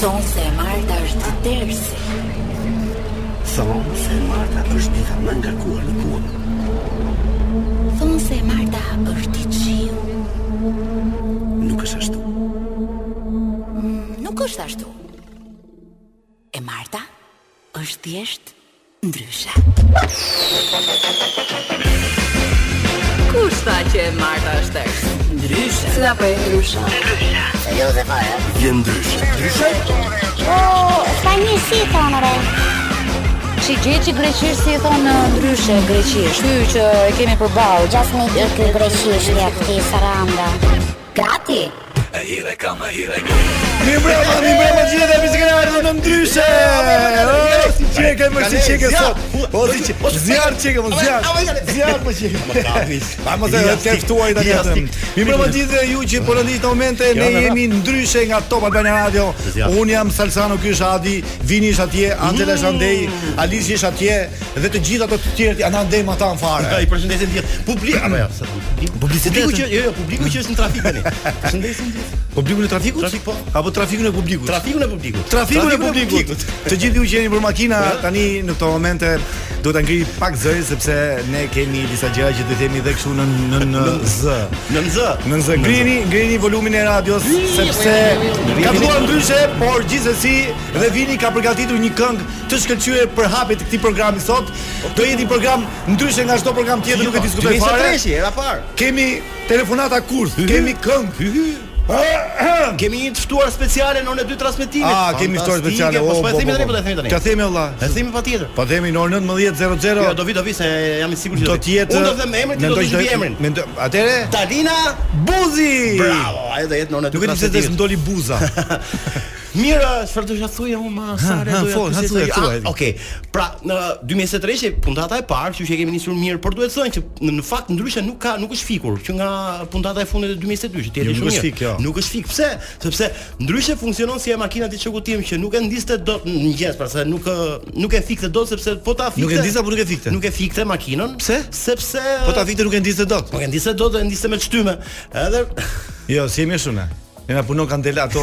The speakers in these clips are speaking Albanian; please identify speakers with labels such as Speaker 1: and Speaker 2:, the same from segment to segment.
Speaker 1: Thonë se e Marta është dersi.
Speaker 2: Thonë se Marta është dita më ngarkuar në punë.
Speaker 1: Thonë se e Marta është i qiu.
Speaker 2: Nuk është ashtu.
Speaker 1: Nuk është ashtu. E Marta është thjesht ndryshe.
Speaker 3: Kush tha që e Marta është tërës? Ndryshe. Si apo e ndryshe?
Speaker 2: Je ndryshe. Ndryshe?
Speaker 4: Ka një si thonë re
Speaker 5: Që gjë që greqisht si e thonë ndryshe greqisht. Ky që e kemi përballë.
Speaker 4: Gjas me di ky greqisht ja këti saranda Gati
Speaker 2: E hire kam, e hire
Speaker 6: Mi mbrëma, mi mbrëma gjithë dhe misi këna ardhë në ndryshe O, si qeke, më si qeke sot O, si qeke, zjarë qeke, më zjarë Zjarë më qeke Pa më të të ftuaj të këtë Mi mbrëma gjithë dhe ju që po rëndit në momente Ne jemi ndryshe nga Top Albania Radio Unë jam Salsano, ky është Adi Vini është atje, Angela është andej Alici është atje Dhe të gjithë ato të tjerët janë andej më ta
Speaker 7: Ja,
Speaker 6: në fare
Speaker 7: i përshëndesim gjithë. Publik apo jo, sa publik. Publiku që jo, jo, publiku që është në trafik tani. Përshëndesim gjithë.
Speaker 6: Publikun e trafikut?
Speaker 7: Trafik, po.
Speaker 6: Apo trafikun e publikut?
Speaker 7: Trafikun e publikut.
Speaker 6: Trafiku në publikut. Të gjithë ju që jeni për makina tani në këto momente duhet ta ngri pak zërin sepse ne kemi disa gjëra që do të themi edhe kështu në në në z.
Speaker 7: Në nxë.
Speaker 6: Në z. Ngrini, ngrini volumin e radios sepse ka filluar ndryshe, por gjithsesi dhe Vini ka përgatitur një këngë të shkëlqyer për hapet e këtij programi sot. Do jetë një program ndryshe nga çdo program tjetër,
Speaker 7: po,
Speaker 6: nuk e diskutoj fare.
Speaker 7: treshi, era parë.
Speaker 6: Kemi telefonata kurth, kemi këngë.
Speaker 7: Kemi një të ftuar speciale në orën e dy transmetimit.
Speaker 6: Ah, kemi ftuar
Speaker 7: Fantastike,
Speaker 6: speciale.
Speaker 7: Po
Speaker 6: o,
Speaker 7: s'po e
Speaker 6: po,
Speaker 7: themi
Speaker 6: po,
Speaker 7: tani,
Speaker 6: po.
Speaker 7: po ta themi tani.
Speaker 6: Ta themi valla.
Speaker 7: E themi patjetër.
Speaker 6: Po themi në orën 19:00.
Speaker 7: Jo, do vi, do vi se jam i sigurt që
Speaker 6: do të jetë
Speaker 7: Unë do të them emrin, ti do të jesh emrin.
Speaker 6: Mendoj, atëre
Speaker 7: Dalina
Speaker 6: Buzi.
Speaker 7: Bravo, ajo do jetë në orën e dy
Speaker 6: Nuk e di pse des
Speaker 7: transmetimit.
Speaker 6: mdoli buza.
Speaker 7: Mirë, çfarë do të thuaj unë ma sare
Speaker 6: ha,
Speaker 7: do
Speaker 6: fol, ha,
Speaker 7: ja
Speaker 6: thuaj,
Speaker 7: pyesë.
Speaker 6: thuaj.
Speaker 7: Ah, Okej. Pra në 2023 që puntata e parë, kështu që e kemi nisur mirë, por duhet të thënë që në- në fakt ndryshe nuk ka nuk është fikur që nga puntata e fundit e 2022 që ti e di
Speaker 6: Jo, nuk
Speaker 7: shumë
Speaker 6: është
Speaker 7: mirë.
Speaker 6: fik, jo.
Speaker 7: Nuk është fik. Pse? Sepse ndryshe funksionon si e makina e çekutim që nuk e ndiste dot në ngjes, pra se nuk ë, nuk e fikte dot sepse po ta fikte.
Speaker 6: Nuk e ndiste apo nuk e fikte?
Speaker 7: Nuk e fikte makinën.
Speaker 6: Pse?
Speaker 7: Sepse
Speaker 6: Po ta vite nuk e ndiste dot.
Speaker 7: Nuk e ndiste dot, e ndiste me çtyme. Edhe
Speaker 6: Jo, si jemi shumë ne. Ne na punon kandela ato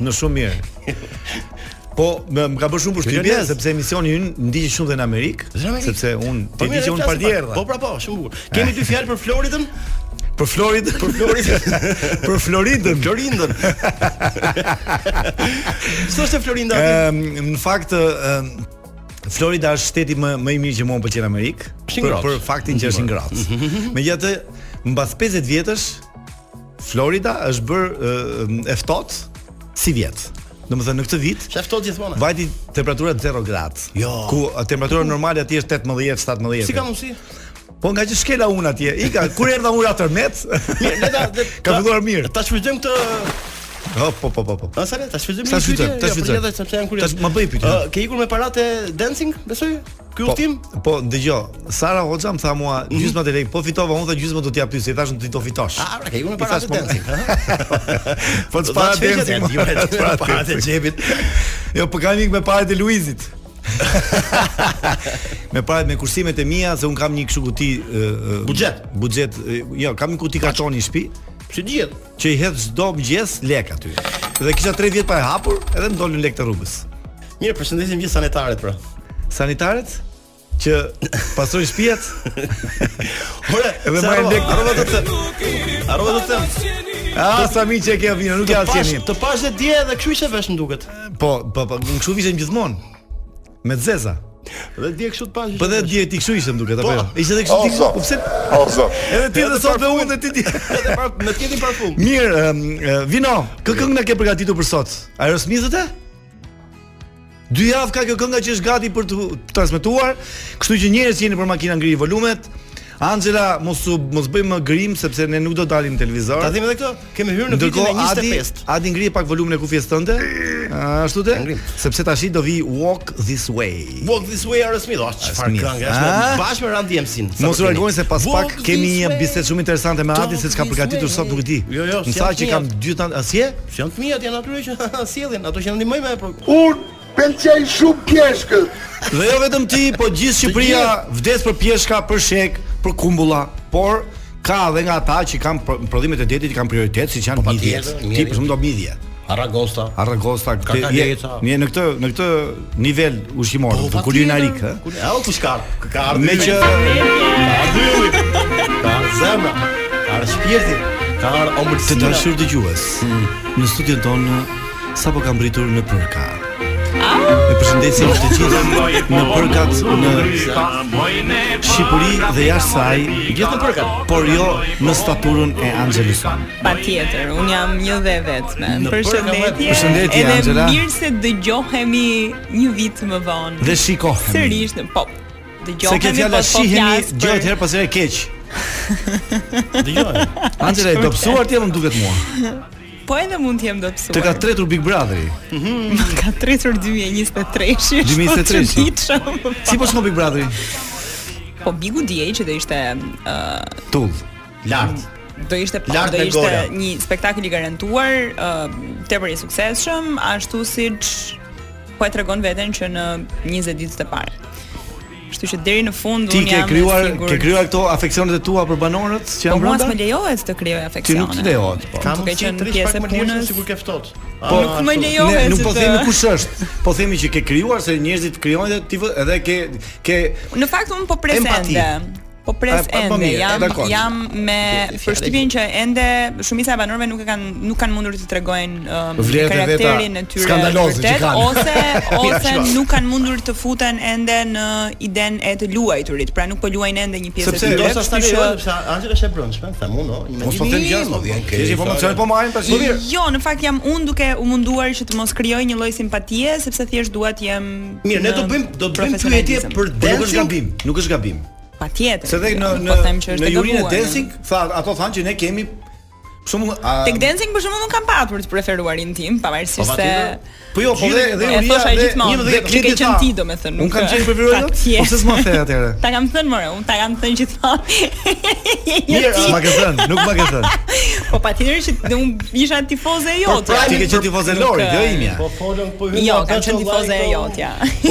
Speaker 6: në shumë mirë. Po më, më ka bërë shumë përshtypje
Speaker 7: Milionez.
Speaker 6: sepse emisioni ynë ndiqet shumë dhe në Amerikë,
Speaker 7: Dhe në Amerikë.
Speaker 6: sepse un
Speaker 7: Po
Speaker 6: ti di
Speaker 7: mirë,
Speaker 6: që
Speaker 7: flasim
Speaker 6: un
Speaker 7: pak.
Speaker 6: pardje erdha.
Speaker 7: Po pra po, shumë bukur. Kemi dy fjalë për Floridën.
Speaker 6: Për Florid, për Florid, për Floridën.
Speaker 7: Florindën. Së është e Florinda?
Speaker 6: Ëm Ehm, në fakt ëm Florida është shteti më më i mirë që mua më pëlqen në Amerikë
Speaker 7: Është i
Speaker 6: për,
Speaker 7: ngrohtë.
Speaker 6: për faktin që është i ngrohtë.
Speaker 7: Mhm.
Speaker 6: Megjithatë, mbas 50 vjetësh Florida është bër ë, e ftohtë si vjet. Domethënë në këtë vit
Speaker 7: Shef tot gjithmonë.
Speaker 6: vajti temperatura 0 gradë.
Speaker 7: Jo.
Speaker 6: Ku a, temperatura normale atje është 18, 17.
Speaker 7: Si ka mundsi?
Speaker 6: Po nga që shkela unë atje. Ika kur erdha unë atërmet.
Speaker 7: Mirë, le ta le-
Speaker 6: Ka filluar mirë.
Speaker 7: Ta shfrytëzojmë këtë,
Speaker 6: Oh, po po po po.
Speaker 7: a sa le ta shfrytëzojmë.
Speaker 6: Sa
Speaker 7: një pyetje,
Speaker 6: shfrytëzojmë, ta
Speaker 7: jo,
Speaker 6: shfrytëzojmë.
Speaker 7: përgjithë, sepse jam kurioz.
Speaker 6: Ta- ma bëj pyetje.
Speaker 7: Ë, Ke ikur me parate dancing, besoj? Ky udhtim?
Speaker 6: Po, po dëgjoj, Sara Hoxha më tha mua gjysmë të lek, po fitova unë tha gjysmë do t'ja pyes, i thash ti do fitosh.
Speaker 7: A, pra, ke ikur me
Speaker 6: I
Speaker 7: parate
Speaker 6: thash, po-
Speaker 7: dancing. ha?
Speaker 6: Po
Speaker 7: Do ta
Speaker 6: çfarë
Speaker 7: shfrytëzojmë atë,
Speaker 6: dancing? mo,
Speaker 7: jo, atë,
Speaker 6: çfarë
Speaker 7: me parat e
Speaker 6: dancing? Jo, po kam ikë me parat e Luizit. me parat me kursimet e mia se un kam një kështu kuti ë, ë,
Speaker 7: Buxhet.
Speaker 6: Buxhet, ë, jo, kam një kuti kartoni në shtëpi
Speaker 7: Si dihet?
Speaker 6: që i hedh çdo mëngjes lek aty. Dhe kisha 3 vjet pa e hapur, edhe më dolën lek të rrugës.
Speaker 7: Mirë, përshëndesim gjithë sanetaret pra.
Speaker 6: Sanitarët që pastrojnë shtëpiat.
Speaker 7: Ore,
Speaker 6: Edhe
Speaker 7: se harrova-
Speaker 6: marrin lek.
Speaker 7: Harrova të them. Harrova të them.
Speaker 6: Ah, sa mi që e ke vina, nuk
Speaker 7: Të
Speaker 6: ja
Speaker 7: pash,
Speaker 6: asjeni.
Speaker 7: të pash dhe dje dhe kështu ishte vesh më duket.
Speaker 6: Po, po, po, në kështu vishëm gjithmonë. Me zeza.
Speaker 7: Dhe dje kështu të pash.
Speaker 6: Po dhe dje ti kështu ishte më duket apo
Speaker 7: Po.
Speaker 6: jo? Ishte edhe kështu ti.
Speaker 8: Ozo.
Speaker 6: Po pse?
Speaker 8: Ozo.
Speaker 6: Edhe ti dhe sot dhe unë dhe ti. dje.
Speaker 7: edhe pra me të jetin parfum.
Speaker 6: Mirë, em, e, Vino, kë këngë na ke përgatitur për sot? Aerosmithët e? Dy javë ka kjo kënga që është gati për të transmetuar, kështu që njerëz që jeni për makina ngri volumet. Angela, mos u mos bëj më grim sepse ne nuk do dalim në televizor.
Speaker 7: Ta them edhe këtë, kemi hyrë në vitin e
Speaker 6: Ndërkohë Adi,
Speaker 7: 25.
Speaker 6: Adi ngri pak volumin e kufjes tënde. a, Ashtu te?
Speaker 7: ngrim.
Speaker 6: Sepse tashi do vi Walk This Way.
Speaker 7: Walk This Way Aerosmith, oh, çfarë
Speaker 6: Smith.
Speaker 7: këngë
Speaker 6: Ah?
Speaker 7: është, bashkë me Randy MC-n. sa
Speaker 6: Mos u
Speaker 7: përkeni.
Speaker 6: largojnë se pas
Speaker 7: Walk
Speaker 6: pak kemi
Speaker 7: this
Speaker 6: një
Speaker 7: way.
Speaker 6: bisedë shumë interesante me Adin se çka përgatitur sot nuk e di.
Speaker 7: Jo, jo,
Speaker 6: Më
Speaker 7: si
Speaker 6: tha
Speaker 7: janë
Speaker 6: që
Speaker 7: fëmijët.
Speaker 6: kam dy tan asje?
Speaker 7: Që janë të mijat janë atyre që sjellin, ato që ndihmojnë me pro-
Speaker 8: Unë pëlqej shumë pjeshkët.
Speaker 6: Dhe jo vetëm ti, po gjithë Shqipëria vdes për pjeshka, për shek, për kumbulla, por ka edhe nga ata që kanë pro- prodhimet e detit i kanë prioritet, siç janë
Speaker 7: Po,
Speaker 6: midhjet.
Speaker 7: patjetër,
Speaker 6: Ti
Speaker 7: njeri.
Speaker 6: për shembull do midhje.
Speaker 7: Arragosta.
Speaker 9: Arragosta, te- je
Speaker 7: Kakaleca.
Speaker 9: je në këtë në këtë nivel ushqimor,
Speaker 7: Po,
Speaker 9: po,
Speaker 7: patjetër.
Speaker 9: kulinarik, ë.
Speaker 7: Kul- Au kush ka? Ka ardhi.
Speaker 9: Me që
Speaker 7: ka ardhi. Ka ardhi zemra. Ka ardhi shpirti. Ka ardhi
Speaker 6: Të
Speaker 7: omëlsina.
Speaker 6: dashur dëgjues, në studion tonë sapo kam rritur në përka. E përshëndesim të gjithë
Speaker 10: po
Speaker 6: në përkat në Shqipëri dhe jashtë saj,
Speaker 7: Gjithë në përkat.
Speaker 6: por jo në staturën e Angelison.
Speaker 10: Patjetër, un jam një dhe e vetme.
Speaker 7: Në
Speaker 10: Përshëndetje.
Speaker 7: përka,
Speaker 9: përshëndetje,
Speaker 10: Edhe
Speaker 9: Angela.
Speaker 10: Mirë se dëgjohemi një vit më vonë.
Speaker 6: Dhe shikohemi.
Speaker 10: Sërish në pop.
Speaker 6: Se kjo
Speaker 10: Dëgjohemi
Speaker 6: fjala
Speaker 10: po po
Speaker 6: shihemi
Speaker 10: flas
Speaker 6: gjohet
Speaker 10: për
Speaker 6: herë pas here keq.
Speaker 7: Dëgjoj.
Speaker 9: Angela e dobësuar ti apo më duket mua?
Speaker 10: po edhe mund të jem dobësuar.
Speaker 6: Të ka tretur Big Brotheri.
Speaker 10: ka tretur 2023-shi.
Speaker 6: 2023-shi.
Speaker 10: Si
Speaker 6: Si po shkon Big Brotheri?
Speaker 10: po Bigu diej që do ishte ë,
Speaker 6: Tull.
Speaker 7: Lart.
Speaker 10: do ishte po,
Speaker 7: Lart
Speaker 10: do
Speaker 7: me
Speaker 10: ishte
Speaker 7: gola.
Speaker 10: një spektakël i garantuar, ë, tepër i suksesshëm, ashtu siç po e tregon veten që në 20 ditët e para. Kështu që deri në fund
Speaker 6: Ti
Speaker 10: unë
Speaker 6: ke
Speaker 10: jam e
Speaker 6: krijuar
Speaker 10: sigurt-
Speaker 6: ke krijuar këto afeksionet e tua për banorët që
Speaker 10: Po
Speaker 6: janë
Speaker 10: mua s'më
Speaker 6: brenda?
Speaker 10: lejohet të krijoj
Speaker 6: Ti
Speaker 10: afeksione.
Speaker 6: nuk të lejohet. po.
Speaker 7: Ka
Speaker 10: Duke
Speaker 7: mundësi
Speaker 10: qenë
Speaker 7: të rish
Speaker 10: pjesë
Speaker 7: pak
Speaker 10: e
Speaker 7: më të mirë
Speaker 10: punës.
Speaker 7: sikur ke ftohtë. Ah,
Speaker 10: Po nuk më
Speaker 6: Ne
Speaker 10: lejohet.
Speaker 6: nuk po
Speaker 10: të-
Speaker 6: themi kush është, po themi që ke krijuar se njerëzit krijojnë dhe ti vë- edhe ke ke
Speaker 10: Në fakt unë po pres
Speaker 6: Empati.
Speaker 10: ende. Po pres
Speaker 6: A, po
Speaker 10: ende.
Speaker 6: mirë,
Speaker 10: jam
Speaker 6: dakord.
Speaker 10: jam me
Speaker 6: Fjalë
Speaker 10: përshtypjen që ende shumica e banorëve nuk e kanë nuk kanë mundur të tregojnë um,
Speaker 6: Vlerat e veta
Speaker 10: karakterin e tyre
Speaker 6: skandaloze që
Speaker 10: vërtet,
Speaker 6: kanë.
Speaker 10: ose ose
Speaker 6: Ashtu.
Speaker 10: nuk kanë mundur të futen ende në iden e të luajturit. Pra nuk po luajnë ende një pjesë
Speaker 7: Sepse
Speaker 10: të tyre.
Speaker 7: ndoshta sta
Speaker 10: kështu
Speaker 7: lejohet,
Speaker 10: që-
Speaker 7: sepse Angela është e brëndshme, them unë, no,
Speaker 9: Mos po them gjasë, po vjen keq.
Speaker 7: Ti
Speaker 9: informacion po marrim tash.
Speaker 10: Jo, në fakt jam unë duke u munduar që të mos krijoj një lloj simpatie, sepse thjesht dua të jem
Speaker 7: Mirë, ne do
Speaker 10: në
Speaker 7: bëjmë do bëjmë pyetje
Speaker 10: profesionalizëm.
Speaker 7: për
Speaker 6: po nuk është
Speaker 7: dancing.
Speaker 6: gabim, nuk është gabim.
Speaker 10: Patjetër.
Speaker 9: Se dhe në
Speaker 10: nuk
Speaker 9: në
Speaker 10: po them që është
Speaker 9: në
Speaker 10: e
Speaker 9: jurin e
Speaker 10: gabuar,
Speaker 9: dancing, tha ato thanë që ne kemi shumë a,
Speaker 10: Tek dancing për shembull nuk kam patur të preferuarin tim,
Speaker 7: Po,
Speaker 10: pavarësisht se
Speaker 7: patjetër.
Speaker 9: Po jo, po dhe dhe
Speaker 10: e
Speaker 9: uria
Speaker 10: thosha
Speaker 9: dhe
Speaker 10: gjithmonë,
Speaker 9: një
Speaker 10: dhe
Speaker 9: dhe
Speaker 10: që
Speaker 9: kleti
Speaker 10: ke qenë
Speaker 9: tha,
Speaker 10: ti, domethënë, nuk
Speaker 9: Unë kam
Speaker 10: e-
Speaker 9: qenë preferuar
Speaker 10: Pra,
Speaker 9: jot,
Speaker 6: Po,
Speaker 10: tje.
Speaker 9: ose s'ma the atëherë.
Speaker 10: ta kam thënë more, unë ta kam thënë gjithmonë.
Speaker 9: Mirë, s'ma ke thënë, nuk ma ke thënë.
Speaker 10: Po patjetër që dhe unë isha tifoze e jote.
Speaker 9: Po, pra, Ti ke qenë tifoz e Lorit, jo imja.
Speaker 7: Po folën po hyn.
Speaker 10: Jo, kam qenë tifoze e jotja.
Speaker 9: Po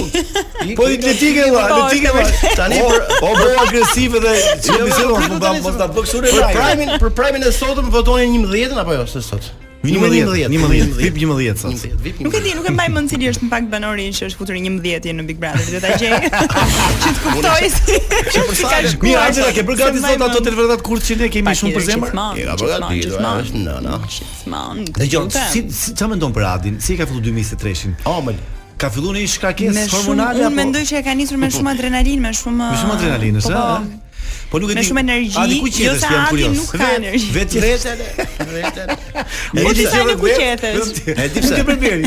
Speaker 9: i atletike
Speaker 7: Jo,
Speaker 9: valla,
Speaker 10: Po,
Speaker 9: atletike valla. Tani
Speaker 7: tani
Speaker 6: po,
Speaker 7: për
Speaker 9: o bëu agresive dhe çu
Speaker 6: Jo,
Speaker 7: jo,
Speaker 9: bisedon, mos ta mos ta
Speaker 6: po,
Speaker 9: bë kështu në
Speaker 7: Për
Speaker 9: rajë.
Speaker 7: primin, për primin e sotëm votonin 11-ën apo jo, se sot.
Speaker 6: 11, 11, vip 11 sot.
Speaker 7: 11, vip
Speaker 10: Nuk e di, nuk e mbaj mend cili është në fakt banori që është futur 11 në Big Brother, do ta gjej. Që të kuptoj si që për sa
Speaker 9: Mirë, Angela, ke bërë gati sot ato televizorat kurth që ne kemi shumë për zemër?
Speaker 10: Gjithmonë,
Speaker 7: Ka bërë
Speaker 10: gjithmonë,
Speaker 7: gati,
Speaker 10: gjithmonë.
Speaker 7: është nëna.
Speaker 10: Gjithmonë.
Speaker 6: Dëgjoj,
Speaker 10: lutem.
Speaker 6: si si- çfarë mendon për Adin? Si e ka filluar 2023-shin?
Speaker 7: Omël.
Speaker 6: Ka filluar një shkakesë
Speaker 10: Me shumë-
Speaker 6: hormonale
Speaker 10: Unë mendoj që e ka nisur me shumë adrenalinë, me shumë
Speaker 6: Po, me shumë adrenalinës,
Speaker 10: po,
Speaker 6: ëh?
Speaker 10: po.
Speaker 6: Po nuk e di.
Speaker 10: Me shumë energji,
Speaker 6: Adi ku
Speaker 10: jo
Speaker 6: qetesh,
Speaker 10: se
Speaker 6: jam
Speaker 10: Adi
Speaker 6: kurios.
Speaker 10: nuk ka
Speaker 6: Vetë-
Speaker 10: energji.
Speaker 6: Vetë
Speaker 7: Vetën, vetën.
Speaker 6: E
Speaker 10: Po
Speaker 6: di që
Speaker 10: ti tani ku
Speaker 6: vetë-
Speaker 10: qetesh?
Speaker 6: vetëm ti.
Speaker 7: E di pse.
Speaker 6: Nuk e përbjeri.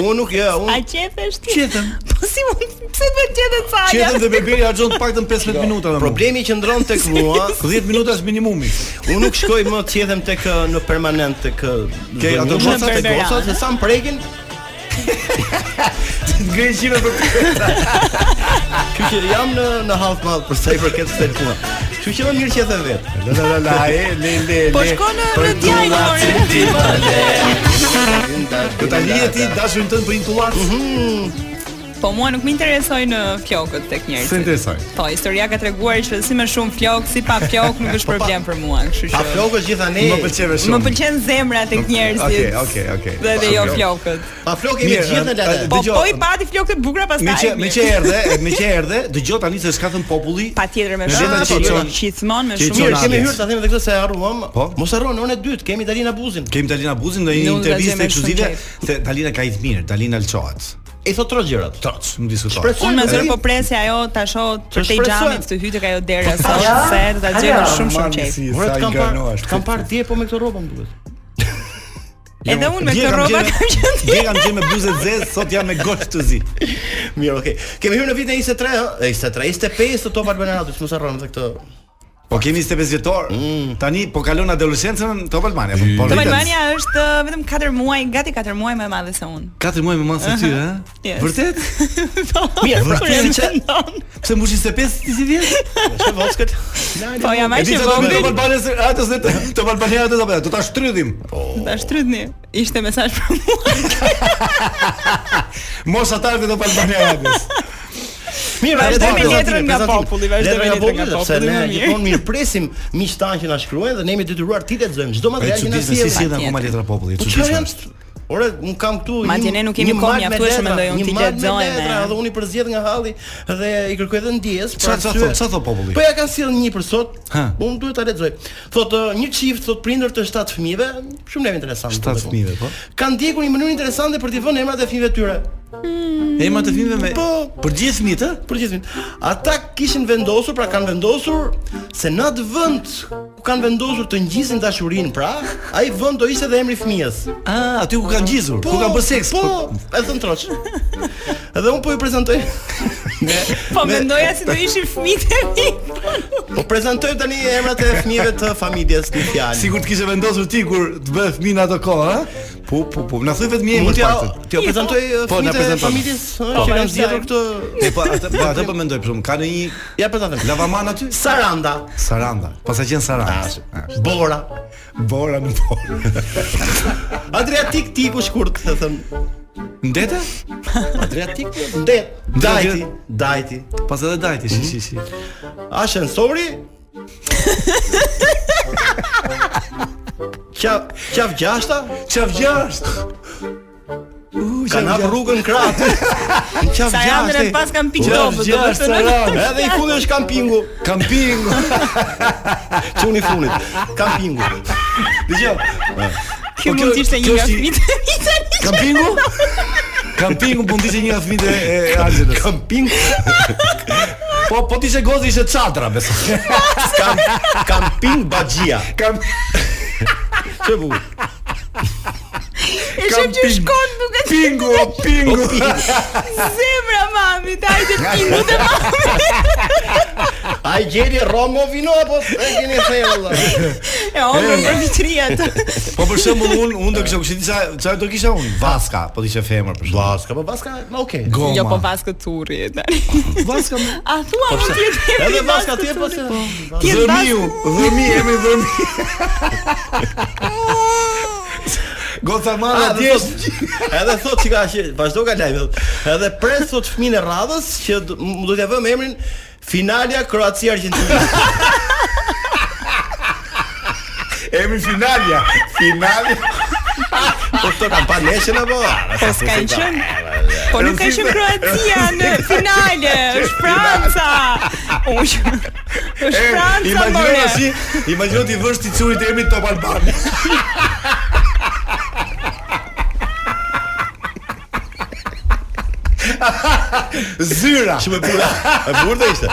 Speaker 7: Unë nuk jo,
Speaker 10: A
Speaker 7: unë
Speaker 10: qefesh ti?
Speaker 6: Qetëm.
Speaker 10: Po si mund, pse të qetë salja?
Speaker 6: Qetëm dhe përbjeri harxhon të paktën
Speaker 10: Jo.
Speaker 6: 15 minuta dhe më.
Speaker 7: problemi qëndron tek mua.
Speaker 6: 10 minuta është minimumi.
Speaker 7: Unë nuk shkoj më të qethem tek ë, në permanent tek uh, ë,
Speaker 6: Ke ato
Speaker 7: vëmendje,
Speaker 6: gocat,
Speaker 7: tek
Speaker 10: Berberane.
Speaker 7: gocat, se sa më prekin,
Speaker 6: Ngrej shive për
Speaker 7: kështu që jam në në half mall për sa i përket kësaj puna. Kështu që më mirë qethem vetë.
Speaker 6: La la la e le le
Speaker 10: Po shko në në djajnë ore.
Speaker 6: Do ta lije ti dashurin tënd për intullat.
Speaker 10: Mhm. Po mua nuk më interesoj në flokët tek
Speaker 6: Se
Speaker 10: njerëzit.
Speaker 6: interesoj.
Speaker 10: Po, historia ka treguar që si me shumë flok, si pa flok nuk
Speaker 6: Po,
Speaker 10: është problem për mua, kështu
Speaker 7: Pa
Speaker 10: që
Speaker 7: flokës gjithani.
Speaker 6: Më pëlqeve
Speaker 10: më
Speaker 6: shumë.
Speaker 10: pëlqen zemra tek njerëzit.
Speaker 6: Okej, okej, okej.
Speaker 10: Dhe edhe jo flokët.
Speaker 7: Pa flokë me
Speaker 6: Mirë,
Speaker 7: gjithë në
Speaker 6: a-
Speaker 7: latë.
Speaker 10: Po
Speaker 6: Dëgjo,
Speaker 10: po i pati flokët bukura pastaj.
Speaker 6: Me që me
Speaker 10: mirë.
Speaker 6: që erdhe, me që erdhe, dëgjoj tani se çka thën populli.
Speaker 10: Patjetër me
Speaker 6: Me
Speaker 10: shumë
Speaker 6: veten që çon.
Speaker 10: qicmon me
Speaker 6: Që
Speaker 10: shumë
Speaker 6: çon
Speaker 7: Mirë,
Speaker 6: Zonale.
Speaker 7: kemi hyrë ta them edhe këtë se e harruam.
Speaker 6: Po.
Speaker 7: Mos harron orën e dytë, kemi Dalina Buzin.
Speaker 6: Kemi Dalina Buzin në një
Speaker 10: Nuk
Speaker 6: intervistë
Speaker 10: vazhdojmë me shumë
Speaker 6: ekskluzive
Speaker 10: qejf.
Speaker 6: se Dalina ka i të mirë, Dalina lçohet.
Speaker 7: E thot tro gjërat.
Speaker 6: Troc, nuk diskutoj.
Speaker 7: Shpresoj
Speaker 10: Unë me zërë
Speaker 7: Dalin-
Speaker 10: po presi ajo ta shoh të tej
Speaker 7: shpresoj.
Speaker 10: xhamit të hytek ajo dera
Speaker 6: Po,
Speaker 10: sot se do ta gjejmë shumë shumë çejf.
Speaker 7: Ora të kam parë, të kam parë dje po me këtë rroba më duhet.
Speaker 10: Edhe unë me
Speaker 6: Dje
Speaker 10: këtë
Speaker 6: kam
Speaker 10: rroba
Speaker 6: gjenë-
Speaker 10: kam qenë
Speaker 6: Dje kam qenë me bluzë të zezë, sot jam me golf të zi.
Speaker 7: Mirë, okay. Kemi hyrë në vitin e 23, ë, e 23, 25 të Top Albana Radio, mos harron edhe këtë.
Speaker 6: Po kemi 25 vjetor. Tani po kalon adoleshencën Top Albania. po- Po
Speaker 10: Mm. Top
Speaker 6: rritet.
Speaker 10: Albania është uh, vetëm 4 muaj, gati 4 muaj më e madhe se unë.
Speaker 6: 4 muaj më masë se ty, ha?
Speaker 10: Yes.
Speaker 6: Vërtet?
Speaker 7: Mirë, pra,
Speaker 10: Kur e
Speaker 7: kemi që
Speaker 10: mendon?
Speaker 6: Pse mbushi 25 ti si vjen?
Speaker 7: është voskët.
Speaker 10: Po jam
Speaker 6: E
Speaker 10: aq
Speaker 6: di
Speaker 10: e
Speaker 6: se do me Top
Speaker 10: vogël,
Speaker 6: Albania, se- atë se Top Albania atë do bëj, do ta shtrydhim.
Speaker 10: ta shtrydhni. Ishte mesazh për mua.
Speaker 6: Mos atar të Top Albania radës.
Speaker 7: Mirë,
Speaker 10: Vazhdoj me
Speaker 7: vazhdo,
Speaker 10: letrën nga
Speaker 7: prezantim.
Speaker 10: populli, vazhdoj me
Speaker 7: Letra nga
Speaker 10: letrën nga
Speaker 7: populli, sepse
Speaker 10: populli,
Speaker 7: ne
Speaker 10: më mirë.
Speaker 7: gjithmonë mirë presim miqtan që na shkruajnë dhe ne jemi detyruar ti të lexojmë çdo
Speaker 6: Po e
Speaker 7: material që na
Speaker 6: çuditshme si
Speaker 7: sjellin.
Speaker 6: sjellin akoma letra populli, e
Speaker 7: Po çfarë
Speaker 6: çuditshme.
Speaker 7: janë? Ore, un kam këtu
Speaker 10: Ma
Speaker 7: një-
Speaker 10: ne nuk kemi
Speaker 7: një
Speaker 10: kohë
Speaker 7: mal me
Speaker 10: mjaftueshme,
Speaker 7: letra,
Speaker 10: mendoj unë,
Speaker 7: një
Speaker 10: t'i
Speaker 7: mal me
Speaker 10: lexojmë.
Speaker 7: letra, Edhe unë i përzgjedh nga halli dhe i kërkoj edhe ndjes. për
Speaker 6: Çfarë- çfarë
Speaker 7: arsye-
Speaker 6: thot- çfarë thot populli?
Speaker 7: Po ja kanë sjellë një për sot.
Speaker 6: Ha.
Speaker 7: Unë duhet ta lexoj. Thotë ë, një çift thot prindër të 7 fëmijëve, shumë lajm interesant.
Speaker 6: 7
Speaker 7: thotë.
Speaker 6: fëmijëve, po.
Speaker 7: Kanë ndjekur një mënyrë interesante për t'i vënë emrat e fëmijëve tyre.
Speaker 6: Emra të fëmijëve me
Speaker 7: Po,
Speaker 6: për gjithë fëmijët, ë?
Speaker 7: për gjithë. Ata kishin vendosur, pra kanë vendosur se në atë vend ku kanë vendosur të ngjisin dashurinë, pra, ai vend do ishte edhe emri i fëmijës.
Speaker 6: Ah, aty ku kanë gjizur, ku kanë bërë seks.
Speaker 7: Po,
Speaker 6: Po,
Speaker 7: e thën troç. Edhe un po ju prezantoj. Me,
Speaker 10: Po mendoja si do ishin fëmijët e mi.
Speaker 7: po prezantoj tani emrat e fëmijëve të familjes në fjalë.
Speaker 6: Sigur të kishe vendosur ti kur të bëhe fëmin ato kohë, ha? Po, po, po. Na thuaj vetëm një
Speaker 7: Mund
Speaker 6: emër
Speaker 7: t'ja
Speaker 6: pak.
Speaker 7: t'ja jo, prezantoj eh,
Speaker 6: Po, na
Speaker 7: fëmijët e
Speaker 6: prezanton.
Speaker 7: familjes eh, që kanë zgjedhur këtë.
Speaker 6: E po, atë po atë po mendoj për shkakun, ka në një
Speaker 7: Ja prezantoj.
Speaker 6: lavaman aty?
Speaker 7: Saranda,
Speaker 6: Saranda. Pas ka qenë Saranda.
Speaker 7: Bora,
Speaker 6: Bora në Bora.
Speaker 7: Adriatik tiku shkurt, e thën.
Speaker 6: Ndete?
Speaker 7: Adriatik, ndet, dajti, dajti.
Speaker 6: Pas edhe dajti, shi shi shi.
Speaker 7: Ashensori Qaf, qaf gjashta
Speaker 6: Çaf gjasht. U,
Speaker 7: Ka hap rrugën kratë Në qaf
Speaker 10: Sa janë
Speaker 7: gjashta
Speaker 10: rënë pas kanë pikë
Speaker 6: Qaf
Speaker 10: dobë, do
Speaker 6: Po, gjasht
Speaker 10: të thënë.
Speaker 6: Saranda.
Speaker 7: Edhe i fundi është kampingu
Speaker 6: Kamping.
Speaker 7: Quni funit Kampingu
Speaker 6: Dgjoj.
Speaker 10: Kjo
Speaker 6: Po,
Speaker 10: mund të
Speaker 6: kjo-
Speaker 10: ishte
Speaker 6: kjo
Speaker 10: një nga
Speaker 6: është i-
Speaker 10: fëmijët e mi tani.
Speaker 6: Kampingu? Kampingu mund të ishte një nga fëmijët e- e Anxhelës.
Speaker 7: Kamping
Speaker 6: Po, po ti ishe gozi ishe çadra besoj.
Speaker 7: kam, Kamping bagjia
Speaker 6: Kam
Speaker 7: Që bu
Speaker 10: E shef që
Speaker 6: ping.
Speaker 10: shkon duke
Speaker 6: pingu, o, pingu.
Speaker 10: zemra mami, hajde pingu të mami.
Speaker 7: A i gjeri Romo vino Apo e keni thejë valla
Speaker 10: E omër për vitria të.
Speaker 6: Po për shembull un un do kisha kushti disa çfarë do kisha un? Vaska, po të ishe femër për shembull.
Speaker 7: Baska, po baska, ma okej
Speaker 6: Goma.
Speaker 10: Jo po vaskë turri tani.
Speaker 6: Vaska.
Speaker 10: A thua mund të jetë emri
Speaker 7: Edhe
Speaker 10: vaskë
Speaker 7: baska tje po
Speaker 10: turri?
Speaker 7: se
Speaker 10: Tjetë
Speaker 6: Dhëmiu,
Speaker 10: vaskë-
Speaker 6: dhëmi, emri dhëmi. Goca
Speaker 7: Ah,
Speaker 6: mara
Speaker 7: Edhe
Speaker 6: djesh.
Speaker 7: thot,
Speaker 6: po.
Speaker 7: edhe thot që ka që vazhdo ka lajmi. thot. Edhe pres thot fëmin e radhës që do- m- do t'ja vëmë emrin Finalja Kroacia Argjentinë.
Speaker 6: Emri finalja. Finalja. Ah,
Speaker 7: Po këto kanë pa neshin apo?
Speaker 10: Po s'kanë qënë
Speaker 6: né?
Speaker 10: Po nuk ka qënë Kroacia në finale është Franca U që është Franca more
Speaker 6: Imagjino si, imagjino ti vësh ti çurit emrin Top Albani. Zyra.
Speaker 7: Shumë e bukur. E bukur do ishte.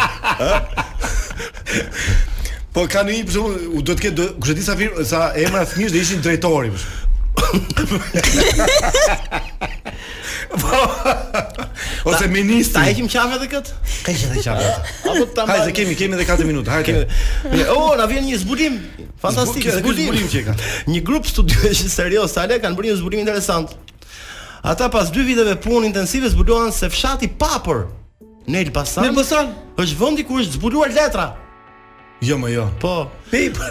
Speaker 6: Po ka një për shembull, u do të ketë do- kush e di sa firmë, sa emra fëmijësh do ishin drejtori për shembull. Po, Ose
Speaker 7: Ta
Speaker 6: ministri.
Speaker 7: heqim qafë edhe kët?
Speaker 6: Ka qenë edhe qatë.
Speaker 7: Apo ta
Speaker 6: Hajde, kemi kemi edhe 4 minuta, hajde.
Speaker 7: Oh, na vjen një zbulim. Fantastik,
Speaker 6: Zbuk-
Speaker 7: zbulim.
Speaker 6: zbulim që e kanë.
Speaker 7: Një grup studiosh serioz tale kanë bërë një zbulim interesant. Ata pas dy viteve punë intensive zbuluan se fshati Papër në Elbasan.
Speaker 6: Në Elbasan?
Speaker 7: Është vendi ku është zbuluar letra.
Speaker 6: Jo, më jo.
Speaker 7: Po.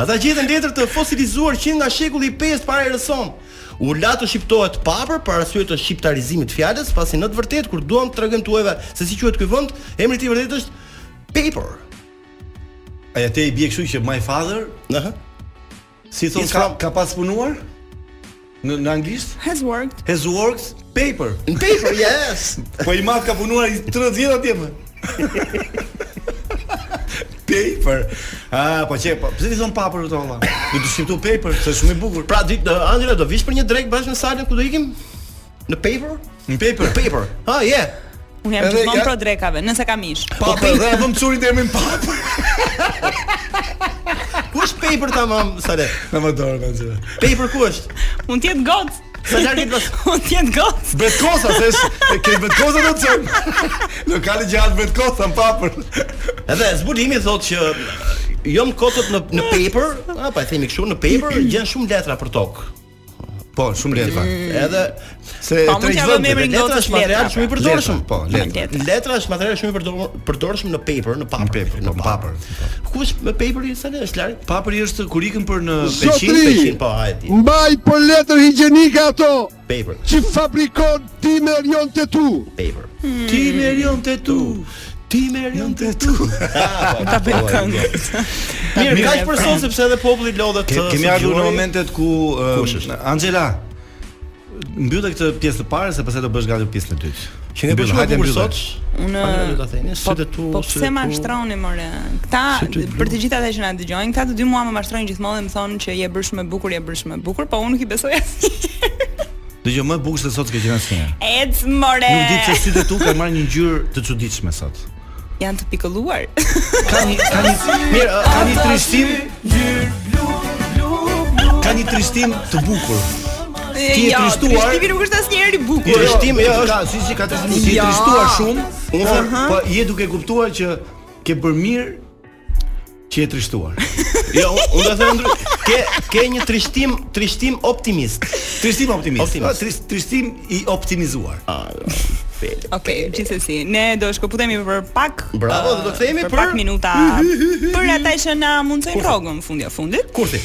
Speaker 7: Ata gjetën letër të fosilizuar që nga shekulli i 5 para erës sonë. U la të shqiptohet papër për arsye të shqiptarizimit të fjalës, pasi në të vërtetë kur duam të tregojmë tuajve se si quhet ky vend, emri i tij vërtet është Paper.
Speaker 6: Ai atë i bie kështu që my father,
Speaker 7: Aha.
Speaker 6: si thon
Speaker 7: Is
Speaker 6: ka,
Speaker 7: from-
Speaker 6: ka pas punuar? Në në anglisht?
Speaker 10: Has worked
Speaker 6: Has worked paper.
Speaker 7: Në Paper, yes.
Speaker 6: Po i madh ka punuar i 30 vjet atje po. më. paper. Ah, po çe, po pse ti thon papër këto valla? Do të shqiptu paper, se është shumë i bukur.
Speaker 7: Pra ditë Andrea do vish për një drek bashkë në salën ku do ikim? Në Paper? Ah,
Speaker 6: Në paper.
Speaker 7: Paper. Ha, yeah.
Speaker 10: Unë jam
Speaker 6: Edhe
Speaker 10: gjithmonë
Speaker 6: ja-
Speaker 10: pro drekave Nëse kam ish
Speaker 6: Papër, Po, dhe e vëm çurin emrin papër.
Speaker 7: Ku është Paper tamam, Sale?
Speaker 6: Në më dorë kanë çe.
Speaker 7: Paper ku është?
Speaker 10: Unë tjetë gocë
Speaker 7: Sa larg e të pas-
Speaker 10: Unë tjetë gocë
Speaker 6: Betkosa, se është e ke betkosa do të çojmë. Lokali gjatë betkosa në papër.
Speaker 7: Edhe zbulimi thotë që jo më kotët në në paper, a pa e themi kështu në paper gjen shumë letra për tokë.
Speaker 6: Po, shumë lehtë fakt.
Speaker 7: Edhe
Speaker 6: Se
Speaker 10: Pa, Po, mund t'ja vëmë
Speaker 6: vende, vetë.
Speaker 10: emrin
Speaker 7: letra
Speaker 10: gocës
Speaker 7: është material
Speaker 10: letra,
Speaker 7: shumë i përdorshëm.
Speaker 6: Letra, po, letra.
Speaker 7: Letra është material shumë i përdor- përdorshëm në paper, në papër,
Speaker 6: paper, po, në papër.
Speaker 7: Ku është me paperi sa le është larg?
Speaker 6: Papëri është kur ikën për në
Speaker 11: Zotri!
Speaker 6: Peqin.
Speaker 11: Tri.
Speaker 7: Peqin, po, hajde.
Speaker 11: Mbaj për letër higjenike ato
Speaker 7: Paper,
Speaker 11: që fabrikon ti me rion të tu.
Speaker 7: paper.
Speaker 6: Ti merion të tu.
Speaker 7: Ti me rion të tu.
Speaker 10: Ta bëj këngë.
Speaker 7: Po, Mirë, kaq për sot sepse edhe populli lodhet. uh,
Speaker 6: Ke- Kemi ardhur në momentet ku eh,
Speaker 7: Kush është?
Speaker 6: Angela mbyllë këtë pjesë të parë se pastaj do bësh gati pjesën e dytë.
Speaker 7: që ne bësh
Speaker 6: Mbyll,
Speaker 7: më
Speaker 6: hajde,
Speaker 7: bukur
Speaker 6: mbyll.
Speaker 7: sot.
Speaker 10: Unë
Speaker 7: Angela, do ta theni,
Speaker 10: po-
Speaker 7: sytë tu,
Speaker 10: Po
Speaker 7: sytë
Speaker 10: pse
Speaker 7: tu.
Speaker 10: ma shtroni more? Këta
Speaker 7: Sytë tu.
Speaker 10: për të gjithë ata që na dëgjojnë, këta të dy mua më mashtrojnë gjithmonë dhe më thonë që je bërsh më bukur, je bërsh më bukur, po unë nuk i besoj asnjë.
Speaker 6: Dëgjoj më e bukur se sot që qenë asnjëherë.
Speaker 10: Ec more.
Speaker 6: Nuk ditë se si të tu ka marrë një ngjyrë të çuditshme sot.
Speaker 10: Janë të pikëlluar.
Speaker 6: Ka një ka një mirë, ë, ka një trishtim, ka një trishtim të bukur.
Speaker 10: Ti
Speaker 6: je trishtuar.
Speaker 10: Ti jo, nuk është asnjëherë i
Speaker 6: Një
Speaker 10: bukur.
Speaker 6: trishtim jo është si si ka trishtim, si
Speaker 10: Ja.
Speaker 6: trishtuar shumë, por po je duke kuptuar që ke bërë mirë që je trishtuar.
Speaker 7: Jo, unë do të them ndry- ke ke një trishtim, trishtim optimist.
Speaker 6: Trishtim optimist.
Speaker 7: Optimist.
Speaker 6: Po, tris- Trishtim i optimizuar.
Speaker 10: Okej, gjithsesi, ne do shkëputemi për pak.
Speaker 7: Bravo,
Speaker 10: uh,
Speaker 7: dhe do kthehemi për-
Speaker 10: pak minuta. për ata që na mundsojnë rrogën fundi a fundit.
Speaker 7: Kurthi.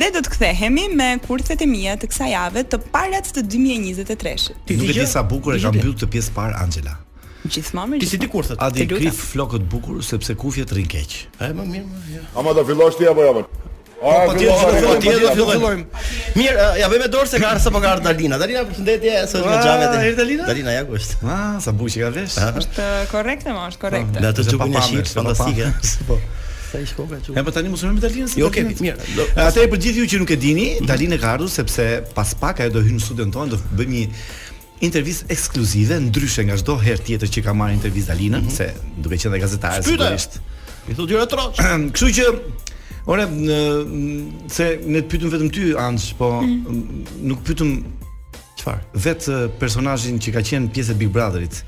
Speaker 10: Dhe do të kthehemi me kurthet e mia të kësaj jave të parat të 2023-shit.
Speaker 6: Ti nuk e
Speaker 7: gjë?
Speaker 6: di sa bukur e
Speaker 7: Ti
Speaker 6: ka
Speaker 7: gjë?
Speaker 6: mbyll të pjesë parë Angela.
Speaker 10: Gjithmonë me
Speaker 7: Ti si di kurthet?
Speaker 6: A di
Speaker 10: Të lutem.
Speaker 6: krit flokët bukur sepse kufjet rrin keq.
Speaker 7: E më mirë, më jo.
Speaker 12: Ama do fillosh ti apo jo? Po
Speaker 7: Patjetër do
Speaker 12: fillosh.
Speaker 7: fillojmë, patjetër do fillojmë. Mirë, ë, ja bëjmë dorë se ka ardhur sapo ka ardhur Dalina. Dalina, përshëndetje, sot nga
Speaker 6: Ah,
Speaker 7: xhavet.
Speaker 6: erdhi Dalina?
Speaker 7: Dalina ja ku është.
Speaker 6: Ah, sa bukur që ka vesh.
Speaker 10: Është korrekte, ma, është korrekte.
Speaker 7: Në atë
Speaker 6: Ishte
Speaker 7: çukun e
Speaker 6: pa pamje,
Speaker 7: shit
Speaker 6: ishte pa
Speaker 7: fantastike.
Speaker 6: pamje.
Speaker 7: Po. Sa i shkoka çu.
Speaker 6: E po tani mos më Dalinën se.
Speaker 7: Jo,
Speaker 6: Dalina-
Speaker 7: okay, mirë. Do-
Speaker 6: Atë për gjithë ju që nuk e dini, Dalina ka ardhur sepse pas pak ajo do hynë në studion tonë, do bëjmë një intervistë ekskluzive ndryshe nga çdo herë tjetër që ka marrë intervistë Dalina,
Speaker 7: Mhm.
Speaker 6: se duke qenë dhe gazetare
Speaker 7: Shpyte!
Speaker 6: sigurisht.
Speaker 7: I thotë dyra troç.
Speaker 6: Kështu që ore në- m, se ne të pyetëm vetëm ty Anç, po m, nuk pyetëm
Speaker 7: Çfarë?
Speaker 6: vetë personazhin që ka qenë pjesë e Big Brotherit.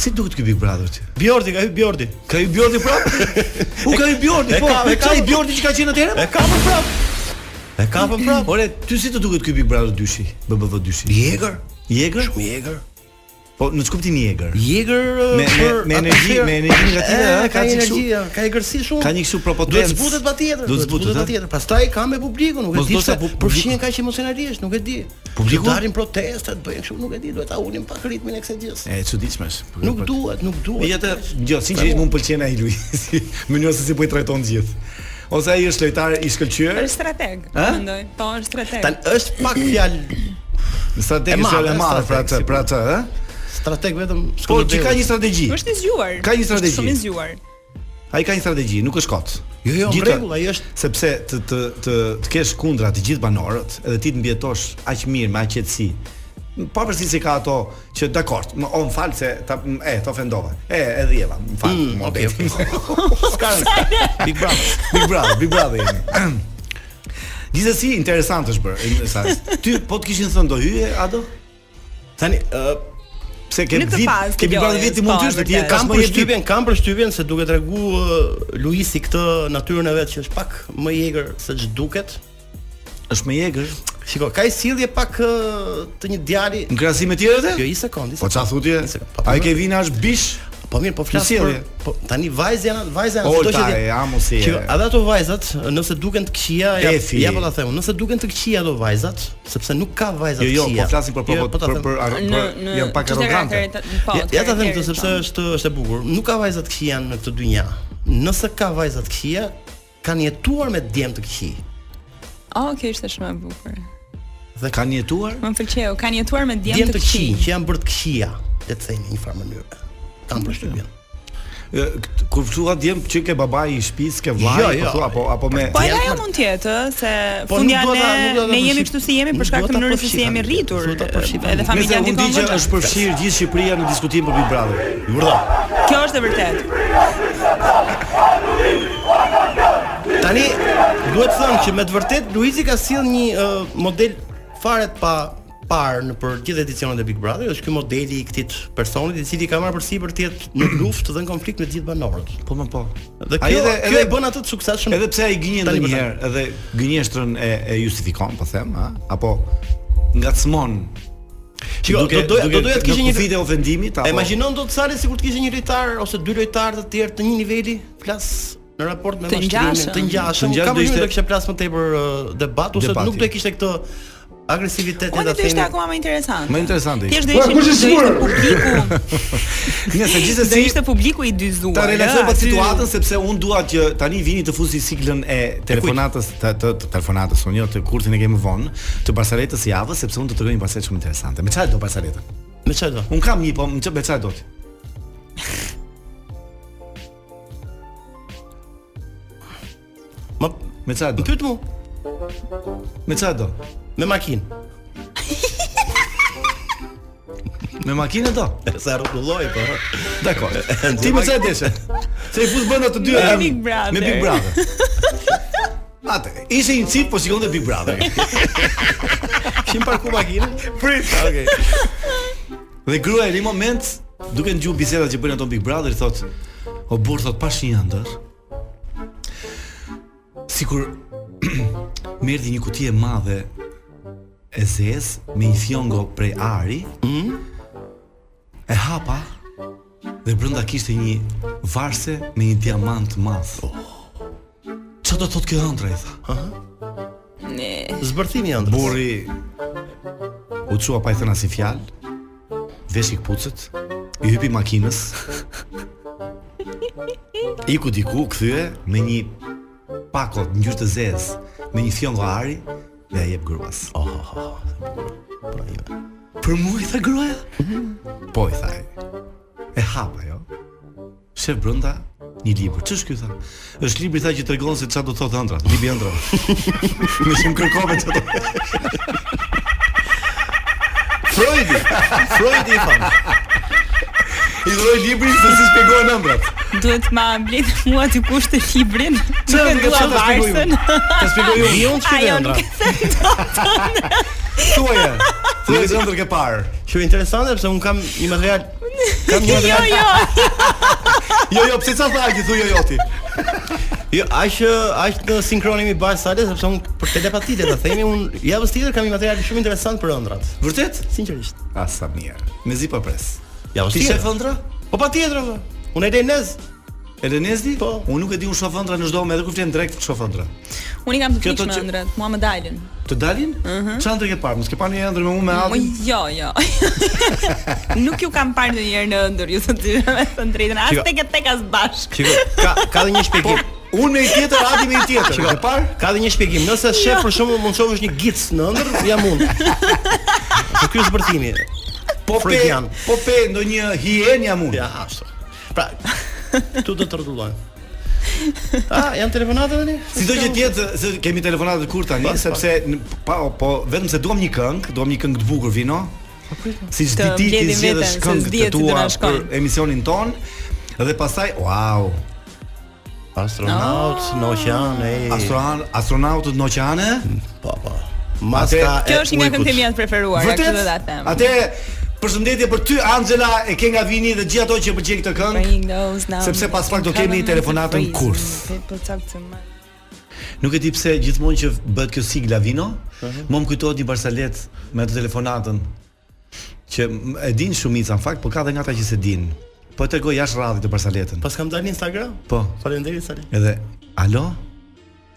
Speaker 6: Si duket ky Big Brother ti?
Speaker 7: Bjordi, ka hyrë Bjordi.
Speaker 6: Ka i Bjordi prap? U ka i Bjordi,
Speaker 7: e
Speaker 6: po.
Speaker 7: ka- e ka-
Speaker 6: Sa i Bjordi që ka qenë atëherë?
Speaker 7: E kapën prap. E kapën prap.
Speaker 6: Ore, ty si të duket ky Big Brother dyshi? BBV dyshi.
Speaker 7: I egër,
Speaker 6: I egër?
Speaker 7: i egër.
Speaker 6: Po në çkuptim i egër.
Speaker 7: I egër ë,
Speaker 6: Me- me-
Speaker 7: për
Speaker 6: me energji-
Speaker 7: atmosferë.
Speaker 6: me energji nga tjetër,
Speaker 7: E,
Speaker 6: ë,
Speaker 7: ka
Speaker 6: ka një
Speaker 7: energji,
Speaker 6: kështu-
Speaker 7: ja, ka egërsi shumë.
Speaker 6: Ka një kështu propotencë.
Speaker 7: Duhet zbutet patjetër.
Speaker 6: Duhet zbutet ë?
Speaker 7: patjetër. Pastaj ka me publikun, nuk e
Speaker 6: Mos
Speaker 7: di
Speaker 6: do
Speaker 7: pse
Speaker 6: sa pu-
Speaker 7: përfshihen kaq emocionalisht, nuk e di.
Speaker 6: Publiku?
Speaker 7: Të dalin protestat, bëjnë kështu, nuk e di, duhet ta ulim pak ritmin e kësaj gjëse.
Speaker 6: E çuditshme është.
Speaker 7: Nuk duhet, nuk duhet.
Speaker 6: Ja të gjë, Po, jo, sinqerisht më pëlqen ai Luis. Mënyra se si po i trajton gjithë. Ose ai është lojtar i shkëlqyer,
Speaker 10: Është strateg,
Speaker 6: A?
Speaker 10: mendoj. Po, është strateg.
Speaker 7: Tan është pak fjalë E
Speaker 6: strategji
Speaker 7: madhe,
Speaker 6: është e madhe për atë,
Speaker 7: strateg,
Speaker 6: për atë, ë?
Speaker 7: strateg vetëm
Speaker 6: Po
Speaker 7: Skënderbeu.
Speaker 6: që ka një strategji.
Speaker 10: Është i zgjuar.
Speaker 6: Ka një strategji.
Speaker 10: Është shumë i zgjuar.
Speaker 6: Ai ka një strategji, nuk është kot.
Speaker 7: Jo, jo, në
Speaker 6: Gjithë-
Speaker 7: rregull, ai është-
Speaker 6: sepse të të të, të kesh kundra të gjithë banorët, edhe ti të mbietosh aq mirë me aq qetësi. Pa përsi se ka ato që dakord, më o më falë se ta, m- e, të ofendova E, e dhjeva, më falë, mm, më okay, Big Brother, Big Brother, Big Brother jemi Gjithsesi interesant është bërë in- sa- Ty, po të kishin thënë do hyje, Ado?
Speaker 7: tani ë,
Speaker 6: Pse ke
Speaker 10: Në këtë
Speaker 6: vit,
Speaker 10: fazë
Speaker 6: ke
Speaker 10: të
Speaker 6: Big Brother
Speaker 10: lojës,
Speaker 6: viti mund
Speaker 10: po,
Speaker 6: të është Ti e
Speaker 10: vërtet.
Speaker 6: kam
Speaker 7: kam
Speaker 6: për shtypjen
Speaker 7: përshtypjen, kam përshtypjen se duhet t'regu ë, Luisi këtë natyrën e vet që është pak më i egër se ç'duket.
Speaker 6: është me jegër
Speaker 7: Shiko, ka i sillje pak ë, të një djali.
Speaker 6: Në krasim me tjerët
Speaker 7: Jo,
Speaker 6: e?
Speaker 7: i sekond, i
Speaker 6: Po
Speaker 7: sekond.
Speaker 6: çfarë thutje?
Speaker 7: Një sekond, pa-
Speaker 6: Ai ke vina është bish
Speaker 7: Po mirë, po flas
Speaker 6: Një sjellje.
Speaker 7: për po tani vajza janë, vajza janë
Speaker 6: Olta
Speaker 7: ti-
Speaker 6: e, Amosi e-
Speaker 7: Shiko, edhe ato vajzat, nëse duken të këqija, ja,
Speaker 6: Efi.
Speaker 7: ja po ta them, nëse duken të këqija ato vajzat, sepse nuk ka vajza
Speaker 6: Jo,
Speaker 7: të
Speaker 6: jo,
Speaker 7: këqija.
Speaker 6: po flasim për për
Speaker 7: po ta
Speaker 6: për
Speaker 7: them.
Speaker 6: për
Speaker 10: Në
Speaker 6: për
Speaker 10: në
Speaker 6: jam pak
Speaker 10: çështë
Speaker 6: arrogante.
Speaker 10: karakterit- Po.
Speaker 7: Ja, ja ta them
Speaker 10: karakterit
Speaker 7: të sepse
Speaker 10: tonë.
Speaker 7: është është e bukur. Nuk ka vajza të këqija në këtë dynjë. Nëse ka vajza të këqija, kanë jetuar me djem të këqij.
Speaker 10: Oh, kjo ishte shumë e bukur.
Speaker 6: Dhe kanë jetuar?
Speaker 10: Më pëlqeu. Kanë jetuar me djem
Speaker 7: Djem
Speaker 10: të
Speaker 7: të
Speaker 10: këqij.
Speaker 7: këqij që janë bërë të këqija, le të themi në një farë mënyrë. Kam përshtypjen.
Speaker 6: E, kt- Kur thua djem që ke babai i shtëpisë, ke
Speaker 7: Jo,
Speaker 6: vllai,
Speaker 7: jo.
Speaker 6: po thua apo apo me
Speaker 10: Po
Speaker 7: Janë
Speaker 10: edhe ajo
Speaker 7: marrë-
Speaker 10: mund të jetë ë, se
Speaker 7: Po,
Speaker 10: fundja
Speaker 7: nuk dua
Speaker 10: ne
Speaker 7: ta- nuk dua ta
Speaker 10: ne jemi
Speaker 7: përfshi-
Speaker 10: kështu si jemi
Speaker 7: nuk
Speaker 10: për shkak
Speaker 7: dua
Speaker 10: të
Speaker 7: ta
Speaker 10: mënyrës se si
Speaker 7: përfshi
Speaker 10: jemi
Speaker 7: tani,
Speaker 10: rritur.
Speaker 7: nuk dua ta përfshi tani.
Speaker 10: Edhe
Speaker 6: Nëse
Speaker 10: familja
Speaker 6: unë
Speaker 10: ndikon
Speaker 6: di që
Speaker 10: goxha.
Speaker 6: është përfshirë gjithë Shqipëria në diskutim për Big Brother.
Speaker 7: Vërtet.
Speaker 10: Kjo është e vërtetë.
Speaker 7: Tani duhet të them që me të vërtet Luizi ka sill një ë, model fare të pa parë në për gjithë edicionet e Big Brother, është ky modeli i këtij personit i cili ka marrë përsipër të jetë në luftë dhe në konflikt me të gjithë banorët.
Speaker 6: Po më po.
Speaker 7: Dhe
Speaker 6: Ai
Speaker 7: kjo,
Speaker 6: edhe
Speaker 7: kjo
Speaker 6: edhe
Speaker 7: e bën atë të suksesshëm.
Speaker 6: edhe pse ai gënjen
Speaker 7: Tani për tani.
Speaker 6: ndonjëherë, edhe gënjeshtrën e e justifikon, po them, a? apo ngacmon.
Speaker 7: Shiko, do doja- do doja të kishte një-
Speaker 6: vite ofendimit apo
Speaker 7: E imagjinon do të sale sikur të kishte një lojtar ose dy lojtarë të tjerë të një niveli, flas në raport me
Speaker 10: Të
Speaker 7: mashtrimin,
Speaker 10: ngjashëm.
Speaker 7: të ngjashëm.
Speaker 6: Të ngjashëm
Speaker 7: Ka
Speaker 6: do
Speaker 7: më
Speaker 6: ishte-
Speaker 7: do kishte plas më tepër ë, debat ose
Speaker 6: Debati.
Speaker 7: nuk do e kishte këtë agresivitetin
Speaker 10: Po
Speaker 7: ta
Speaker 10: ti ishte
Speaker 7: themi.
Speaker 10: akoma më interesante.
Speaker 6: Më interesante ishte.
Speaker 10: Thjesht do
Speaker 6: Po,
Speaker 10: ishte do
Speaker 6: kush e
Speaker 10: ishte
Speaker 6: sigurt?
Speaker 10: publiku.
Speaker 6: Nëse
Speaker 10: Do
Speaker 6: gjithsesi
Speaker 10: ishte publiku i dyzuar. jo?
Speaker 6: ta relaksoj
Speaker 10: ë,
Speaker 6: pa
Speaker 10: aty-
Speaker 6: situatën sepse unë dua që tani vini të fusi siglën e telefonatës të, të, të telefonatës unë jo të kursin e kemi vonë të barsaletës së javës sepse unë do të tregoj një barsalet shumë interesante. Me çfarë do barsaletën?
Speaker 7: Me çfarë do?
Speaker 6: Un kam një po me çfarë- me çfarë do ti?
Speaker 7: Më
Speaker 6: Me çfarë do?
Speaker 7: pyet mu
Speaker 6: Me çfarë do?
Speaker 7: me makinë.
Speaker 6: Me makinë do?
Speaker 7: Sa rrotulloj po.
Speaker 6: Dakor. Ti me çfarë deshe? Se i fus brenda të dyja
Speaker 10: Me
Speaker 6: tani.
Speaker 10: Big Brother.
Speaker 6: Me Big Brother. Atë, ishte një cip po shikonte Big Brother. Kim parku makinën? Prit. Okej. Dhe gruaja në një moment duke ngjuar bisedat që bëjnë ato Big Brother thotë, "O burr thot pash një ëndër." Sikur më erdhi një kuti e madhe e zez me një fjongo prej ari. E hapa dhe brenda kishte një varse me një diamant të madh. Çfarë do thotë kjo ëndra i tha?
Speaker 10: Ne.
Speaker 7: Zbërthimi ëndrës.
Speaker 6: Burri u çua pa i thënë asnjë fjalë. Veshi kputucët, i hypi makinës. Iku diku kthye me një pakot ngjyrë të zezë, me një fjongo ari dhe ja jep gruas. Oh, oh, oh, Për mua i tha gruaja? Po i tha. ai. E hapa ajo. Shef brenda një libër. Ç'është ky tha? Është libri tha që tregon se çfarë do thotë ëndra, libri ëndra. Me shumë kërkove çfarë do
Speaker 7: Freudi. Freudi i fam.
Speaker 6: I dhuroj librin se si shpjegohen ëmbrat.
Speaker 10: Duhet ma blet mua dikush të librin.
Speaker 6: Çfarë
Speaker 10: Nuk e
Speaker 6: ka
Speaker 10: dua
Speaker 6: çfarë ta shpjegoj
Speaker 10: varsën.
Speaker 6: unë? Ta shpjegoj unë.
Speaker 7: Vion të shkëndë
Speaker 10: Ajo
Speaker 7: ëndra.
Speaker 10: nuk e the.
Speaker 6: Thuaje. Thuaje se ëndër ke parë.
Speaker 7: Që interesante sepse un kam një material kam një
Speaker 10: Jo,
Speaker 7: material.
Speaker 10: jo.
Speaker 6: Jo, jo, pse ça tha që thuaj jo ti?
Speaker 7: Jo, aq aq në sinkronim i Barsales sepse un për telepatitë ta themi un javës tjetër kam një material shumë interesant për ëndrat.
Speaker 6: Vërtet?
Speaker 7: Sinqerisht.
Speaker 6: A sa mirë. Me zi pa pres.
Speaker 7: Javës
Speaker 6: Ti shef
Speaker 7: tjetër.
Speaker 6: ëndra?
Speaker 7: Po patjetër. vë. Unë e lej nez.
Speaker 6: Elenezdi?
Speaker 7: Po.
Speaker 6: Unë nuk e di unë shoh ëndra në çdo me edhe kur flen drejt shoh ëndra.
Speaker 10: Unë i kam të
Speaker 6: Kjo
Speaker 10: frikshme
Speaker 6: thotë që-
Speaker 10: ëndrat, mua më dalin.
Speaker 6: Të dalin? Çfarë ëndër ke parë? Mos ke parë një ëndër me unë me
Speaker 10: Mo,
Speaker 6: Adin?
Speaker 10: jo, jo. Nuk ju kam parë ndonjëherë në ëndër, ju të dy me të drejtën, as
Speaker 7: Shiko.
Speaker 10: tek e tek as bashk.
Speaker 7: Shikoj, ka ka dhe një shpjegim.
Speaker 6: Unë me i tjetër, Adi me i tjetër. Ke parë?
Speaker 7: Ka dhe një shpjegim. Nëse shef
Speaker 10: Jo.
Speaker 7: për shembull mund shohësh një gic në ëndër, jam unë. Po ky është zbërtimi.
Speaker 6: Po pe,
Speaker 7: Freudian.
Speaker 6: po pe ndonjë hien jam unë.
Speaker 7: Ja, ashtu. Pra, tu do të rrotullojmë. Ah, janë telefonata tani?
Speaker 6: Sido që tjetë, se kemi telefonatët kur tani,
Speaker 7: Pas, pas.
Speaker 6: sepse në- pa, o, po vetëm se duam një këngë, duam një këngë të bukur vino.
Speaker 7: Po,
Speaker 6: Si
Speaker 10: Të
Speaker 6: çdo ditë ti
Speaker 10: mbledhim
Speaker 6: zgjedhësh
Speaker 10: veten, se
Speaker 6: këngë të
Speaker 10: s'dihet si do
Speaker 6: tua
Speaker 10: na
Speaker 6: për
Speaker 10: shkon.
Speaker 6: emisionin ton dhe pastaj wow,
Speaker 7: Astronaut në oqean, ej.
Speaker 6: astronaut, astronautët në oqeane.
Speaker 7: Po, po. Maska
Speaker 6: Atë-
Speaker 10: Kjo është një nga
Speaker 7: ujkut.
Speaker 10: këngët e mia të preferuara,
Speaker 6: Vërtet?
Speaker 10: kështu do ta them.
Speaker 6: Atë përshëndetje për ty Angela e ke nga Vini dhe gjithë ato që pëlqejnë këtë këngë.
Speaker 10: Bring those now.
Speaker 6: Sepse pas pak do kemi telefonatën kurs. Nuk e di pse gjithmonë që bëhet kjo sigla vino, më më kujtohet një barsalet me atë telefonatën që m- e din shumica në fakt, po ka dhe nga ata që se din. Po e tregoj jashtë radhit të barsaletën.
Speaker 7: Pas kam dalë në Instagram.
Speaker 6: Po.
Speaker 7: Faleminderit Sali.
Speaker 6: Edhe alo?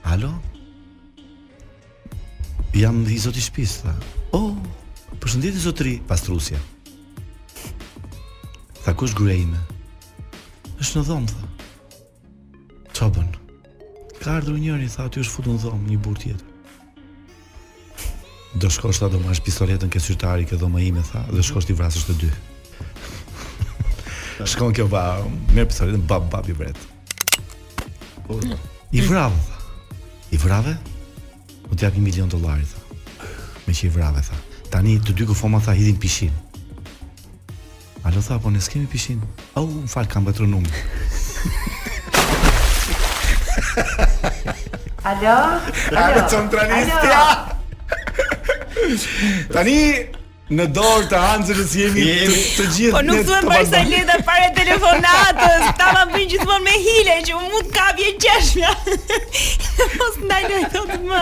Speaker 6: Alo? Jam i zoti shtëpis, tha. Oh, përshëndetje zotri, pastrusja. Tha kush gruaja ime? Është në dhomë, tha. Ço bën? Ka ardhur njëri, tha, aty është futur në dhomë një burr tjetër. Do shkosh tha do marrësh pistoletën ke syrtari ke dhoma ime tha dhe shkosh ti vrasësh të dy. Shkon kjo ba, merr pistoletën bab bab i vret. I vrave, tha. I vrave? U t'jap 1 milion dollarë, tha. Me që i vrave, tha. Tani të dy kufoma, tha, hidhin pishin. Alo, tha, po ne s'kemi pishin. Au, oh, më falë, kam betru numër. Alo? Alo, qëmë tranistja! Tani, në dorë të Anxelës jemi të, të gjithë
Speaker 10: Po nuk
Speaker 6: ne
Speaker 10: duhen
Speaker 6: të bardakë.
Speaker 10: barsaleta para telefonatës. Ta ma bën gjithmonë me hile që unë mund kapje gjeshmja. Mos ndaloj dot më.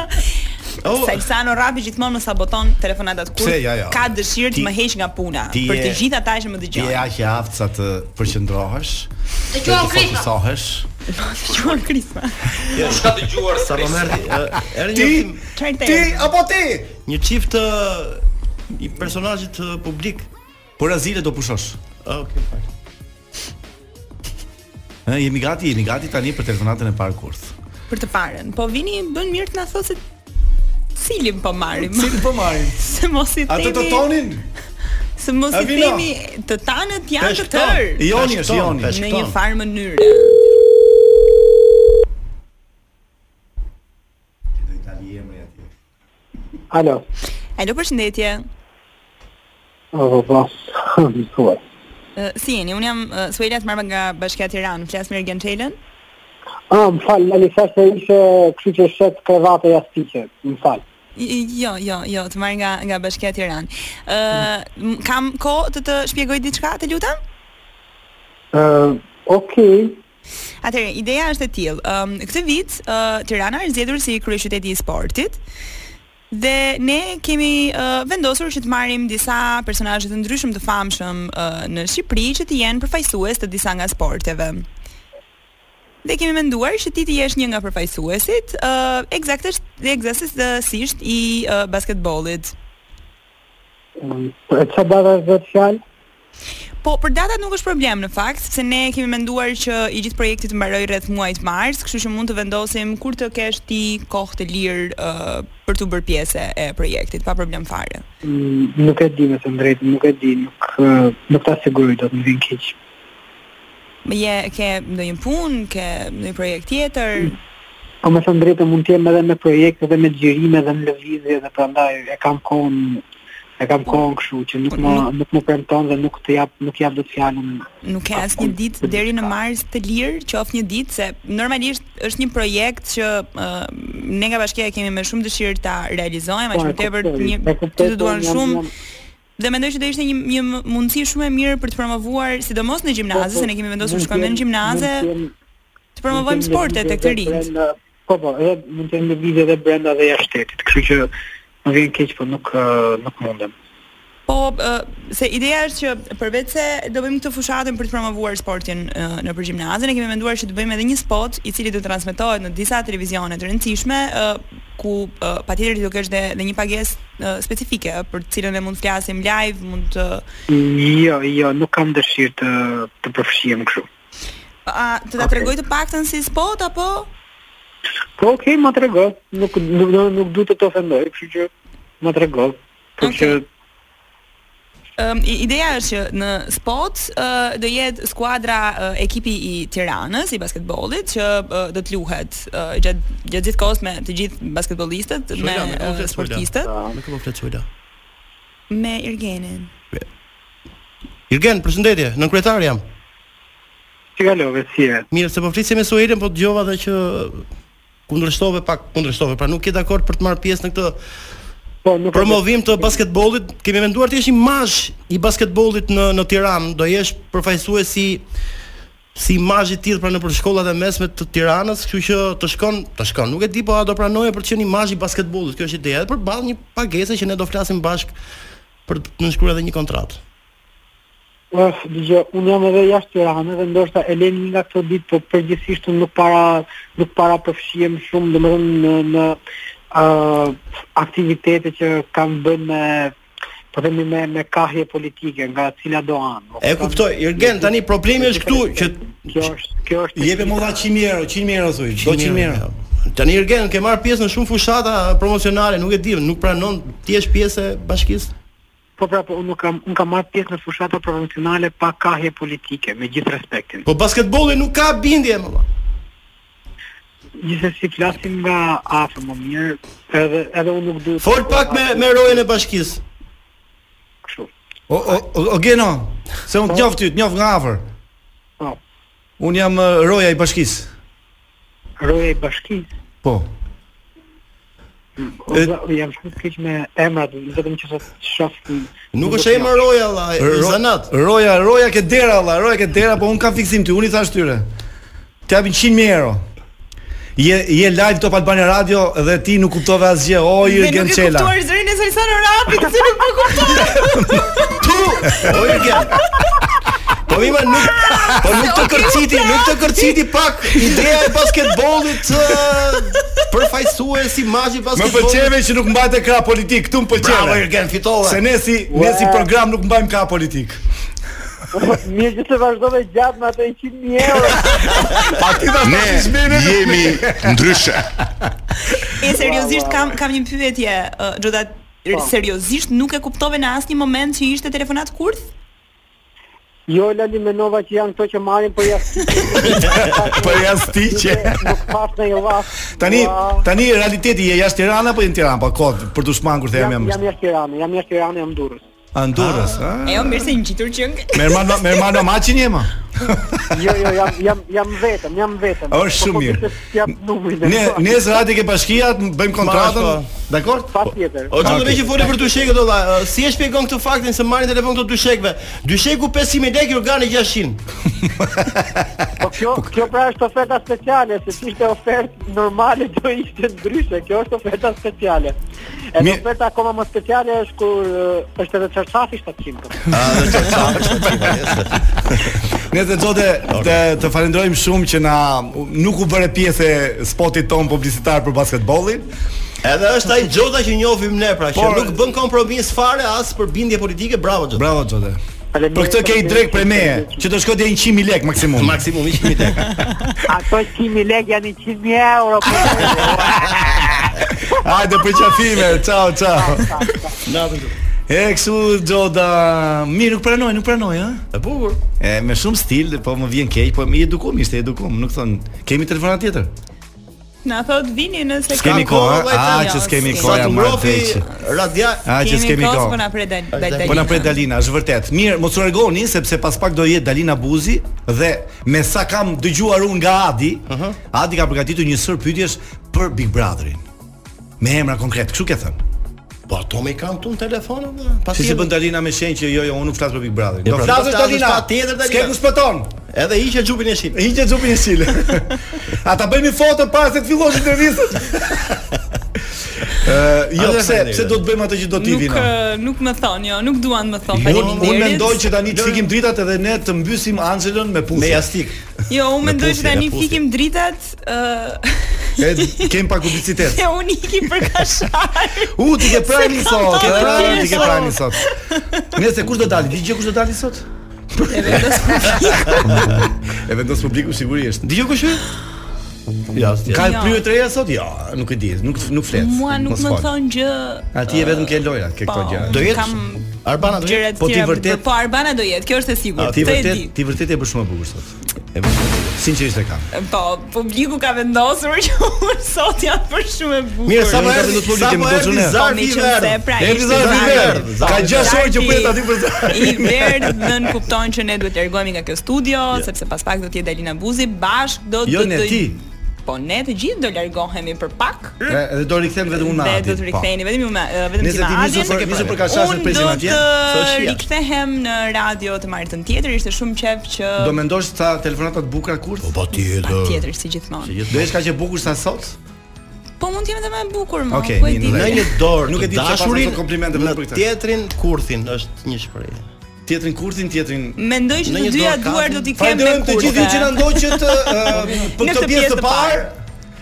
Speaker 10: Oh. Salsano Rapi gjithmonë më saboton telefonatat kur
Speaker 6: Pse, ja, ja.
Speaker 10: ka dëshirë
Speaker 6: Ti-
Speaker 10: të më heq nga puna
Speaker 6: ti
Speaker 10: për të
Speaker 6: je-
Speaker 10: gjithë ata që më
Speaker 6: Ti e
Speaker 10: dëgjojnë.
Speaker 6: aq e aftë sa të përqendrohesh.
Speaker 4: Të gjuam krisma.
Speaker 6: Fokusohesh.
Speaker 10: Dëgjon Krisma.
Speaker 7: Jo, s'ka dëgjuar sa po merri. Erë një tim,
Speaker 10: Çfarë
Speaker 6: Ti
Speaker 10: te?
Speaker 6: apo ti?
Speaker 7: një çift ë, i personazhit po- ë, publik.
Speaker 6: Por azile do pushosh.
Speaker 7: Ah, okay, fal.
Speaker 6: Ë, jemi gati, jemi gati tani për telefonatën e parë kurth.
Speaker 10: Për të parën. Po vini bën mirë të na thosë se cilin po marrim.
Speaker 6: po marrin?
Speaker 10: Se mos i
Speaker 6: Atë
Speaker 10: themi.
Speaker 6: të tonin?
Speaker 10: Se mos i
Speaker 6: Avila.
Speaker 10: themi të tanët janë të
Speaker 7: Tash ton,
Speaker 10: tërë.
Speaker 6: Joni
Speaker 7: Tash
Speaker 6: është
Speaker 7: ton,
Speaker 6: Joni.
Speaker 7: tash
Speaker 10: Në
Speaker 7: ton.
Speaker 10: një farë mënyre.
Speaker 11: Alo.
Speaker 10: Alo, përshëndetje.
Speaker 11: Po, po. Thuaj.
Speaker 10: Ë, Si jeni? Unë jam ë, Suela të marrë nga Bashkia Tiranë, flas me Ergen Çelën.
Speaker 11: Ah, më fal, Lali thash se ishe kështu që shet krevate jastike. Më fal.
Speaker 10: Jo, jo, jo, të marrë nga nga Bashkia Tiranë. Ë, m- kam kohë të të shpjegoj diçka, të lutem?
Speaker 11: Ë, okay.
Speaker 10: Atëherë, ideja është e tillë. Ëm këtë vit ë, Tirana është zgjedhur si kryeqyteti i sportit. Dhe ne kemi uh, vendosur që të marrim disa personazhe të ndryshëm të famshëm uh, në Shqipëri që të jenë përfaqësues të disa nga sporteve. Dhe kemi menduar që ti të jesh një nga përfaqësuesit, uh, eksaktësisht dhe eksaktësisht i uh, basketbollit.
Speaker 11: E çfarë dava vetë fjalë?
Speaker 10: Po, për datat nuk është problem në fakt, sepse ne kemi menduar që i gjithë projekti të mbaroj rreth muajit mars, kështu që mund të vendosim kur të kesh ti kohë të lirë uh, për të bërë pjesë e projektit, pa problem fare.
Speaker 11: Mm, Nuk e di me të drejtën, nuk e di, nuk ë, nuk ta siguroj dot më vjen keq.
Speaker 10: Me je ke ndonjë punë, ke ndonjë projekt tjetër?
Speaker 11: Po me të drejtën mund të jem edhe me projekte dhe me xhirime dhe në lëvizje dhe prandaj e kam kohën e kam kohën kështu që nuk më nuk më premton dhe nuk të jap nuk jap dot fjalën
Speaker 10: Nuk ke asnjë ditë deri në mars të lirë, qoftë një ditë se normalisht është një projekt që uh, ne nga bashkia e kemi me shumë dëshirë ta realizojmë, aq
Speaker 11: Po, e
Speaker 10: më tepër
Speaker 11: kuptoj,
Speaker 10: një
Speaker 11: e
Speaker 10: ty
Speaker 11: kuptoj,
Speaker 10: të duan
Speaker 11: po, jam-
Speaker 10: shumë
Speaker 11: jam-
Speaker 10: Dhe mendoj që do ishte një një m- mundësi shumë e mirë për të promovuar, sidomos në gjimnaze,
Speaker 11: po,
Speaker 10: se ne kemi vendosur të
Speaker 11: mund
Speaker 10: shkojmë
Speaker 11: t'jem-
Speaker 10: në gjimnaze,
Speaker 11: mund t'jem-
Speaker 10: të promovojmë
Speaker 11: mund t'jem
Speaker 10: sportet tek të
Speaker 11: lëvizje dhe
Speaker 10: rinjt.
Speaker 11: brenda- Po po, edhe mund të jem lëvizje edhe brenda dhe jashtë shtetit, kështu që më vjen keq po nuk ë, nuk mundem.
Speaker 10: Po, ë, se ideja është që përveç se do bëjmë këtë fushatën për të promovuar sportin ë, në për gjimnazën, ne kemi menduar që të bëjmë edhe një spot i cili do të transmetohet në disa televizione të rëndësishme, ë, ku ë, patjetër ti do kesh dhe, dhe një pagesë ë, specifike për të cilën ne mund të flasim live, mund të
Speaker 11: Jo, jo, nuk kam dëshirë të të përfshihem kështu.
Speaker 10: a, të ta tregoj të paktën si spot apo
Speaker 11: Po okay, ma trego, nuk nuk nuk, nuk duhet të të ofendoj, kështu që ma trego. Kështu
Speaker 10: Okej.
Speaker 11: që
Speaker 10: Um, ideja është që në spot uh, do jetë skuadra uh, ekipi i Tiranës i basketbollit që uh, do të luhet uh, gjatë gjatë gjithë kohës me të gjithë basketbollistët, me
Speaker 7: Shola, me
Speaker 10: uh,
Speaker 7: komplet shola.
Speaker 10: sportistët,
Speaker 7: Me kë po flet Sola?
Speaker 10: me Irgenin.
Speaker 7: Irgen, përshëndetje, nën kryetar jam.
Speaker 11: Çikalove si e?
Speaker 7: Mirë, se po flisje me Soelën, po dëgjova edhe që kundërshtove pak, kundërshtove, pra nuk je dakord për të marrë pjesë në këtë
Speaker 11: Po, nuk
Speaker 7: promovim të basketbollit. Kemi menduar të jesh imazh i basketbollit në në Tiranë, do jesh përfaqësues si si imazh i tillë pra në për shkollat e mesme të Tiranës, kështu që të shkon, të shkon. Nuk e di po a do pranoje për të qenë imazh i basketbollit. Kjo është ideja, edhe përballë një pagese që ne do flasim bashk për të nënshkruar edhe një kontratë.
Speaker 11: Uf, Po, dëgjoj, unë jam edhe jashtë Tiranës dhe ndoshta e lënë një nga këto ditë, por përgjithsisht unë nuk para nuk para përfshihem shumë, domethënë në në uh, aktivitete që kanë bën me po themi me me kahje politike nga cila do anë.
Speaker 7: E kuptoj, Irgen, tani problemi është këtu që
Speaker 11: kjo është kjo është
Speaker 6: Jepe më dha 100.000 euro, 100.000 euro thuj. Do 100.000 euro.
Speaker 7: Tani Irgen ke marr pjesë në shumë fushata promocionale, nuk e di, nuk pranon ti jesh pjesë e bashkisë.
Speaker 11: po pra po unë nuk kam unë kam marrë pjesë në fushata profesionale pa kahje politike, me gjithë respektin.
Speaker 7: Po basketbolli nuk ka bindje më. valla.
Speaker 11: Gjithsesi flasim nga afër më mirë, edhe edhe unë nuk duhet.
Speaker 7: Fol pak me me rojen e bashkisë.
Speaker 11: kështu.
Speaker 6: O, o, o, o Geno, se unë të njoh ty, të njoh nga afër.
Speaker 11: Po.
Speaker 6: Unë jam ë, roja i bashkisë.
Speaker 11: Roja i bashkisë
Speaker 6: Po.
Speaker 11: O,
Speaker 6: E-
Speaker 11: po za- jam shumë keq me emrat, vetëm që sot shoh.
Speaker 7: Nuk është emër roja valla, e
Speaker 6: Ro-
Speaker 7: zanat.
Speaker 6: Roja, roja ke dera valla, roja ke dera, po unë kam fiksim ty, unë i thash tyre. Të japin 100.000 euro. Je je live Top Albania Radio dhe ti nuk kuptove asgjë. O Jurgen
Speaker 10: Dhe nuk e
Speaker 6: Çela.
Speaker 10: kuptuar zërin e Salsano Rapit, se nuk po kuptoj.
Speaker 7: Tu, o Jurgen. Po ima nuk po nuk të kërciti, nuk të kërciti pak ideja e basketbollit ë, përfaqësues imazhi
Speaker 6: Më
Speaker 7: basketbollit.
Speaker 6: pëlqeve që nuk mbajte krah politik, këtu më
Speaker 7: Bravo
Speaker 6: pëlqeve.
Speaker 7: Jurgen, fitove.
Speaker 6: Se ne si ne si program nuk mbajmë krah politik.
Speaker 11: Po, Mirë që të vazhdove gjatë me atë 100.000 euro.
Speaker 8: Ne jemi ndryshe.
Speaker 10: E seriozisht kam kam një pyetje, ë, Xhoda, seriozisht nuk e kuptove në asnjë moment që ishte telefonat kurth?
Speaker 11: Jo, Lali Menova që janë këto që marrin po
Speaker 6: Po
Speaker 11: për jashtë.
Speaker 6: Për jastiqe.
Speaker 11: Nuk pas në jo rast.
Speaker 6: Tani
Speaker 11: Ua,
Speaker 6: tani realiteti je jashtë Tiranës apo je në Tiranë pa kod për dushman kur them jam.
Speaker 11: jam jam jashtë Tiranës, jam jashtë Tiranës, jam Durrës.
Speaker 6: Andorës, ha?
Speaker 10: E jo, mirë se një gjitur qëng.
Speaker 6: Merman Merman Macin jema.
Speaker 11: Jo, jo, jam jam jam vetëm, jam vetëm. Po,
Speaker 6: O, është shumë mirë. Ne ne zrati ke bashkia, të bëjmë kontratën.
Speaker 7: Bashko.
Speaker 6: Dakor?
Speaker 11: patjetër.
Speaker 7: O çdo
Speaker 6: Okej.
Speaker 7: okay. që foli për dyshekët olla, ë, Uh, si e shpjegon këtë faktin se marrin telefon këto dyshekëve? Dysheku 5000 lekë, organi 600.
Speaker 11: Po kjo kjo pra është oferta speciale, se si ishte ofertë normale do ishte ndryshe. Kjo është oferta speciale. E
Speaker 6: Mi-
Speaker 11: oferta akoma më speciale është kur ë, është edhe çarçafi 700.
Speaker 6: Ah, Ne të zote të, të falenderojmë shumë që na nuk u bëre pjesë e spotit ton publicitar për basketbollin.
Speaker 7: Edhe është ai Xhoda që njohim ne pra, që
Speaker 6: Por-
Speaker 7: nuk bën kompromis fare as për bindje politike. Bravo Xhoda.
Speaker 6: Bravo Zote.
Speaker 11: Faleminderit,
Speaker 6: Për këtë ke i drejt prej meje,
Speaker 11: faleminderit.
Speaker 6: që të shkojë deri 100000 lek maksimum.
Speaker 7: Maksimum 100000 lekë.
Speaker 11: Ato 100.000 lekë janë 100.000 euro. po.
Speaker 6: Hajde për qafime, ciao ciao.
Speaker 7: Natën. Xhoda.
Speaker 6: E kështu Zoda, mirë nuk pranoj, nuk pranoj, ë?
Speaker 7: E bukur.
Speaker 6: E me shumë stil, po më vjen keq, po mi edukum, ishte edukum, nuk thon, kemi telefonat tjetër.
Speaker 10: Na thot vini nëse ka
Speaker 6: S'kemi
Speaker 7: Ka
Speaker 6: kohë,
Speaker 7: kohë,
Speaker 6: a?
Speaker 7: vajta,
Speaker 6: a që
Speaker 10: jo,
Speaker 6: s'kemi
Speaker 10: s'kemi.
Speaker 6: kohë,
Speaker 7: Sa
Speaker 6: ja
Speaker 7: të
Speaker 6: marrë
Speaker 7: mrofi
Speaker 6: keq.
Speaker 7: radia.
Speaker 6: A që
Speaker 10: Kemi
Speaker 6: s'kemi
Speaker 10: kohë,
Speaker 6: kohë.
Speaker 10: Po na pret Dal- Dal- Dalina.
Speaker 6: Po na pret Dalina, është vërtet. Mirë, mos u largoni sepse pas pak do jetë Dalina Buzi dhe me sa kam dëgjuar unë nga Adi, Adi ka përgatitur një sër pyetjesh për Big Brotherin. Me emra konkret, kështu ke thënë.
Speaker 7: Po ato me kanë këtu në telefon apo?
Speaker 6: Si
Speaker 7: Pasi
Speaker 6: se bën Dalina me shenjë që jo, jo, unë nuk flas për Big Brotherin. Do
Speaker 7: Po pra,
Speaker 6: flasësh
Speaker 7: do flasësh
Speaker 6: Dalina.
Speaker 7: patjetër, Dalina.
Speaker 6: S'ke ku spëton.
Speaker 7: Edhe hiqe xhupin e shit.
Speaker 6: Hiqe xhupin e sile. A ta bëjmë një foto para se të fillosh intervistën? Ë, jo,
Speaker 7: Atëherë,
Speaker 6: pse pse do të bëjmë atë që do Po ti
Speaker 10: Nuk
Speaker 6: vina.
Speaker 10: ë, nuk më thon, jo, nuk duan më thon.
Speaker 7: po,
Speaker 6: Unë unë
Speaker 10: Faleminderit.
Speaker 6: mendoj që tani të fikim dritat edhe ne të mbysim Angelën me pushje.
Speaker 7: Me jastik.
Speaker 10: Jo, unë mendoj që
Speaker 7: puthje,
Speaker 10: tani
Speaker 7: në puthje.
Speaker 10: fikim dritat, ë
Speaker 6: E, kem pak publicitet.
Speaker 10: Se unë ikim për kashar
Speaker 6: U, ti ke prani
Speaker 10: Se kam
Speaker 6: sot.
Speaker 10: parë
Speaker 6: Ke prani, ti
Speaker 10: pjesë.
Speaker 6: ke prani sot. Nëse kush do dali? Di gjë kush do dali sot? E vendos publiku sigurisht.
Speaker 7: Diju kush hyn? Ja, s'ti.
Speaker 6: Ka
Speaker 10: Jo.
Speaker 6: pryrë të reja sot? Jo, nuk e di, nuk nuk flet.
Speaker 10: Mua nuk
Speaker 6: mos
Speaker 10: më
Speaker 6: fol.
Speaker 10: thon gjë
Speaker 6: Ati e vetëm ke lojra, ke
Speaker 10: Po,
Speaker 6: këto gjë.
Speaker 7: Do jetë
Speaker 10: kam
Speaker 7: Arbana do
Speaker 10: gjëra
Speaker 7: jetë.
Speaker 10: të
Speaker 6: po ti
Speaker 10: tjera,
Speaker 6: vërtet-
Speaker 10: Po Arbana do jetë, kjo është e
Speaker 6: A,
Speaker 10: sigurt.
Speaker 6: Ti
Speaker 10: këtë e di.
Speaker 6: vërtet, ti vërtet e bësh shumë e bukur sot. E bësh. shumë e bukur. Sinqerisht e kam.
Speaker 10: Po, publiku ka vendosur që unë sot jam për shumë e bukur.
Speaker 7: Mirë, sa
Speaker 6: Unë
Speaker 7: më
Speaker 6: kam
Speaker 7: erdhi
Speaker 6: vendosur publik, jemi
Speaker 7: erdhi
Speaker 6: dozhune.
Speaker 7: zarfi i
Speaker 10: Po, meqense,
Speaker 7: verdh.
Speaker 10: pra,
Speaker 7: Erdhi
Speaker 10: ishte
Speaker 7: zarfi i
Speaker 10: zarfi.
Speaker 7: verdh.
Speaker 6: Ka
Speaker 7: Zarfi-
Speaker 6: gjashtë orë që
Speaker 10: Zarfi-
Speaker 6: pret aty për të.
Speaker 10: I verdh nën kupton që ne duhet largohemi nga kjo studio, sepse pas pak do të jetë Dalina Buzi, bashk do
Speaker 6: Jo
Speaker 10: do
Speaker 6: ne
Speaker 10: të-
Speaker 6: ti.
Speaker 10: Po ne të gjithë do largohemi për pak.
Speaker 6: E, Edhe do rikthehem vetëm unë Po. me
Speaker 10: Dhe
Speaker 6: Adi.
Speaker 10: do të riktheheni vetëm ju me eh, vetëm
Speaker 6: Nëse
Speaker 10: ti me
Speaker 6: ti nisë
Speaker 10: Adin.
Speaker 6: për nisë për kashasën
Speaker 10: Unë
Speaker 6: presin
Speaker 10: do
Speaker 6: atje.
Speaker 10: të
Speaker 7: shija.
Speaker 10: rikthehem në radio të martën tjetër, ishte shumë qep që
Speaker 6: Do mendosh sa telefonata të bukura kurth?
Speaker 7: Po ti do.
Speaker 10: tjetër si gjithmonë.
Speaker 6: Do jesh kaq e bukur sa sot?
Speaker 10: Po mund të jem edhe më e bukur më,
Speaker 6: Okej,
Speaker 10: po e
Speaker 6: mirë,
Speaker 10: di.
Speaker 6: në
Speaker 7: Në një dorë,
Speaker 6: Nuk e di pse pas
Speaker 7: dashurin,
Speaker 6: ato komplimente vetëm
Speaker 7: në
Speaker 6: për këtë.
Speaker 7: Tjetrin kurthin është një shprehje.
Speaker 6: Tjetrin kurthin, tjetrin
Speaker 10: Mendoj që
Speaker 7: në
Speaker 10: të
Speaker 7: një
Speaker 10: dyja
Speaker 7: dorë
Speaker 10: duar
Speaker 7: kapim.
Speaker 10: do t'i kem me
Speaker 6: Falenderojmë të gjithë ju që na
Speaker 10: kurve.
Speaker 6: ndoqët ë, për
Speaker 10: Në
Speaker 6: këtë
Speaker 10: këtë
Speaker 6: pjesë
Speaker 10: pjesë
Speaker 6: të
Speaker 10: të
Speaker 6: parë.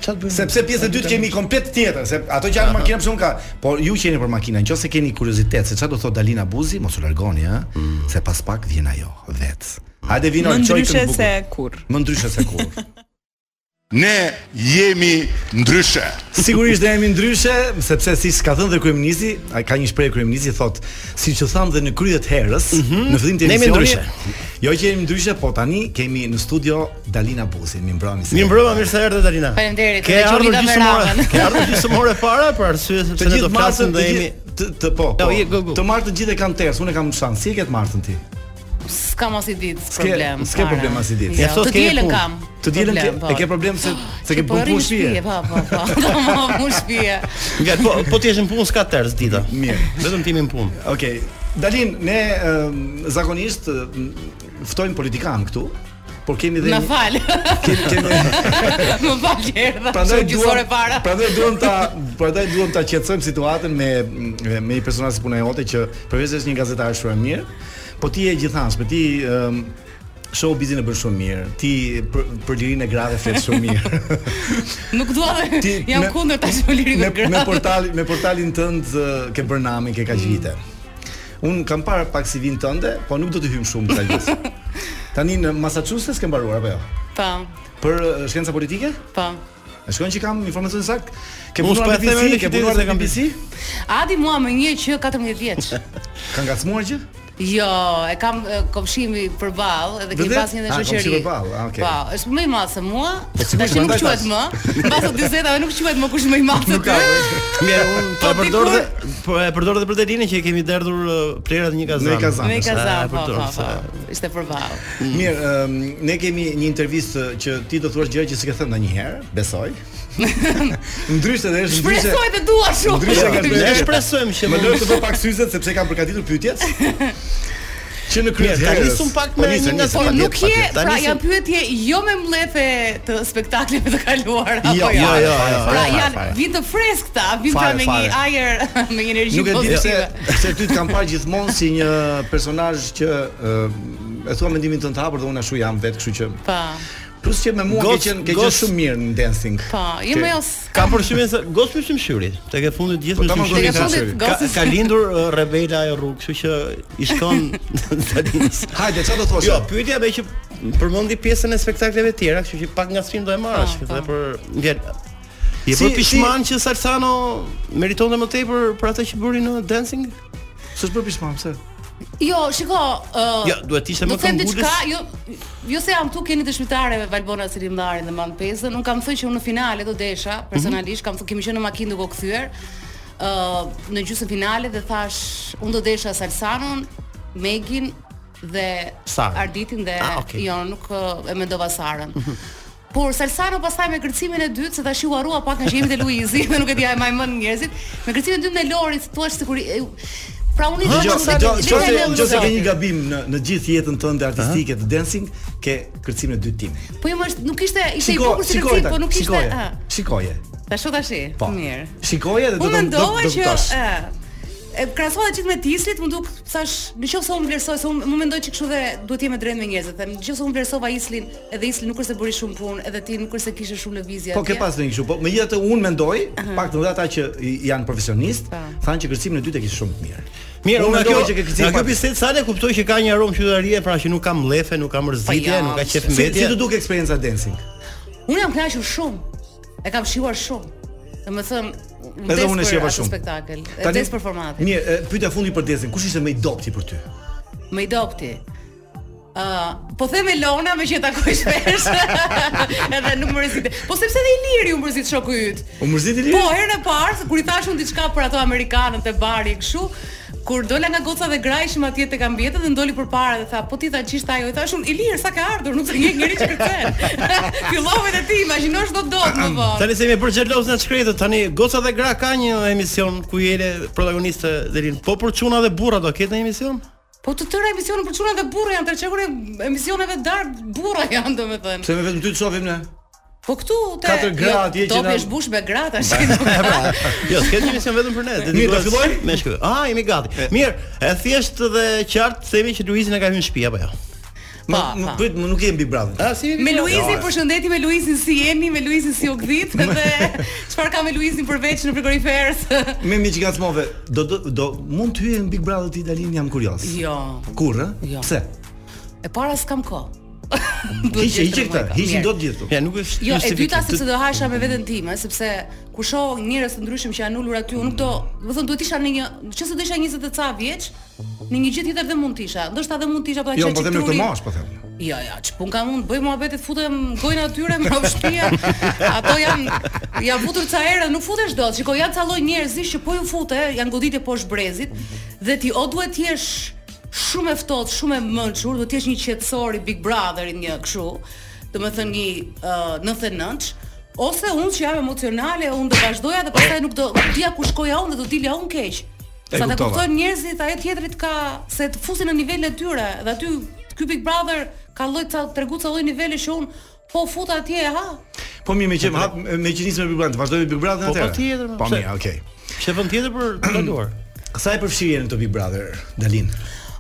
Speaker 7: Çfarë bëjmë?
Speaker 6: Sepse pjesë e dytë kemi komplet tjetër, se ato që janë makina për shumë ka, por ju që jeni për makina, nëse keni kuriozitet se çfarë do thot Dalina Buzi, mos u largoni, ë, se pas pak vjen ajo vet. Hajde vino
Speaker 10: Mm. Më
Speaker 6: çoj
Speaker 10: ndryshe
Speaker 6: kënd bukur.
Speaker 10: se kur.
Speaker 6: Më ndryshe se kur.
Speaker 8: Ne jemi ndryshe.
Speaker 6: Sigurisht ne jemi ndryshe, sepse siç ka thënë dhe kryeministi, ai ka një shprehje kryeministi thot, siç u tham dhe në krye të herës, në fillim të
Speaker 7: Mhm. Ne jemi
Speaker 6: emisionit.
Speaker 7: ndryshe.
Speaker 6: Jo që jemi ndryshe, po tani kemi në studio Dalina Buzin, mi mbrëmi. se-
Speaker 7: Mirë mbrëma, mirë se erdhe Dalina.
Speaker 4: Faleminderit,
Speaker 7: Ke
Speaker 4: edhe që
Speaker 7: ardhur
Speaker 4: unë
Speaker 7: gjysmë
Speaker 4: kameramën.
Speaker 7: ore. Ke ardhur gjysmë ore para për arsye
Speaker 6: Të
Speaker 7: sepse ne do
Speaker 6: gjithë
Speaker 7: flasim
Speaker 6: martën
Speaker 7: do
Speaker 6: të
Speaker 7: jemi.
Speaker 6: gjithë të, të po.
Speaker 7: Jo,
Speaker 6: po.
Speaker 7: je go, go.
Speaker 6: Të martën gjithë e kanë ters, unë e kam shans. Si e ke të martën ti?
Speaker 4: S'ka Po mos i ditë
Speaker 6: S'ke-
Speaker 4: problem.
Speaker 6: s'ke
Speaker 4: fare.
Speaker 6: problem as i ditë.
Speaker 4: Jo,
Speaker 7: Ja, sot
Speaker 4: të
Speaker 7: ke
Speaker 4: dielën
Speaker 7: punë.
Speaker 4: kam.
Speaker 6: Të dielën ke,
Speaker 4: problem, po.
Speaker 6: e ke problem se se ke
Speaker 4: Po,
Speaker 6: bën
Speaker 4: rri
Speaker 6: punë
Speaker 4: në shtëpi,
Speaker 6: shtëpi.
Speaker 4: Po, po, po. Kam punë shtëpi.
Speaker 7: Nga po, po ti je në punë s'ka tërës dita.
Speaker 6: Mirë.
Speaker 7: Vetëm ti jemi në punë.
Speaker 6: Okej. Dalin, ne ëm, zakonisht ëm, ftojmë politikan këtu por kemi dhe
Speaker 4: Më fal.
Speaker 6: kemi kemi
Speaker 4: Më fal që
Speaker 6: prandaj
Speaker 4: erdha. Prandaj
Speaker 6: duam
Speaker 4: gjysore para.
Speaker 6: prandaj duam ta prandaj duam ta qetësojmë situatën me me një personazh si puna jote që përveç se është një gazetar shumë i mirë, po ti je gjithanshme, ti um, show bizin e bën shumë mirë. Ti për, për lirinë e grave flet shumë mirë.
Speaker 4: Nuk dua dhe
Speaker 6: pra- Ti-
Speaker 4: jam
Speaker 6: me-
Speaker 4: kundër tash Olirit
Speaker 6: me,
Speaker 4: dhe Grave.
Speaker 6: me portalin me portalin tënd ë, ke bërë namin ke
Speaker 7: Mm.
Speaker 6: kaq vite. Un kam parë pak CV-n tënde, po nuk do të hym shumë këta gjësë. Tani në Massachusetts ke mbaruar apo jo?
Speaker 4: Po.
Speaker 6: Për ë, shkenca politike?
Speaker 4: Po.
Speaker 6: E shkon që kam informacion sakt. Ke
Speaker 7: Unë s'po
Speaker 6: punuar
Speaker 7: e
Speaker 6: në
Speaker 7: them
Speaker 6: BBC,
Speaker 7: edhe
Speaker 6: ke
Speaker 7: këtë
Speaker 6: punuar
Speaker 7: se
Speaker 6: në
Speaker 7: kam
Speaker 6: BBC?
Speaker 4: Adi mua më një që 14 vjeç.
Speaker 6: Ka ngacmuar gjë?
Speaker 4: Jo, e kam e, komshimi përballë edhe kemi
Speaker 6: Vërtet?
Speaker 4: pas një
Speaker 6: Ah,
Speaker 4: dhe
Speaker 6: komshi
Speaker 4: shoqëri.
Speaker 6: përballë, ah, okay.
Speaker 4: Po, është më i madh se mua.
Speaker 6: sigurisht,
Speaker 4: Tash nuk
Speaker 6: prandaj
Speaker 4: quhet
Speaker 6: thash.
Speaker 4: më. Mbas 40-tave nuk quhet më kush më i madh se
Speaker 6: Nuk
Speaker 4: ty.
Speaker 6: ka.
Speaker 7: Mirë, unë ta
Speaker 4: Po,
Speaker 7: përdor
Speaker 4: dikur-
Speaker 7: dhe po e përdor dhe për Delinë që e kemi derdhur ë, plerat një kazan.
Speaker 6: Në një kazan.
Speaker 4: Me
Speaker 6: Sa
Speaker 4: kazan,
Speaker 7: e
Speaker 4: po,
Speaker 7: përdor,
Speaker 4: po, po.
Speaker 7: sa-
Speaker 4: Ishte përballë.
Speaker 7: Mm.
Speaker 6: Mirë, ëm, ne kemi një intervistë që ti do thuash gjëra që s'ke thënë ndonjëherë, besoj. ndryshe dhe është ndryshe.
Speaker 4: Shpresoj të dua shumë.
Speaker 6: Ndryshe ka
Speaker 7: Ne shpresojmë që
Speaker 6: Më lër të bëj pak syzet sepse kam përgatitur pyetjet. Që në krye.
Speaker 7: Mirë, ta nisëm pak me një nga
Speaker 4: Po
Speaker 7: Pa,
Speaker 4: nuk
Speaker 7: pa,
Speaker 4: je,
Speaker 7: pa,
Speaker 4: pra
Speaker 7: tani se-
Speaker 4: janë pyetje jo me mbledhje të spektakleve të kaluara
Speaker 6: Jo,
Speaker 4: apo
Speaker 6: jo, jo, jo,
Speaker 4: Pra
Speaker 6: fare,
Speaker 4: janë
Speaker 6: fare.
Speaker 4: vinë të freskëta, vinë pra
Speaker 6: Fare,
Speaker 4: me një ajër, me një energji
Speaker 6: Nuk e di pse
Speaker 4: pozitive.
Speaker 6: pse ty të kam parë gjithmonë si një personazh që e, e thua mendimin tënd të hapur dhe unë ashtu jam vetë, kështu që
Speaker 4: Po.
Speaker 6: plus që me mua ke
Speaker 7: Goc-
Speaker 6: qenë ke qenë
Speaker 7: goc-
Speaker 6: shumë mirë në dancing.
Speaker 4: Po, jo
Speaker 6: Ke-
Speaker 4: më jos.
Speaker 7: Ka përshtymin se gos për shymshyrit. Tek e fundit gjithë
Speaker 6: Po, tamam,
Speaker 7: shymshyrin.
Speaker 6: Tek e fundit,
Speaker 7: Ka-
Speaker 4: gosës.
Speaker 7: Ka lindur ë, rebela ajo rrugë, kështu që i shkon Dalinës.
Speaker 6: Hajde, çfarë do thosh?
Speaker 7: Jo, pyetja më që përmendi pjesën e spektakleve të tjera, kështu që pak nga sfin do e marrësh,
Speaker 4: Po, po.
Speaker 7: edhe për vjen. Je
Speaker 6: Si-
Speaker 7: për pishman që Salsano meritonte më tepër për atë që bëri në dancing?
Speaker 6: S'është bërë pishmam, pse?
Speaker 4: Jo, shiko, ë
Speaker 7: Jo, duhet ishte më
Speaker 4: do të them
Speaker 7: këmbgulës.
Speaker 4: diçka, jo jo se jam tu keni dëshmitare me Valbona Selimdarin dhe Man Pesën. Unë kam thënë që unë në finale do desha,
Speaker 7: Mhm.
Speaker 4: personalisht kam thënë kemi qenë në makinë duke u kthyer. ë në gjysmën finale dhe thash unë do desha Salsanon, Megin dhe
Speaker 7: Sarën.
Speaker 4: Arditin dhe
Speaker 7: Ah, Mhm. okay.
Speaker 4: jo nuk ë, e mendova Sarën. Por Salsano pastaj me kërcimin e dytë, se tash u harrua pak nga shjemi e Luizi, dhe nuk e di a e maj mend njerëzit, me kërcimin e dytë në Lorit, thua sikur i- e- pra unë i
Speaker 6: Dgjoj,
Speaker 4: dëgjova
Speaker 6: dgjoj, nëse nëse ke një gabim në në gjithë jetën tënde artistike të dancing, ke kërcimin e dytë tim.
Speaker 4: Po jo, më është nuk ishte ishte i bukur si kërcim,
Speaker 6: tak,
Speaker 4: po nuk ishte.
Speaker 6: shikoje,
Speaker 4: ë.
Speaker 6: Shikoje.
Speaker 4: Tash tash.
Speaker 6: Po.
Speaker 4: Mirë.
Speaker 6: Shikoje dhe do
Speaker 4: Unë
Speaker 6: të do
Speaker 4: mendova
Speaker 6: do të
Speaker 4: që
Speaker 6: kuptosh.
Speaker 4: ë e krahasoha gjithë me Tislit, më duk thash, nëse unë vlerësoj se unë më mendoj që kështu dhe duhet jemi drejt me njerëzit. Them, nëse unë vlerësova Islin, edhe Isli nuk është se bëri shumë punë, edhe ti nuk është se kishe shumë lëvizje
Speaker 6: Po ke
Speaker 4: atje.
Speaker 6: pas ndonjë kështu, po megjithatë unë mendoj, pak të ata që i- janë profesionistë,
Speaker 4: Po.
Speaker 6: thanë që kërcimin e dytë e kishte shumë të mirë.
Speaker 7: Mirë, unë nga
Speaker 6: mendoj
Speaker 7: kjo
Speaker 6: që
Speaker 7: që
Speaker 6: ke
Speaker 7: kërcim.
Speaker 6: kërcim.
Speaker 7: Nga kjo
Speaker 6: pak-
Speaker 7: bisedë sa ne kuptoj që ka një aromë qytetarie, pra që nuk ka mlefe, nuk ka mërzitje,
Speaker 4: Po, jo,
Speaker 7: nuk ka qef
Speaker 6: Si- Si
Speaker 7: mbetje.
Speaker 6: të duket eksperjenca dancing?
Speaker 4: Unë jam kënaqur shumë. E kam shijuar shumë. Domethënë,
Speaker 6: Edhe unë e shijova shumë.
Speaker 4: Spektakël,
Speaker 6: Tani-
Speaker 4: vdes për formatin.
Speaker 6: Mirë, e, pyetja fundi për dancing, kush ishte më i dobti për ty?
Speaker 4: Me i dopti. Uh, po them Elona me që e takoj shpesh. edhe nuk më rëzite. Po sepse edhe Iliri u mërzit shoku yt.
Speaker 6: U mërziti Iliri?
Speaker 4: Po herën e parë se kur i thash unë diçka për ato amerikanët e bari e kështu, kur dola nga goca dhe gra ishim atje tek ambjete dhe ndoli përpara dhe tha, "Po ti ta qisht ajo." I thash unë, "Ilir, sa ka ardhur, nuk të njeh njerëz që kërcen." Fillove te ti, imagjinosh do dot më vonë.
Speaker 7: Tani se më bërë xhelos në shkretët, tani goca dhe gra ka një emision ku jene protagoniste Delin. Po për çuna dhe burra do ketë një emision?
Speaker 4: Po të tëra emisionet për çuna dhe burra janë tërçekur emisioneve dark burra janë domethënë.
Speaker 6: Pse me vetëm ty të shohim ne?
Speaker 4: Po këtu te
Speaker 6: Katër gra atje që
Speaker 4: topi
Speaker 6: na-
Speaker 4: është bush me gra tash. nuk ka.
Speaker 7: Jo, s'ket një emision vetëm për ne. dedikuar
Speaker 6: Mirë, do fillojmë?
Speaker 7: Me shkë. Ah, jemi gati. Mirë, e thjesht dhe qartë themi që Luizin e ka hyrë në shtëpi apo jo?
Speaker 6: Ma,
Speaker 4: Pa,
Speaker 6: nuk
Speaker 4: pa.
Speaker 6: bëj, nuk jemi Big Brother.
Speaker 7: Ah, si
Speaker 4: Me
Speaker 6: Jo,
Speaker 4: Luizin, përshëndetje me Luizin si jeni, me Luizin si u gdhit dhe çfarë ka me Luizin përveç në frigoriferës?
Speaker 6: Me mi që gacmove, do, do, do mund të hyje në Big Brother të Italinë, jam kurios.
Speaker 4: jo.
Speaker 6: Kur, ë?
Speaker 4: Jo.
Speaker 6: Pse?
Speaker 4: E para s'kam kohë.
Speaker 6: Hiqe, hiqe këtë, hiqin dot gjithë këtu.
Speaker 7: Ja, nuk është
Speaker 4: Jo, e
Speaker 7: justifikim.
Speaker 4: dyta
Speaker 7: Të-
Speaker 4: sepse do hasha me veten time, sepse kur shoh njerëz të ndryshëm që janë ulur aty, unë nuk do, do të thonë duhet isha në një, nëse do isha 20 e ca vjeç, në një gjë tjetër dhe mund të isha. Ndoshta edhe mund të isha pa
Speaker 6: Jo,
Speaker 4: qenë
Speaker 6: po them në
Speaker 4: qikturi.
Speaker 6: këtë mosh, po them.
Speaker 4: Jo, jo, që pun kam unë, bëj muhabetit, futem gojnë atyre, më rrëmë shtëpia, ato janë, janë futur ca herë, nuk futesh dot. Shikoj, janë ca lloj njerëzish që po ju fute, janë goditje poshtë brezit, dhe ti o duhet të jesh shumë e ftohtë, shumë e mençur, duhet të jesh një qetësor i Big Brotherit një kështu, domethënë një uh, 99 ose unë që jam emocionale, unë do vazhdoja dhe pastaj nuk do dia ku shkoja unë dhe do dilja unë keq.
Speaker 6: E
Speaker 4: Sa ta
Speaker 6: kuptova.
Speaker 4: kuptojnë njerëzit, ajo tjetrit ka se të fusin në nivelin e tyre dhe aty ky ky Big Brother ka lloj ca tregu ca lloj niveli që un po futa atje ha.
Speaker 6: Po mirë, me që hap me që nisëm me Big Brother, vazhdojmë me Big Brother
Speaker 7: Po,
Speaker 6: atëherë.
Speaker 7: patjetër, ma,
Speaker 6: Po
Speaker 7: pse?
Speaker 6: mirë, okay.
Speaker 7: Çe vend tjetër për të kaluar.
Speaker 6: Sa e përfshirje në të Big Brother, Dalin?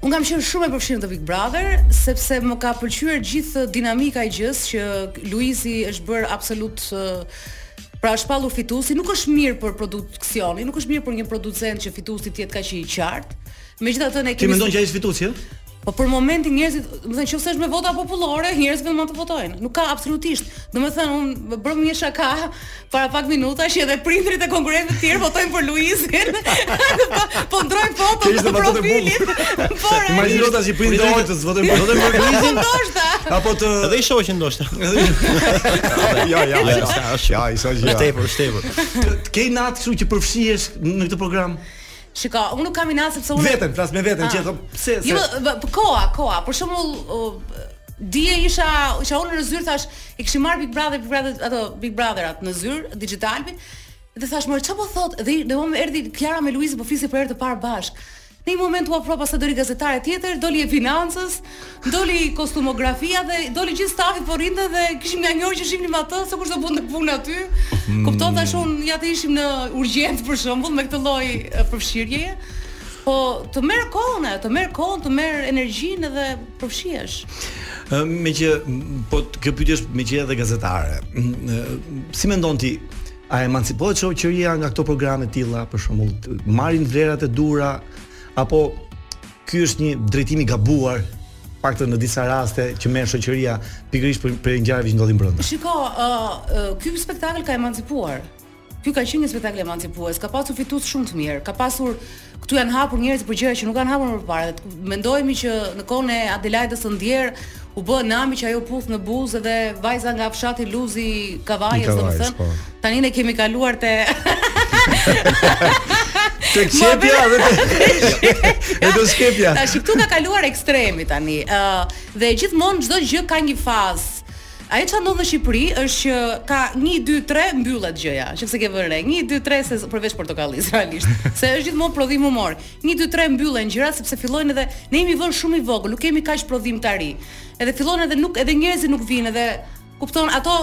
Speaker 4: Un kam qenë shumë e përfshirë te Big Brother sepse më ka pëlqyer gjithë dinamika e gjës që Luizi është bër absolut ë, pra është pallur fituesi, nuk është mirë për produksionin, nuk është mirë për një producent që fituesi të jetë kaq i qartë. Megjithatë ne
Speaker 6: Ti
Speaker 4: kemi
Speaker 6: mendon që ai është fituesi, ëh?
Speaker 4: Po për momentin njerëzit, do të thënë nëse është me vota popullore, njerëzit vetëm atë votojnë. Nuk ka absolutisht. Do të thënë unë bëm një shaka para pak minutash që edhe prindrit e konkurrentëve të tjerë votojnë për Luizin. po, po ndrojnë
Speaker 6: Kjo
Speaker 4: foton
Speaker 6: ishte
Speaker 4: të
Speaker 6: vazhdo e
Speaker 4: profilit. Po,
Speaker 6: Imagjino tash i prindë orë të zvotojmë për zotën për
Speaker 4: Po ndoshta.
Speaker 6: apo të
Speaker 7: Edhe i shoqë ndoshta.
Speaker 6: ja, ja, ja. Ja, i sa gjë.
Speaker 7: Shtepër, shtepër.
Speaker 6: Ke natë kështu që përfshihesh në këtë program?
Speaker 4: Shiko, unë nuk kam inat sepse unë
Speaker 6: Veten, flas me veten që thon, pse
Speaker 4: Jo,
Speaker 6: se
Speaker 4: b- b- koha, koha. Për shembull, ë, dje isha isha unë në zyrë thash, i kishim marr Big Brother, Big Brother, ato Big Brother atë në zyrë digitali. Dhe thash, "Mor, çfarë po thot?" Dhe do më erdhi Kiara me Luizin po flisin për herë të parë bashk. Në një moment u afrova sa doli gazetare tjetër, doli e financës, doli kostumografia dhe doli gjithë stafi po rinte dhe kishim nga një orë që shihnim atë se kush do bënte punë aty. Kupton tash unë ja të ishim në urgjent për shembull me këtë lloj e, përfshirjeje. Po të merr kohën, e, të merr kohën, të merr energjinë edhe përfshihesh.
Speaker 6: Ë, me që m, po t- kjo pyetje është me që edhe gazetare. M, ë, Si mendon ti a emancipohet shoqëria nga këto programe të tilla për shembull t- marrin vlerat e dura apo ky është një drejtim i gabuar paktën në disa raste që merr shoqëria pikërisht për, për ngjarjeve që ndodhin brenda.
Speaker 4: Shiko, ë uh, ky spektakël ka emancipuar. Ky ka qenë një spektakël emancipues, ka pasur fitues shumë të mirë, ka pasur këtu janë hapur njerëz për gjëra që nuk kanë hapur më parë. Dhe t- Mendojemi që në kohën e Adelaidës së ndjer u bë nami që ajo puth në buzë dhe vajza nga fshati Luzi Kavajës,
Speaker 6: I Kavajës, po.
Speaker 4: domethënë. Tani ne kemi kaluar te
Speaker 6: Tek qepja dhe edhe skepja.
Speaker 4: Tash këtu ka kaluar ekstremi tani. Ë dhe gjithmonë çdo gjë ka një fazë. Ajo çfarë ndodh në Shqipëri është që ka 1 2 3 mbyllet gjëja, sepse ke vënë re. 1 2 3 se përveç portokallis realisht, se është gjithmonë prodhim humor. 1 2 3 mbyllen gjëra sepse fillojnë edhe ne jemi vënë shumë i vogël, nuk kemi kaq prodhimtari. Edhe fillon edhe nuk edhe njerëzit nuk vinë edhe kupton ato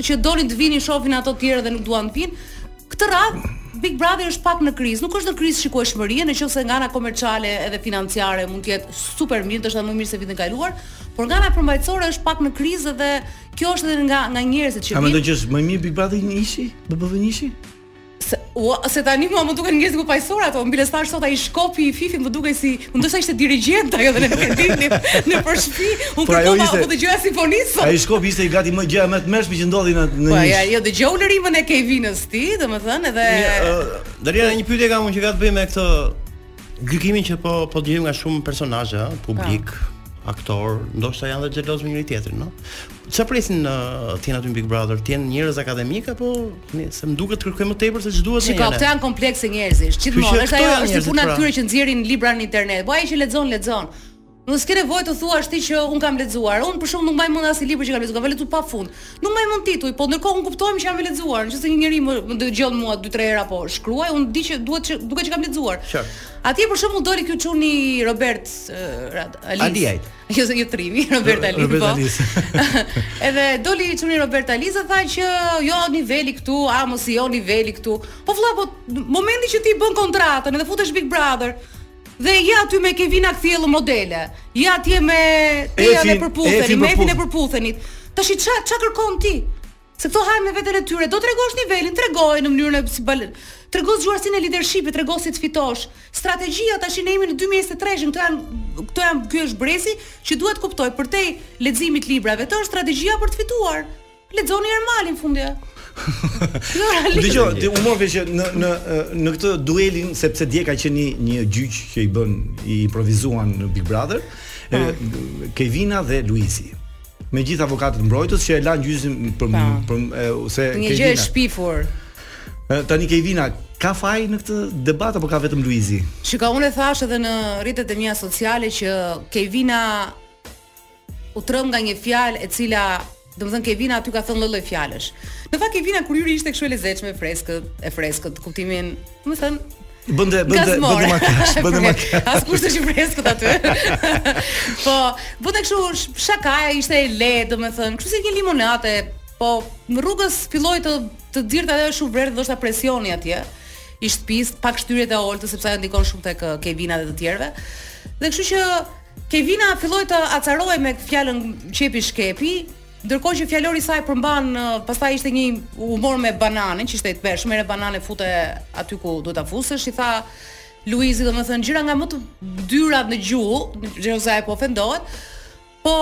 Speaker 4: që dolin të vinin shohin ato të tjerë dhe nuk duan të vinë. Këtë radhë Big Brother është pak në krizë, nuk është në krizë shikueshmërie, nëse nga ana komerciale edhe financiare mund të jetë super mirë, ndoshta më mirë se vitin e kaluar, por nga ana përmbajtësore është pak në krizë dhe kjo është edhe nga nga
Speaker 6: A
Speaker 4: njerëzit që
Speaker 6: mendon
Speaker 4: vinë.
Speaker 6: që është më mirë Big Brother një ishi? BBV një ishi?
Speaker 4: Po. Se, ua, se tani mua më duken njerëzit ku pajsor ato, mbi lestash sot ai Shkopi i Fifi më dukej si, ndoshta ishte dirigjent ajo dhe ne nuk e dinim në për shtëpi, unë
Speaker 6: Por ajo
Speaker 4: kërkova
Speaker 6: ishte-
Speaker 4: po dëgjoja simfonisë.
Speaker 6: Ai shkopi ishte i gati më gjëja më të mëshme që ndodhi në në
Speaker 4: Po
Speaker 6: një
Speaker 4: ja,
Speaker 6: ish.
Speaker 4: jo dëgjoj lërimën e Kevinës ti, domethënë edhe
Speaker 7: Dalia një pyetje kam unë që ka të bëj me këtë gjykimin që po po dëgjojmë nga shumë personazhe, ha, publik,
Speaker 4: Po.
Speaker 7: aktor, ndoshta janë dhe xheloz me njëri tjetrin, no? Çfarë presin uh, ti aty në Big Brother? Ti janë njerëz akademik apo ne- se më duket kërkoj më tepër se ç'duhet
Speaker 4: Shiko, këto janë komplekse njerëzish. Gjithmonë
Speaker 7: Kështu që
Speaker 4: është
Speaker 7: këto
Speaker 4: ajo
Speaker 7: janë
Speaker 4: është
Speaker 7: njerëzit,
Speaker 4: puna e
Speaker 7: pra.
Speaker 4: tyre që nxjerrin libra në internet. Po ai që lexon lexon. Nuk s'ke nevojë të thuash ti që un kam lexuar. Un për shembull nuk mbaj mend asnjë libër që kam lexuar, kam lexuar pafund. Nuk mbaj mend tituj, po ndërkohë un kuptoj që jam e lexuar. Nëse një njeri më, më dëgjon mua 2-3 herë apo po shkruaj, un di që duhet që duket që kam lexuar.
Speaker 7: Qartë.
Speaker 4: Atje për shembull doli ky çuni Robert uh, Alis.
Speaker 7: Aliaj.
Speaker 4: Jo, jo trimi, Robert Alis.
Speaker 6: Robert
Speaker 4: po.
Speaker 6: Alis.
Speaker 4: Edhe doli çuni Robert Aliza tha që jo niveli këtu, a mos jo niveli këtu. Po vlla, po në momentin që ti bën kontratën edhe futesh Big Brother, Dhe ja aty me Kevina Kthiello modele. Ja atje me
Speaker 6: Efin-
Speaker 4: Tejan e
Speaker 6: Efin
Speaker 4: përputhenit, me Efin e
Speaker 6: përputhen.
Speaker 4: përputhenit. Tash i ç'a ç'a kërkon ti? Se këto hajnë me veten e tyre, do tregosh nivelin, tregoj në mënyrën e si bal. Tregos zgjuarsinë e leadershipit, tregos si të fitosh. Strategjia tash në emrin e 2023-shën, këto janë këto janë ky është brezi që duhet kuptoj përtej leximit librave, të është strategjia për të fituar. Lexoni Ermalin fundje. Jo, realisht.
Speaker 6: Dgjoj, ti u morve që në në në këtë duelin sepse dje ka qenë një një gjyq që i bën i improvisuan në Big Brother, e, Kevina dhe Luisi. Me gjithë avokatët mbrojtës që e lanë gjyqin për
Speaker 4: Pa.
Speaker 6: për e, se
Speaker 4: Një gjë e
Speaker 6: Kevina.
Speaker 4: shpifur.
Speaker 6: e, Tani Kevina ka faj në këtë debat apo ka vetëm Luizi?
Speaker 4: Shika, unë e thash edhe në rritet e mia sociale që Kevina u trëm nga një fjalë e cila, domethënë Kevina aty ka thënë lloj-lloj fjalësh. Në fakt Kevina kur hyri ishte kështu e lezetshme, e freskët, e freskët, kuptimin, domethënë
Speaker 6: Bënde bënde bënde makash, bënde makash.
Speaker 4: As kushtë që freskët aty. po, bënte kështu shakaja, ishte e lehtë, domethënë, kështu si një limonate, po në rrugës filloi të të dirtë ajo shumë vrerë, ndoshta presioni atje i shtëpisë, pak shtyrjet e oltës sepse ajo ndikon shumë tek uh, Kevina dhe të tjerëve. Dhe kështu që Kevina filloi të acarohej me fjalën qepi shkepi, ndërkohë që fjalori i saj përmban uh, pastaj ishte një humor me bananën, që ishte i tmerrshëm, merr banane fute aty ku duhet ta fusesh, i tha Luizi domethënë gjëra nga më të dyrat në gjuhë, Xheroza e po ofendohet. Po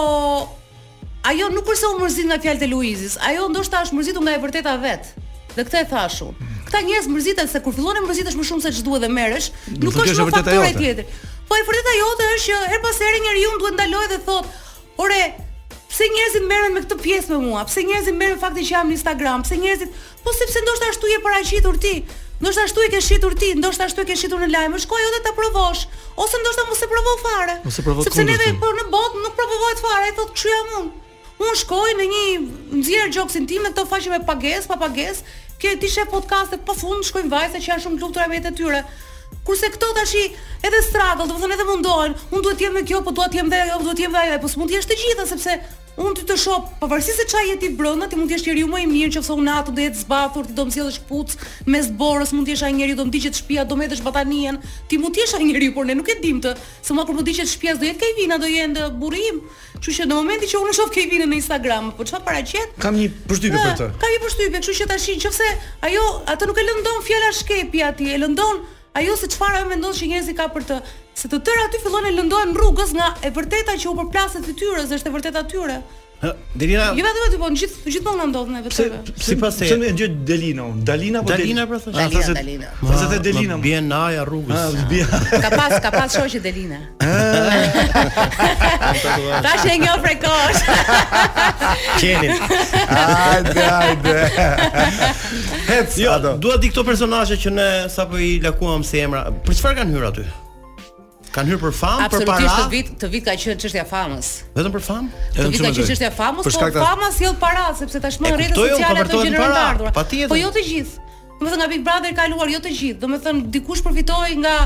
Speaker 4: ajo nuk përse u mërzit nga fjalët e Luizis, ajo ndoshta është mërzitur nga e vërteta vet. Dhe këtë e thash unë. Këta njerëz mërziten se kur fillon të mërzitesh më shumë se ç'duhet dhe merresh, nuk
Speaker 6: thotë
Speaker 4: është
Speaker 6: është
Speaker 4: më
Speaker 6: vërteta
Speaker 4: faktore
Speaker 6: jote.
Speaker 4: tjetër. Po e vërteta jote është që her pas here njeriu duhet ndalojë dhe thotë, "Ore, pse njerëzit merren me këtë pjesë me mua? Pse njerëzit merren me faktin që jam në Instagram? Pse njerëzit, po sepse ndoshta ashtu je paraqitur ti." Ndoshta ashtu e ke shitur ti, ndoshta ashtu e ke shitur në lajme, shko ajo dhe ta provosh, ose ndoshta mos e provo fare.
Speaker 12: Mos e provo
Speaker 4: Sepse
Speaker 12: kundërtin.
Speaker 4: neve po në botë nuk provohet fare, ai thotë, "Kshu jam unë." Unë shkoj në një nxjerr gjoksin tim në këto faqe me pagesë, pa pagesë, kjo e ti shef podcaste pa fund shkojnë vajza që janë shumë të lumtura me jetën e tyre. Kurse këto tash edhe struggle, do të thonë edhe mundohen. Unë duhet të jem me kjo, po dua të jem dhe ajo, duhet të jem dhe ajo, po s'mund të jesh të gjitha sepse unë ty të shoh, po pavarësisht se çfarë jeti brenda, ti mund të jesh njeriu më i mirë, nëse unë atë do jetë zbathur, ti do më sjellësh kput mes borës, mund të jesh ai njeriu do më diqet shtëpia, do më hedhësh batanien, ti mund të jesh ai njeriu, por ne nuk e dim të, se mua kur më diqet shtëpia do jetë Kevina, do jetë burri im. Kështu që në momentin që unë shoh Kevinën në Instagram, po çfarë paraqet?
Speaker 6: Kam një përshtypje për
Speaker 4: Ah,
Speaker 6: të.
Speaker 4: Ka një përshtypje, kështu që tash nëse ajo atë nuk e lëndon fjala shkepi aty, e lëndon ajo se çfarë ajo mendon që njerëzit ka për të se të tërë aty fillojnë e lëndohen rrugës nga e vërteta që u përplaset të tyre, se është e vërteta tyre.
Speaker 6: Hë, Delina,
Speaker 4: Jo vetëm aty, po në gjithë gjithmonë na ndodhen e
Speaker 6: pse
Speaker 4: vetëve.
Speaker 7: Sipas
Speaker 6: pse
Speaker 7: se-
Speaker 6: më ngjë Delina unë? Dalina apo
Speaker 7: Dalina pra thosh?
Speaker 6: Ah,
Speaker 4: Dalina,
Speaker 6: thasë-
Speaker 4: Dalina.
Speaker 6: Thasë the Delina.
Speaker 7: Më
Speaker 6: më.
Speaker 7: Bjen naja
Speaker 6: Ah,
Speaker 7: rrugës.
Speaker 6: bie.
Speaker 4: Ka pas ka pas shoqë Delina.
Speaker 7: Ah.
Speaker 4: Tash e njoh frekosh.
Speaker 7: Qenin.
Speaker 6: Hajde, hajde. Hec
Speaker 7: Jo,
Speaker 6: ato.
Speaker 7: dua di këto personazhe që ne sapo i lakuam si emra. Për çfarë kanë hyrë aty? Kanë hyrë për famë, për
Speaker 4: Absolutisht
Speaker 7: para,
Speaker 4: të vit të vit ka qenë çështja famës.
Speaker 7: vetëm për famë?
Speaker 4: Të
Speaker 6: Edhe
Speaker 4: vit
Speaker 6: çu
Speaker 4: ka
Speaker 6: mendoj.
Speaker 4: qenë çështja
Speaker 6: Për
Speaker 4: famës, po
Speaker 6: shkak të-
Speaker 4: fama sjell para sepse tashmë
Speaker 7: E
Speaker 4: rrjetet
Speaker 7: kuptoj unë,
Speaker 4: sociale ato
Speaker 7: konvertohen
Speaker 4: gjenerojnë
Speaker 7: para,
Speaker 4: të ardhurën.
Speaker 7: patjetër.
Speaker 4: Po jo të gjithë. Domethënë nga Big Brother ka luar jo të gjithë. Domethënë dikush përfitoi nga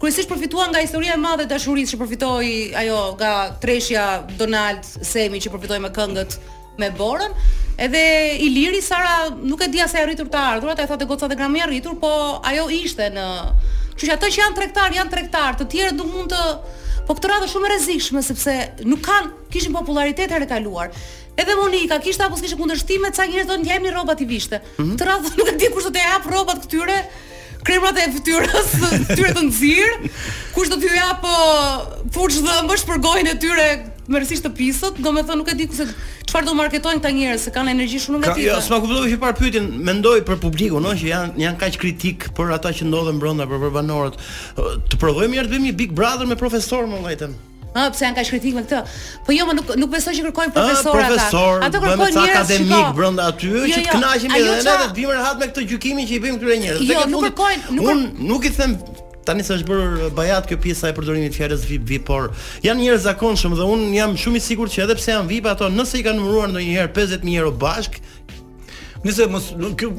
Speaker 4: kryesisht përfituan nga historia e madhe e dashurisë që përfitoi ajo nga treshja Donald Semi që përfitoi me këngët me Borën. Edhe Iliri Sara nuk e dia se e rritur të ardhurat, e tha te gocat e gramë e rritur, po ajo ishte në Kështu që ato që janë tregtar, janë tregtar, të tjerët nuk mund të Po këtë radhë shumë e rrezikshme sepse nuk kanë kishin popularitet herë e kaluar. Edhe Monika kishte apo s'kishte kundërshtime, ca njerëz thonë jepni rrobat i vishte.
Speaker 7: Mhm.
Speaker 4: Këtë radhë nuk e di kush do të jap rrobat këtyre kremrat e fytyrës, këtyre të nxirë, kush do t'ju jap ë, furç dhëmbësh për gojën e tyre mërësisht të pisët, domethënë nuk e di kush çfarë do marketonin këta njerëz se kanë energji shumë
Speaker 7: Ka,
Speaker 4: negative.
Speaker 7: jo, s'ma kuptove që parë pyetjen, mendoj për publikun, no, që janë janë kaq kritik për ata që ndodhen brenda, për, për banorët. Të provojmë një herë të bëjmë një Big Brother me profesor, më vllajtën.
Speaker 4: Ah, pse janë kaq kritik me këtë? Po jo, më nuk nuk besoj që kërkojnë profesorë ata.
Speaker 7: Ah, profesor,
Speaker 4: Ato
Speaker 7: bëjmë
Speaker 4: kërkojnë
Speaker 7: ca
Speaker 4: njerëz
Speaker 7: akademik
Speaker 4: shiko.
Speaker 7: brenda aty
Speaker 4: Jo,
Speaker 7: që
Speaker 4: jo,
Speaker 7: të kënaqemi
Speaker 4: ajo
Speaker 7: edhe ne
Speaker 4: qa-
Speaker 7: dhe të bëjmë rehat me këtë gjykimin që i bëjmë këtyre njerëzve.
Speaker 4: Jo,
Speaker 7: Tek e
Speaker 4: nuk
Speaker 7: fundit,
Speaker 4: kërkojnë- nuk
Speaker 7: unë nuk i them tani se është bërë bajat kjo pjesa e përdorimit të fjalës VIP VIP, por janë njerëz zakonshëm dhe unë jam shumë i sigurt që edhe pse janë VIP ato, nëse i kanë numëruar ndonjëherë 50000 euro bashk,
Speaker 6: Nëse mos nuk- kjo-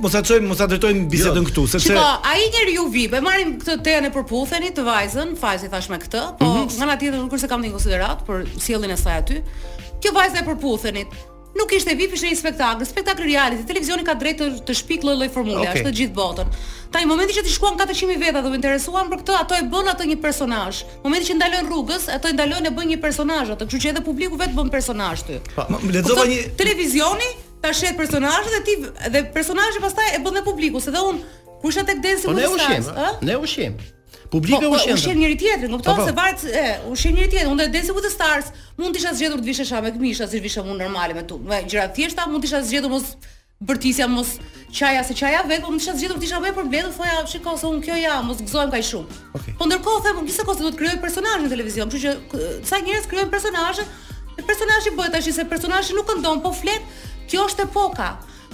Speaker 6: mos ta çojmë, mos ta drejtojmë bisedën këtu, sepse
Speaker 4: Shiko, ai njeriu VIP, e marrim këtë teën e përputhenit të vajzën, fajzi thash me këtë, po nga ana tjetër nuk është se kam të një konsiderat për sjelljen e saj aty. Kjo vajza e përputhenit nuk ishte VIP, ishte një spektakël, spektakël reality. Televizioni ka drejt të, të shpik lloj-lloj formule,
Speaker 7: Okej.
Speaker 4: okay. është të gjithë botën. Ta në momentin që të shkuan 400.000 veta dhe u interesuan për këtë, ato e bën atë një personazh. Në momentin që ndalojnë rrugës, ato e ndalojnë e bën një personazh atë, kështu që edhe publiku vetë bën personazh ty.
Speaker 6: Ma- lexova
Speaker 4: Kupton?
Speaker 6: një
Speaker 4: Po televizioni ta shet personazhin dhe ti dhe personazhi pastaj e bën dhe publiku, se dhe un kur isha tek Dancing
Speaker 7: po
Speaker 4: with
Speaker 7: ne
Speaker 4: the
Speaker 7: ushqim, ë?
Speaker 4: Stars,
Speaker 7: ne ushqim. Publiku
Speaker 4: Po, po,
Speaker 7: ushqim.
Speaker 4: ushqim njëri tjetrin, kupton
Speaker 7: Po, po.
Speaker 4: se varet se- e, ushqim njëri tjetrin. Unë te Dancing with the Stars mund të isha zgjedhur të vishesha me këmisha, si vishem unë normale me tu. Me gjëra të thjeshta mund të isha zgjedhur mos bërtisja mos qaja se qaja vet, po mund të isha zgjedhur të isha më për mbledhur, thoja, shiko se unë kjo ja, mos gëzohem kaq shumë.
Speaker 7: Okej.
Speaker 4: Po ndërkohë them, gjithë kohë se duhet krijoj personazhe në televizion, kështu që k- sa njerëz krijojnë personazhe, e personazhi bëhet tash se personazhi nuk këndon, po flet, kjo është epoka.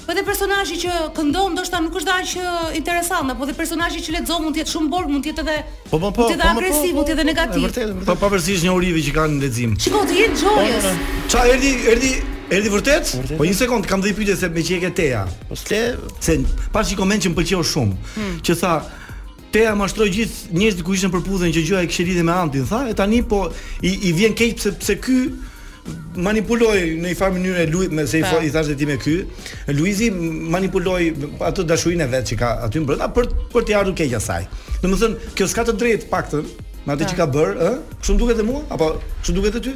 Speaker 4: Po dhe personazhi që këndon ndoshta nuk është aq ë, interesant, apo dhe personazhi që lexon mund të jetë shumë borg, mund të jetë edhe
Speaker 7: Po po po.
Speaker 4: Ti
Speaker 7: po,
Speaker 4: dhe
Speaker 7: po,
Speaker 4: agresiv,
Speaker 7: po,
Speaker 4: ti dhe
Speaker 7: po,
Speaker 4: negativ.
Speaker 7: e Vërtet, e
Speaker 6: pa
Speaker 7: vërtet.
Speaker 6: pavarësisht një urive që kanë lexim.
Speaker 4: Shiko, ti je joyous.
Speaker 7: Po,
Speaker 6: Ça erdhi erdhi erdhi vërtet? Po një sekond, kam dhënë pyetje se me që e ke teja.
Speaker 7: Po s'le
Speaker 6: Se pas një koment që më pëlqeu shumë, që tha Teja mashtroi gjithë njerëzit ku ishin përputhen që gjëja e kishte lidhje me Antin, tha, e tani po i, i vjen keq pse pse ky manipuloi në një farë mënyrë Luiz me se i, fo- i thashë ti me ky. Luizi manipuloi atë dashurinë e vet që ka aty mbrëmje për për të ardhur keq asaj. Domethënë, kjo s'ka të drejtë paktën me atë që ka bër, ë? Kështu më duket e mua apo kështu duket e ty?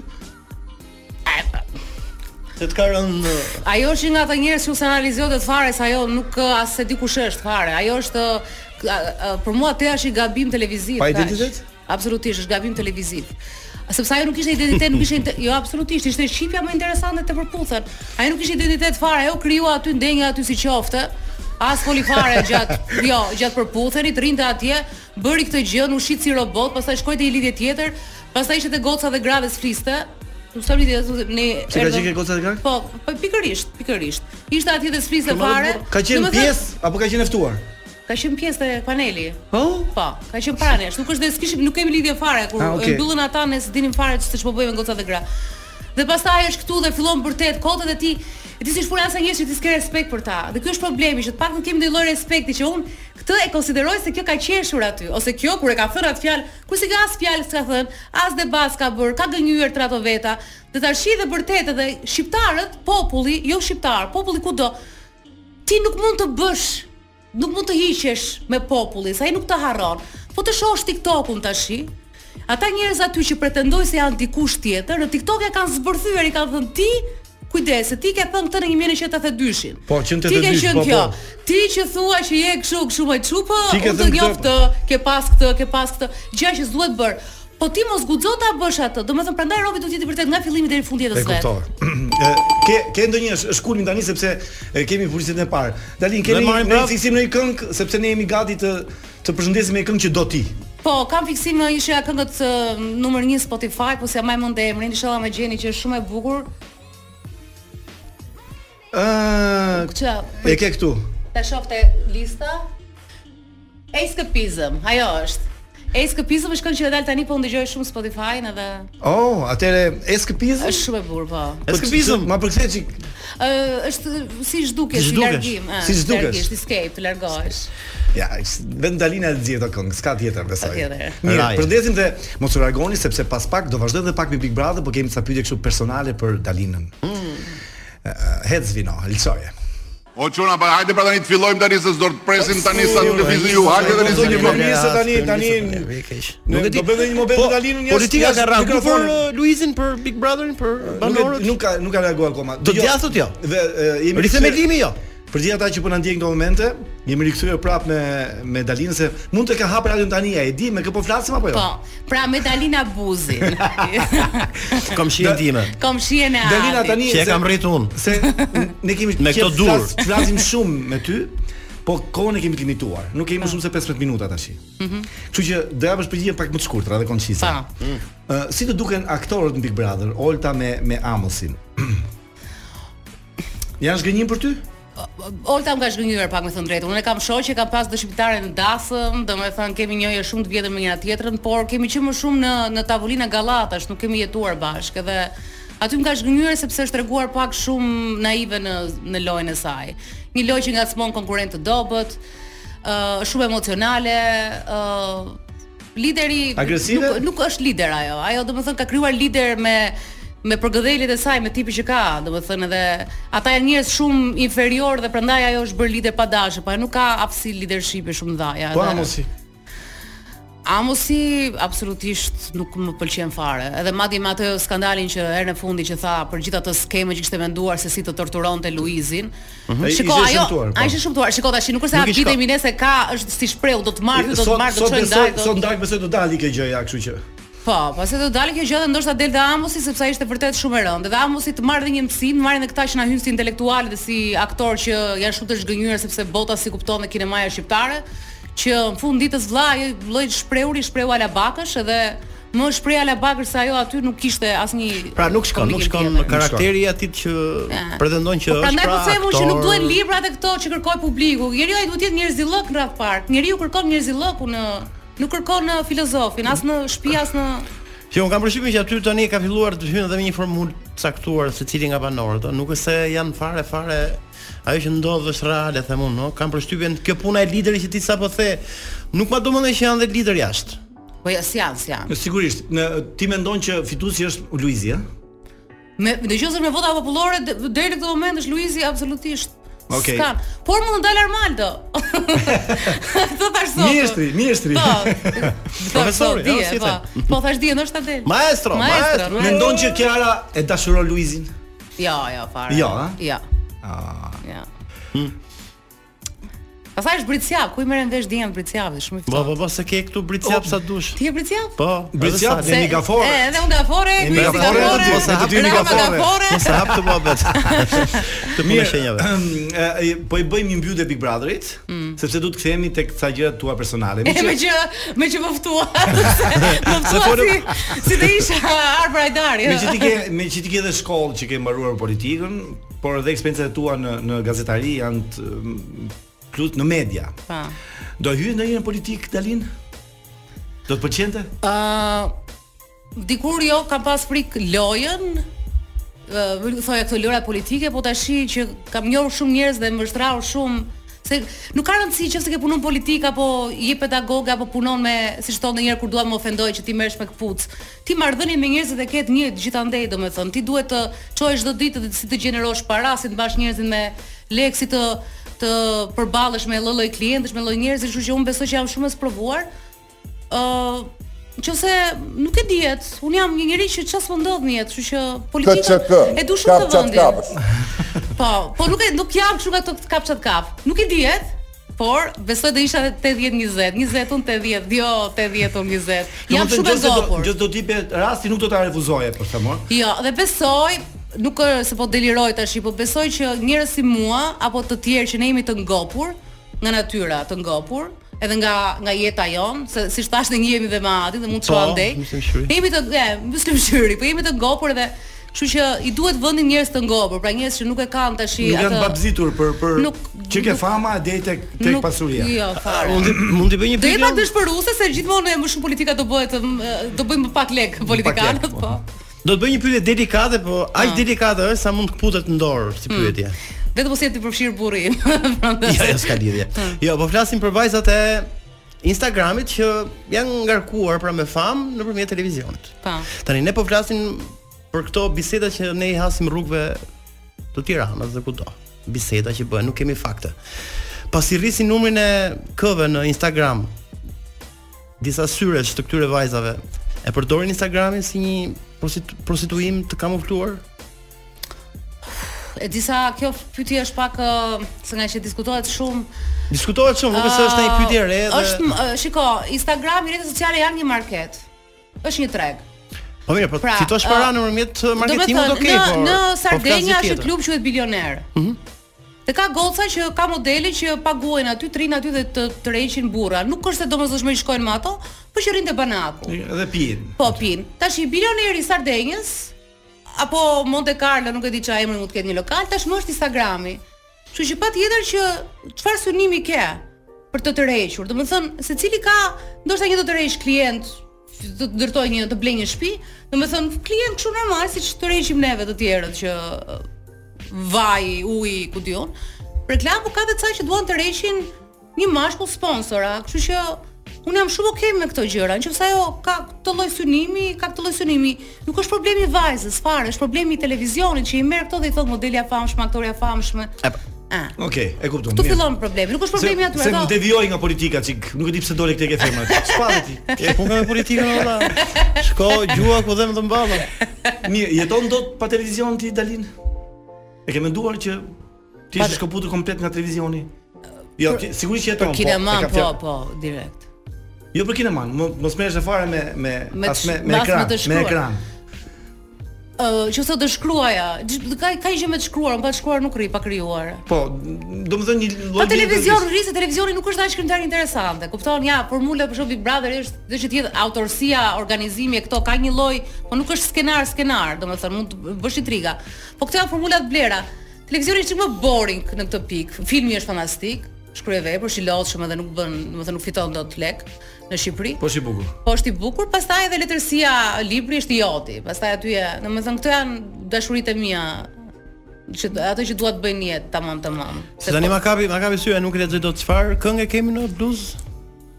Speaker 7: Se të ka rënë
Speaker 4: Ajo është nga ata njerëz që u analizohet të fare se ajo nuk ë, as se di kush është fare. Ajo është ë, a- a- për mua te është i gabim televiziv.
Speaker 6: Pa
Speaker 4: thash.
Speaker 6: identitet?
Speaker 4: Absolutisht, është gabim televiziv. Sepse ajo nuk ishte identitet, nuk ishte inte- jo absolutisht, ishte shqipja më interesante të përputhen. Ajo nuk ishte identitet fare, ajo kriju aty ndenja aty si qofte. As foli fare gjatë, jo, gjatë përputhenit, rinte atje, bëri këtë gjë, u shit si robot, pastaj shkoi te një lidhje tjetër, pastaj ishte te goca dhe grave s'fliste. Nuk sa lidhje, ne
Speaker 6: Se ka
Speaker 4: erdhëm-
Speaker 6: qenë ke gocat e grave?
Speaker 4: Po, po pikërisht, pikërisht. Ishte atje dhe sfrisë fare.
Speaker 6: Ka qenë
Speaker 4: domethënë-
Speaker 6: pjesë apo ka qenë e ftuar?
Speaker 4: Ka qenë pjesë e paneli.
Speaker 6: Po?
Speaker 4: Po, ka qenë para nesh. Nuk është dhe s'kishim, nuk kemi lidhje fare kur
Speaker 6: Ah,
Speaker 4: okay.
Speaker 6: okay.
Speaker 4: mbyllën ata ne s'dinim fare ç'të ç'po po bëjmë me gocat dhe gra. Dhe pastaj është këtu dhe fillon vërtet kotot e ti e ti si shpuna asa njerëz që ti s'ke respekt për ta. Dhe ky është problemi që të paktën kemi ndonjë lloj respekti që unë këtë e konsideroj se kjo ka qeshur aty ose kjo kur e ka thënë atë fjalë, kur si ka as fjalë s'ka thënë, as debat s'ka bër, ka gënjur tra ato veta. Dhe tash dhe vërtet edhe shqiptarët, populli, jo shqiptar, populli kudo, ti nuk mund të bësh, nuk mund të hiqesh me popullin, sa ai nuk të harron. Po të shohësh TikTokun tash. Ata njerëz aty që pretendojnë se janë dikush tjetër, në TikTok e kanë zbërthyer, i kanë thënë ti Kujdes, se ti ke thënë këtë në 1982-shin.
Speaker 6: Po, 182,
Speaker 4: Ti ke qenë
Speaker 6: po,
Speaker 4: kjo.
Speaker 6: po.
Speaker 4: Ti që thua që je kështu, kështu më çu, po
Speaker 6: Ti ke
Speaker 4: unë të
Speaker 6: thënë
Speaker 4: njoh
Speaker 6: këtë,
Speaker 4: këtë, ke pas këtë, ke pas këtë, gjë që s'duhet bër. Po ti mos guxo ta bësh atë. Domethënë prandaj robi duhet të jetë i vërtet nga fillimi deri në fund jetës
Speaker 6: E
Speaker 4: vet.
Speaker 6: kuptova. E, ke ke ndonjë sh- shkulmin tani sepse e, kemi publicitetën e parë. Dalin
Speaker 7: Dhe
Speaker 6: keni
Speaker 7: marrim
Speaker 6: ne
Speaker 7: prap?
Speaker 6: fiksim në një këngë sepse ne jemi gati të të përshëndesim me një këngë që do ti.
Speaker 4: Po, kam fiksim në ishja këngët ë, numër 1 Spotify, po se më mund të emrin, inshallah më gjeni që është shumë e bukur.
Speaker 6: Ë,
Speaker 4: Ç'a?
Speaker 6: e ke këtu.
Speaker 4: Ta shofte lista. Escapism, ajo është. Escapism është këngë që e dal tani po ndëgjoj shumë Spotify edhe
Speaker 6: Oh, atëre eskapizëm.
Speaker 4: është shumë e bukur po.
Speaker 7: Eskapizëm.
Speaker 6: Ma përkthe çik.
Speaker 4: Ë është si zhdukesh,
Speaker 7: Si
Speaker 4: si
Speaker 7: zhdukesh,
Speaker 4: largim, ë.
Speaker 6: si zhdukesh.
Speaker 4: largisht, escape, të largohesh.
Speaker 6: Ja, vetëm Dalina e di ato këngë, s'ka tjetër besoj.
Speaker 4: tjetër.
Speaker 6: Mirë,
Speaker 7: Raj.
Speaker 6: përndesim dhe mos u largoni sepse pas pak do vazhdojmë edhe pak me Big Brother, por kemi ca pyetje kështu personale për Dalinën. Mm. Hec vino, lçoje.
Speaker 12: O çuna, pa hajde pra tani të fillojmë tani se do të presim tani sa të lëvizin ju hajde tani se një vend.
Speaker 6: nisë tani tani
Speaker 7: Nuk e di. Po,
Speaker 6: do bëjmë një moment me Dalinën jashtë.
Speaker 7: Politika ka
Speaker 6: jashtë
Speaker 7: rraku për
Speaker 6: mikrofonit.
Speaker 7: uh, Luizin për Big Brotherin për
Speaker 6: Nuk e-
Speaker 7: banorët.
Speaker 6: nuk ka nuk ka reaguar akoma.
Speaker 7: Do
Speaker 6: Dëgjo-
Speaker 7: djathët jo.
Speaker 6: Dhe e, jemi
Speaker 7: Rithemelimi jo.
Speaker 6: Për gjithë ata që po na ndjejnë këto momente, jemi rikthyer prap me me Dalinën se mund të ka hap radion tani, a e di me kë po flasim apo jo?
Speaker 4: Po, pra me Dalina Buzin.
Speaker 7: Kam shihen time.
Speaker 4: Komshien e Adit.
Speaker 6: Dalina tani
Speaker 7: Që e
Speaker 6: se-
Speaker 7: kam rrit unë.
Speaker 6: se ne kemi
Speaker 7: Me
Speaker 6: qef
Speaker 7: këto
Speaker 6: flas-
Speaker 7: dur.
Speaker 6: Flasim shumë me ty, po kohën e kemi të limituar. Nuk kemi më shumë se 15 minuta tash. Mhm. Kështu që do japësh përgjigje pak më të shkurtra dhe koncise.
Speaker 4: Pa.
Speaker 7: Mm.
Speaker 6: Ë, si të duken aktorët në Big Brother, Olta me me Amosin? Janë zgënjim për ty?
Speaker 4: Olta më ka zhgënjur pak me thënë drejtën. Unë e kam shoqë që ka pas dëshmitare në dasëm, domethënë kemi njohje shumë të vjetër me njëra tjetrën, por kemi qenë më shumë në në tavolinë e gallatash, nuk kemi jetuar bashkë dhe aty më ka zhgënjur sepse është treguar pak shumë naive në në lojën e saj. Një lojë që ngacmon konkurrent të dobët, ë shumë emocionale, ë lideri
Speaker 6: Agresive?
Speaker 4: nuk, nuk është lider ajo. Ajo domethënë ka krijuar lider me me përgëdheljet e saj, me tipin që ka, domethënë edhe ata janë njerëz shumë inferior dhe prandaj ajo është bërë lider pa dashje, po ajo nuk ka hapësi leadershipi shumë dhaja.
Speaker 6: Po Amosi.
Speaker 4: Amosi absolutisht nuk më pëlqen fare. Edhe madje me atë skandalin që herën e fundi që tha për gjithë atë skemën që kishte menduar se si të torturonte Luizin.
Speaker 6: Ai ishte
Speaker 4: Shiko, ajo,
Speaker 6: shëmtuar, po.
Speaker 4: ai ishte shumtuar. Shiko tash, nuk është se
Speaker 6: Nuk i
Speaker 4: habitemi
Speaker 6: shka.
Speaker 4: nëse ka, është si shpreu, do të marrë, do të
Speaker 6: Sot-
Speaker 4: marrë, do
Speaker 6: sot
Speaker 4: të çojë
Speaker 6: besoj-
Speaker 4: ndarë.
Speaker 6: Sot ndaj besoj do dali kjo gjë ja, kështu që.
Speaker 4: Po, pasi do dalë kjo gjë dhe ndoshta del te Amosi sepse ai ishte vërtet shumë e rëndë. Dhe Amosi të marrë dhe një mësim, marrin edhe këta që na hyn si intelektualë dhe si aktorë që janë shumë të zhgënjur sepse bota si kupton dhe kinemaja shqiptare, që në fund ditës vlla ai lloj shprehuri shprehu alabakësh edhe më shpreh alabakësh se ajo aty nuk kishte asnjë
Speaker 7: Pra nuk shkon, nuk shkon karakteri i atit që pretendon që
Speaker 4: Po
Speaker 7: është.
Speaker 4: prandaj po
Speaker 7: pra
Speaker 4: themu që
Speaker 7: aktor.
Speaker 4: nuk duhen librat e këto që kërkoj publiku. Njeriu ai duhet të jetë njerëz i llok në Rath Park. Njeriu kërkon njerëz i lloku në nuk kërkon në filozofin, as në shtëpi, as në
Speaker 7: Që un kam përshtypjen që aty tani ka filluar të hynë edhe me një formulë caktuar secili nga banorët, ëh, nuk është se janë fare fare ajo që ndodh është reale them unë, no? kam përshtypjen kjo puna e liderit që ti sapo the, nuk ma domon që janë dhe lider jashtë.
Speaker 4: Po ja si janë, si janë.
Speaker 6: Sigurisht, në ti mendon që fituesi është Luizi, ëh?
Speaker 4: Me në qoftë se me vota popullore d- deri në këtë moment është Luizi absolutisht.
Speaker 6: Okej.
Speaker 4: S'kan. Por mund të dalë Armaldo. Këtë thash sot.
Speaker 6: Mjeshtri, mjeshtri.
Speaker 4: Po.
Speaker 6: Profesori,
Speaker 4: po,
Speaker 6: ëh, si e
Speaker 4: po. Po thash dje ndoshta del.
Speaker 7: Maestro, maestro.
Speaker 6: Mendon që Kiara e dashuron Luizin?
Speaker 4: Jo, jo, fare.
Speaker 6: Jo, ha?
Speaker 4: Jo.
Speaker 6: Ah.
Speaker 4: Ja. Hm. Pastaj është Britsjap, ku i merren vesh dijen Britsjapi, shumë i
Speaker 7: Po
Speaker 4: ftohtë.
Speaker 7: po po se ke këtu bricjap sa dush.
Speaker 4: Ti je Britsjap?
Speaker 7: Po,
Speaker 6: Bricjap
Speaker 7: edhe
Speaker 6: dhe
Speaker 7: sa-
Speaker 6: një gafore.
Speaker 4: E, edhe unë gafore,
Speaker 7: Jemi
Speaker 4: Luizi
Speaker 7: gafore,
Speaker 4: gafore,
Speaker 7: edhe mos e hap
Speaker 4: Rama
Speaker 7: dy gafore.
Speaker 4: gafore.
Speaker 7: Mos e hap të mohabet. Të punë e shenjave.
Speaker 6: e, e, po i bëjmë një mbytyje Big Brotherit, sepse do të kthehemi tek ca gjëra tua personale.
Speaker 4: E me që me që më ftua. Më ftua si si të isha Arbra Ajdari.
Speaker 6: Me që ti ke me që ti ke edhe shkollë që ke mbaruar politikën, por edhe eksperiencat e tua në në gazetari janë të mm, plut në media.
Speaker 4: Pa.
Speaker 6: Do hyj ndonjëherë në politikë Dalin? Do të pëlqente?
Speaker 4: Ë dikur jo kam pas frik lojën ë thoya këto lojra politike, po tashi që kam njohur shumë njerëz dhe më shtrau shumë se nuk ka rëndësi nëse ke punon politik apo je pedagog apo punon me siç thonë ndonjëherë kur dua më ofendoj që ti merresh me kputc. Ti marrdhënien me njerëzit e ke të njëjtë gjithandej domethënë. Ti duhet të çohesh çdo ditë dhe si të gjenerosh para, si të mbash njerëzit me lekë, si të të përballesh me lloj-lloj klientësh, me lloj njerëzish, kështu që unë besoj që jam shumë e sprovuar. ë Nëse nuk e dihet, un jam një njerëz që çfarë s'më ndodh në jetë, kështu që politika
Speaker 13: KCK.
Speaker 4: e du shumë të
Speaker 13: Kap, çat,
Speaker 4: vendin. Po, po nuk e nuk jam kështu nga ato kap çat kap. Nuk e dihet, por besoj do isha 80 20, 20 un 80, jo 80 un 20. Jam
Speaker 6: Domethënë,
Speaker 4: shumë e
Speaker 6: nëse do-
Speaker 4: gopur.
Speaker 6: Nëse do tipe rasti nuk do ta refuzoje, për të marrë.
Speaker 4: Jo, dhe besoj nuk ë, se po deliroj tash, po besoj që njerëz si mua apo të tjerë që ne jemi të ngopur nga natyra, të ngopur edhe nga nga jeta jon, se siç thash ne jemi dhe me atin dhe mund të
Speaker 7: Po,
Speaker 4: shohim ndej.
Speaker 7: muslim shyri.
Speaker 4: Ne jemi të e, muslim shyri, po jemi të ngopur dhe kështu që i duhet vendi njerëz të ngopur, pra njerëz që nuk e kanë tash
Speaker 6: Nuk janë babzitur për për
Speaker 4: Nuk-
Speaker 6: që ke
Speaker 4: nuk-
Speaker 6: fama deri tek tek
Speaker 4: nuk-
Speaker 6: pasuria. Ah,
Speaker 4: Jo, fare.
Speaker 7: Mund të- mund të bëj një
Speaker 4: Do jetë
Speaker 7: pyetje?
Speaker 4: pak dëshpëruese se gjithmonë e, më shumë politika do bëhet m, e, do bëjmë më pak lek politikanët, po.
Speaker 7: Do të bëj një pyetje delikate, po aq delikate është sa mund të kputet në dorë si pyetje.
Speaker 4: Vetëm mos jeti përfshir burri pra, im. Prandaj.
Speaker 7: Jo, jo, s'ka lidhje. Jo, po flasim për vajzat e Instagramit që janë ngarkuar pra me famë nëpërmjet televizionit.
Speaker 4: Pa.
Speaker 7: Tani ne po flasim për këto biseda që ne i hasim rrugëve të Tiranës dhe kudo. Biseda që bëhen, nuk kemi fakte. Pasi rrisin numrin e këve në Instagram, disa syresh të këtyre vajzave e përdorin Instagramin si një prostitu prostituim të kamufluar.
Speaker 4: E disa kjo pyetje është pak ë, se nga që diskutohet shumë.
Speaker 7: Diskutohet shumë, nuk është se është një pyetje e re
Speaker 4: ë,
Speaker 7: dhe
Speaker 4: Është m- ë, shiko, Instagrami, rrjetet sociale janë një market. Është një treg.
Speaker 7: Po mirë, po
Speaker 4: Pra,
Speaker 7: fitosh para
Speaker 4: ë,
Speaker 7: nëpërmjet
Speaker 4: Do me
Speaker 7: marketingut,
Speaker 4: thënë,
Speaker 7: okay,
Speaker 4: në,
Speaker 7: por
Speaker 4: në
Speaker 7: po flasim
Speaker 4: Sardenja është
Speaker 7: tjetër.
Speaker 4: një klub quhet Bilioner. Mhm. Dhe ka goca që ka modele që paguajnë aty, trin aty dhe të tërheqin burra. Nuk është se domosdoshmë i shkojnë me ato, por që rrin te banaku.
Speaker 6: Edhe pijen.
Speaker 4: Po pin. Tash i bilioneri i Sardenjës apo Monte Carlo, nuk e di çfarë emri mund të ketë një lokal, tash më është Instagrami. Kështu që patjetër që çfarë synimi ke për të tërhequr. Domethënë secili ka ndoshta një do të tërheq klient të të ndërtoj një të blej një shtëpi, domethënë klient kështu normal siç tërheqim neve të tjerët që ë, vaj, uji, ku diun. Reklamu ka dhe ca që duan të rreqin një mashkull sponsora, kështu që unë jam shumë okay me këto gjëra. Nëse ajo jo ka këtë lloj synimi, ka këtë lloj synimi, nuk është problemi i vajzës fare, është problemi i televizionit që i merr këto dhe i thot modelja e famshme, aktoreja e famshme. Ah.
Speaker 6: Okej, e kuptoj.
Speaker 4: Ktu
Speaker 6: mirë.
Speaker 4: fillon problemi, nuk është problemi aty
Speaker 6: Se më
Speaker 4: ato.
Speaker 6: devijoj nga politika çik, nuk e di pse dole këtë ke femra. Çfarë ti?
Speaker 7: E pun nga me politikën valla. Shko gjua ku dhem të mballa.
Speaker 6: Mirë, jeton dot pa televizion ti Dalin? E ke menduar që ti je shkëputur komplet nga televizioni? Jo, ti sigurisht që jeton.
Speaker 4: Për kinema,
Speaker 6: e ka
Speaker 4: po,
Speaker 6: fjalë.
Speaker 4: po, direkt.
Speaker 6: Jo për kineman, mo- mos merresh e fare me me
Speaker 4: Me të
Speaker 6: as me me
Speaker 4: sh- as me
Speaker 6: ekran, me
Speaker 4: të shkruar.
Speaker 6: ekran.
Speaker 4: Ë, që thotë të shkruaja, gjith- ka ka gjë me të shkruar, pa të shkruar nuk ri, pa krijuar.
Speaker 6: Po, domethënë një lloj
Speaker 4: Pa televizion
Speaker 6: dietes-
Speaker 4: Po rri se televizioni nuk është dash këngëtar interesante. Kupton? Ja, formula për shembull Big Brother është do që të jetë autorësia, organizimi e këto ka një lloj, po nuk është skenar skenar, domethënë mund të bësh intriga. Po këto janë formula të blera. Televizioni është çik më boring në këtë pikë. Filmi është fantastik, shkrye vepër, është i lodhshëm edhe nuk bën, domethënë nuk fiton dot lek në Shqipëri.
Speaker 9: Po është i bukur.
Speaker 4: Po është i bukur, pastaj edhe letërsia libri është i joti. Pastaj aty e, domethënë këto janë dashuritë e mia që ato që dua të bëj në jetë, tamam tamam.
Speaker 7: Se tani ma kapi, ma kapi syja, nuk lexoj dot çfarë këngë kemi në bluzë.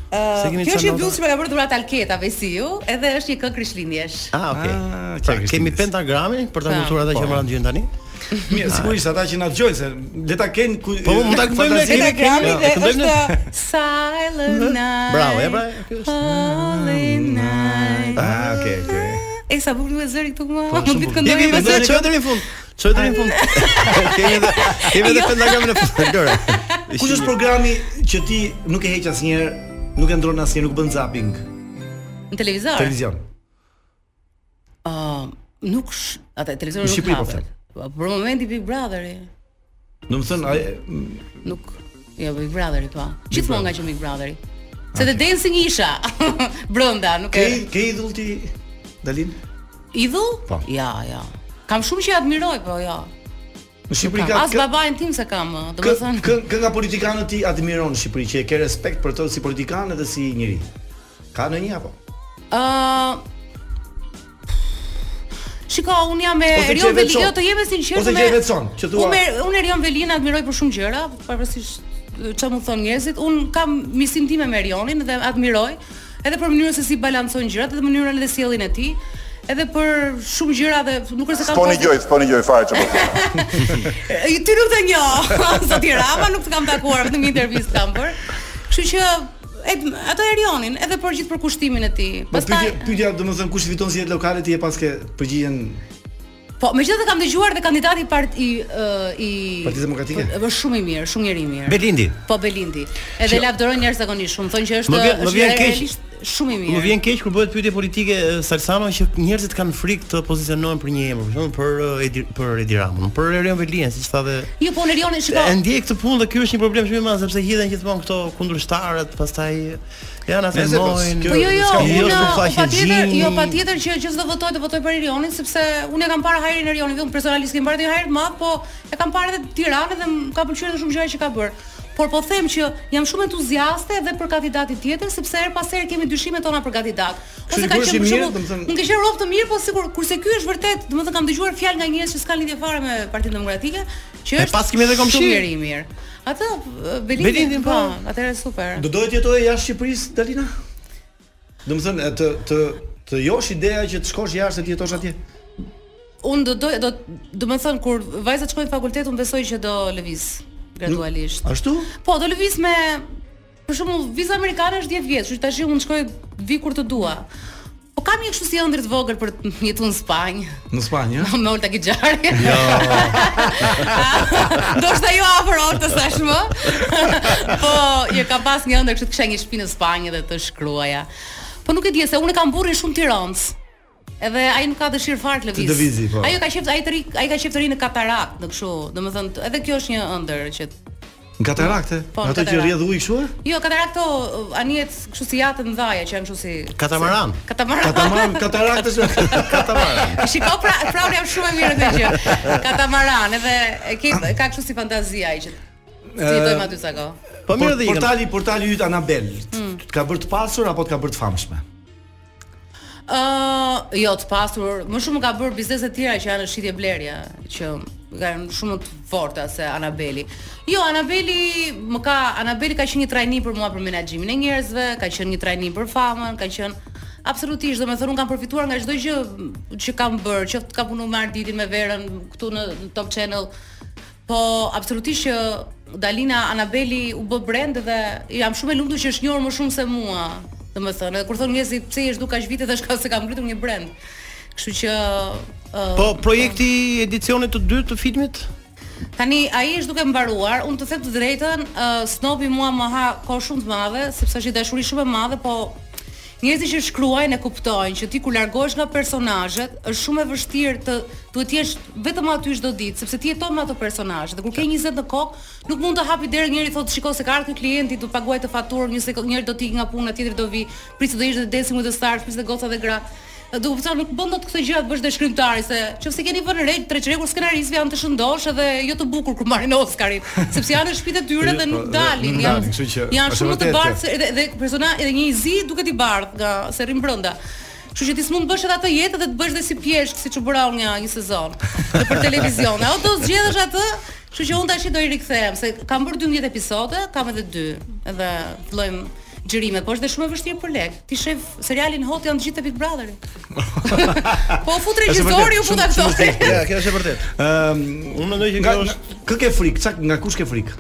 Speaker 4: Uh, kjo është një bluzë që më ka bërë dhurat Alketa Vesiu, edhe është një këngë krishtlindjesh.
Speaker 7: Ah, okay. Ah, pra, kemi pentagramin
Speaker 4: Pra.
Speaker 7: për ta kuptuar ata që më kanë gjën tani.
Speaker 9: Mirë, sigurisht ata që na dëgjojnë se le ta kenë ku
Speaker 7: Po mund ta këndojmë ne
Speaker 4: kemi grami dhe është Silent
Speaker 9: Mhm.
Speaker 4: Night.
Speaker 7: Bravo, e pra. Kjo është.
Speaker 4: Silent Night.
Speaker 9: Ah, okay, okay.
Speaker 4: E sa bukur duhet zëri këtu mua.
Speaker 9: Po,
Speaker 4: Mund të këndojmë
Speaker 7: pas së çojë deri në fund. Çojë deri në fund. Kemi edhe kemi
Speaker 4: Jo.
Speaker 7: edhe pentagramën e fundit, Lore.
Speaker 9: Kush është programi që ti nuk e heq asnjëherë, nuk e ndron asnjëherë, nuk bën zapping?
Speaker 4: Në televizor.
Speaker 9: Televizion.
Speaker 4: Ëm, nuk sh, atë televizori
Speaker 9: Në
Speaker 4: nuk
Speaker 9: Shqipëri po
Speaker 4: hapet.
Speaker 9: flet.
Speaker 4: Po, Për momentin Big Brotheri.
Speaker 9: Do të thënë, ai-
Speaker 4: Nuk. Jo, Big Brotheri po. Gjithmonë nga që Big Brotheri. Se The Dancing isha brenda, nuk
Speaker 9: ke
Speaker 4: e.
Speaker 9: ke idhull ti Dalin?
Speaker 4: Idhull?
Speaker 9: Po.
Speaker 4: Ja, ja. Kam shumë që i admiroj, po ja.
Speaker 9: Në Shqipëri ka
Speaker 4: As babain tim se kam, ë,
Speaker 9: Kë,
Speaker 4: domethënë.
Speaker 9: kë, kë nga politikanët ti admiron në Shqipëri që e ke respekt për to si politikan edhe si njeri. Ka në një apo?
Speaker 4: Ë Shiko, unë jam me
Speaker 9: Ose që
Speaker 4: Erion
Speaker 9: e
Speaker 4: Veli,
Speaker 9: vetëson.
Speaker 4: jo të jemi sinqertë
Speaker 9: Ose që e vetëson, që thua-
Speaker 4: Unë me- unë Erion Velin admiroj për shumë gjëra, pavarësisht e, çfarë më thon njerëzit. Unë kam misin tim me Erionin dhe admiroj edhe për mënyrën se si balancon gjërat, edhe mënyrën dhe sjelljen e tij, edhe për shumë gjëra dhe nuk është se kam
Speaker 12: Po një gjoj, po një gjoj fare çfarë. po.
Speaker 4: E, Ti nuk të njoh, zoti Rama, nuk të kam takuar, vetëm një intervistë kam bërë. Kështu që ed, ato Erionin, edhe për gjithë përkushtimin e tij.
Speaker 9: Po pyetja pyetja domethënë kush fiton si jetë lokale ti e paske përgjigjen
Speaker 4: Po, megjithatë kam dëgjuar dhe kandidati i part i ë, i
Speaker 9: Partisë Demokratike?
Speaker 4: Për- Është shumë i mirë, shumë njeri i mirë.
Speaker 7: Belindi.
Speaker 4: Po Belindi. Edhe lavdërojnë njerëz zakonisht shumë, thonë që është
Speaker 7: Më vjen- më
Speaker 4: është
Speaker 7: vjen keq.
Speaker 4: realisht shumë i mirë.
Speaker 7: Më vjen keq kur bëhet pyetje politike e, Salsano që njerëzit kanë frikë të pozicionohen për një emër, për shembull për e, Edi për Edi Ramën, për Erion Velien, siç tha dhe
Speaker 4: Jo, po Erioni, shiko.
Speaker 7: E ndjej këtë punë dhe ky është një problem shumë i madh sepse hidhen gjithmonë këto kundërshtarët, pastaj janë atë
Speaker 9: Nëse, po,
Speaker 7: mojnë.
Speaker 4: Po jo jo, unë
Speaker 7: s'u
Speaker 4: po
Speaker 7: flaqen
Speaker 4: patjetër,
Speaker 7: gjini.
Speaker 4: jo patjetër që që s'do votoj të votoj për Erionin sepse unë e kam parë hajrin e Erionit, unë personalisht kem parë një hajër të madh, po e kam parë edhe Tiranën dhe më ka pëlqyer edhe shumë gjëra që ka bërë. Por po them që jam shumë entuziaste edhe për kandidatin tjetër sepse her pas here kemi dyshimet tona për kandidat. Ose
Speaker 9: Kështu
Speaker 4: ka
Speaker 9: që
Speaker 4: qenë për
Speaker 9: mirë,
Speaker 4: shembull,
Speaker 9: domethënë-
Speaker 4: unë ke qenë rob të mirë, po sigur kurse ky është vërtet, domethënë kam dëgjuar fjalë nga njerëz që s'kan lidhje fare me Partinë Demokratike, që
Speaker 7: E
Speaker 4: është
Speaker 7: pas kemi edhe komshin.
Speaker 4: shumë njeri i mirë. Atë Belindin,
Speaker 7: Belindin, po.
Speaker 4: po, atëherë super.
Speaker 9: Do dohet jetojë jashtë Shqipërisë, Dalina? Do të thënë e, të të të josh ideja që të shkosh jashtë të jetosh atje.
Speaker 4: Unë do doj, do do të thënë kur vajzat shkojnë në fakultet, unë besoj që do lëviz gradualisht.
Speaker 9: Ashtu?
Speaker 4: Po, do lëviz me për shembull viza amerikane është 10 vjeç, kështu që tash unë shkoj vi kur të dua. Po kam një kështu si ëndër të vogël për të jetuar në Spanjë,
Speaker 9: Në Spanjë, ëh?
Speaker 4: me Olta Gixhari. Jo. do shta jo afër Oltës tashmë. po, jo ka pas një ëndër kështu të kisha një shtëpi në Spanjë dhe të shkruaja. Po nuk e di se unë e kam burrin shumë tiranës. Edhe ai nuk ka dëshirë fare të lëviz.
Speaker 9: lëvizi, po.
Speaker 4: Ai ka qef ai të ri, ai ka qef të ri në katarakt, në kështu. Domethënë, edhe kjo është një ëndër që
Speaker 9: Në katarakte.
Speaker 4: Po, në
Speaker 9: ato që
Speaker 4: katarakte.
Speaker 9: rrjedh ujë kështu? e?
Speaker 4: Jo, katarakto uh, anijet kështu si jatë të mëdhaja që janë kështu si
Speaker 7: Katamaran.
Speaker 4: si- Katamaran.
Speaker 9: Katamaran, katarakte. është- Katamaran.
Speaker 4: Shiko pra, pra unë jam shumë e mirë në këtë gjë. Katamaran, edhe e ke ka kështu si fantazia ai që ti jetojmë aty sa kohë.
Speaker 7: Po mirë
Speaker 9: Por-
Speaker 7: dhe ikën.
Speaker 9: Portali, portali yt Anabel. Të Ka bërë të pasur apo të ka bërë të famshme?
Speaker 4: Ë, jo të pasur, më shumë ka bërë biznese të tjera që janë në shitje blerje, që kanë shumë më të forta se Anabeli. Jo, Anabeli më ka Anabeli ka qenë një trajni për mua për menaxhimin e njerëzve, ka qenë një trajni për famën, ka qenë absolutisht, domethënë unë kam përfituar nga çdo gjë që kam bërë, qoftë ka punuar me Arditin me Verën këtu në në Top Channel, po absolutisht që Dalina Anabeli u bë brend dhe jam shumë e lumtur që është njohur më shumë se mua domethënë. Edhe kur thon njerëzit pse je zhduk kaq vite tash ka se kam ngritur një brand. Kështu që uh,
Speaker 7: Po projekti i edicionit të dytë të filmit?
Speaker 4: tani ai është duke mbaruar. Unë të them të drejtën, uh, snobi mua më ha kohë shumë të madhe, sepse është një dashuri shumë e madhe, po njerëzit që shkruajnë e kuptojnë që ti kur largohesh nga personazhet, është shumë e vështirë të duhet të jesh vetëm aty çdo ditë, sepse ti jeton me ato personazhe. Dhe kur ke 20 në kokë, nuk mund të hapi derën njëri thotë shiko se ka ardhur ky klienti, do paguaj të faturën, një sekond njëri do të ikë nga puna, tjetri do vi, prisë do ishte dancing with the stars, prisë dhe goca dhe gra. do të thonë nuk bën dot këtë gjë të bësh dashkrimtari se nëse keni vënë re tre çrekur skenarizëve janë të shëndosh edhe jo të bukur kur marrin Oscarin, sepse janë në shtëpitë e tyre Jo, po, dhe nuk dalin, janë. Janë shumë të bardhë se- dhe, dhe persona edhe një i zi duket i bardh nga se rrim brenda. Kështu që ti s'mund të bësh edhe atë jetë dhe të bësh dhe si pjeshk siç u bëra unë një, një sezon dhe për televizion. Ajo do zgjedhësh atë, kështu që unë tash do i rikthehem se kam bërë 12 episode, kam edhe 2 edhe fillojmë xhirimet, po është dhe shumë e vështirë për lek. Ti shef serialin Hot janë të gjithë te Big Brotheri. po u fut regjizori, u fut aktori.
Speaker 7: Ja, kjo është e vërtetë. Ehm,
Speaker 6: Ëm,
Speaker 7: unë mendoj që
Speaker 6: nga-
Speaker 7: kjo
Speaker 6: nga- Kë ke frikë? Çak nga kush ke frikë?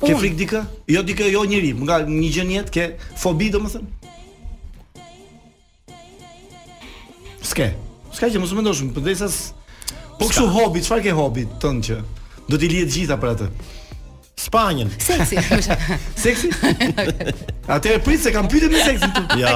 Speaker 6: Ke
Speaker 4: Unë.
Speaker 6: frikë dikë? Jo dikë, jo njëri, nga një gjë në jetë ke fobi domethënë? S'ke. S'ka që mos u mendosh, përderisa s- Po kështu hobi, çfarë ke hobi tënd që do t'i lihet gjitha për atë?
Speaker 7: Spanjën.
Speaker 4: Seksi.
Speaker 6: Seksi? Atëherë prit se kam pyetur me seksin tu.
Speaker 7: Ja.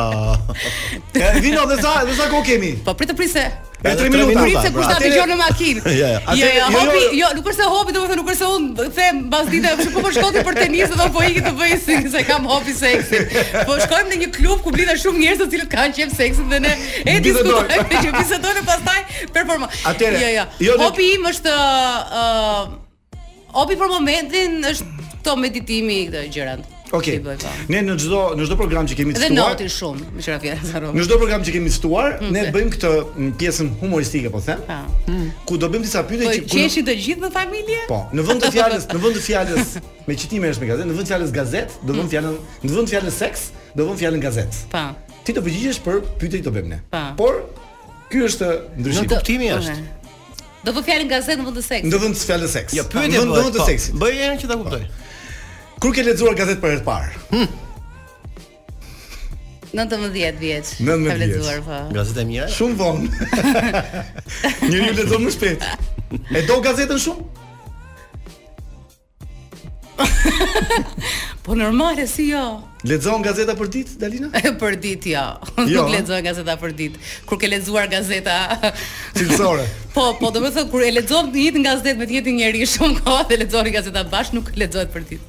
Speaker 6: E, Vino dhe sa, dhe sa kohë kemi?
Speaker 4: Po prit të prit se
Speaker 6: E
Speaker 7: tre
Speaker 6: 3 minuta. pra.
Speaker 4: Prit se kush ta
Speaker 6: Atëherë-
Speaker 4: dëgjon në makinë.
Speaker 7: Ja, ja.
Speaker 4: Jo,
Speaker 6: Atëherë,
Speaker 4: jo,
Speaker 6: jo,
Speaker 4: hobi,
Speaker 6: jo,
Speaker 4: jo, nuk përse hobi, domethënë nuk përse unë them mbas dite, "Pse po po shkoti për tenis dhe po iki të bëj si se kam hobi seksin. Po shkojmë në një klub ku blidhen shumë njerëz të cilët kanë qejf seksin dhe ne e
Speaker 6: Bisedojmë.
Speaker 4: diskutojmë dhe që bisedojmë e pastaj performon.
Speaker 6: Atëherë,
Speaker 4: jo,
Speaker 6: jo,
Speaker 4: jo.
Speaker 6: ne-
Speaker 4: Hobi im është ë hobi për momentin është to meditimi këto gjërat.
Speaker 6: Okej.
Speaker 4: Ti bëj, po.
Speaker 6: Ne në çdo në çdo program që kemi të
Speaker 4: Dhe
Speaker 6: ftuar,
Speaker 4: noti shumë, më qira fjalë Zarov.
Speaker 6: Në çdo program që kemi ftuar, ne
Speaker 4: Mm, se.
Speaker 6: bëjmë këtë m, pjesën humoristike, po them,
Speaker 4: Pa.
Speaker 6: ku do bëjmë disa pyetje
Speaker 4: Po
Speaker 6: që ku në-
Speaker 4: qeshi të gjithë në familje?
Speaker 6: Po, në vend të fjalës, në vend të fjalës me qitime është me gazet, në vend të fjalës gazet, do
Speaker 4: Mm.
Speaker 6: vëmë fjalën, në vend të fjalës seks, do vëmë fjalën gazet.
Speaker 4: Pa.
Speaker 6: Ti do përgjigjesh për pyetjet që do bëjmë ne.
Speaker 4: Pa.
Speaker 6: Por ky është ndryshim.
Speaker 7: Në kuptimi është.
Speaker 4: Ore. Po, Do vë fjalën gazetë në vend të seksit.
Speaker 6: Në vend të fjalës seks.
Speaker 7: Jo,
Speaker 6: Në
Speaker 7: pyetje
Speaker 6: vend- në vend të seksit.
Speaker 7: Bëj herën që ta kuptoj.
Speaker 6: Kur ke lexuar gazet për herë të parë?
Speaker 4: 19 vjeç.
Speaker 6: 19
Speaker 4: Ka vlezduar po.
Speaker 7: Gazeta e mira.
Speaker 6: Shumë vonë. Njëri lexon më shpejt. E do gazetën shumë?
Speaker 4: Po normale si jo.
Speaker 6: Lexon gazeta për ditë, Dalina?
Speaker 4: E për ditë jo.
Speaker 6: Jo,
Speaker 4: Nuk
Speaker 6: ha?
Speaker 4: lexoj gazeta për ditë. Kur ke lexuar gazeta
Speaker 6: Cilësore.
Speaker 4: Po, po, do të thotë kur e lexon një jetë nga gazetë me të njëjtin njerëz shumë kohë dhe lexoni gazeta bash nuk lexohet për ditë.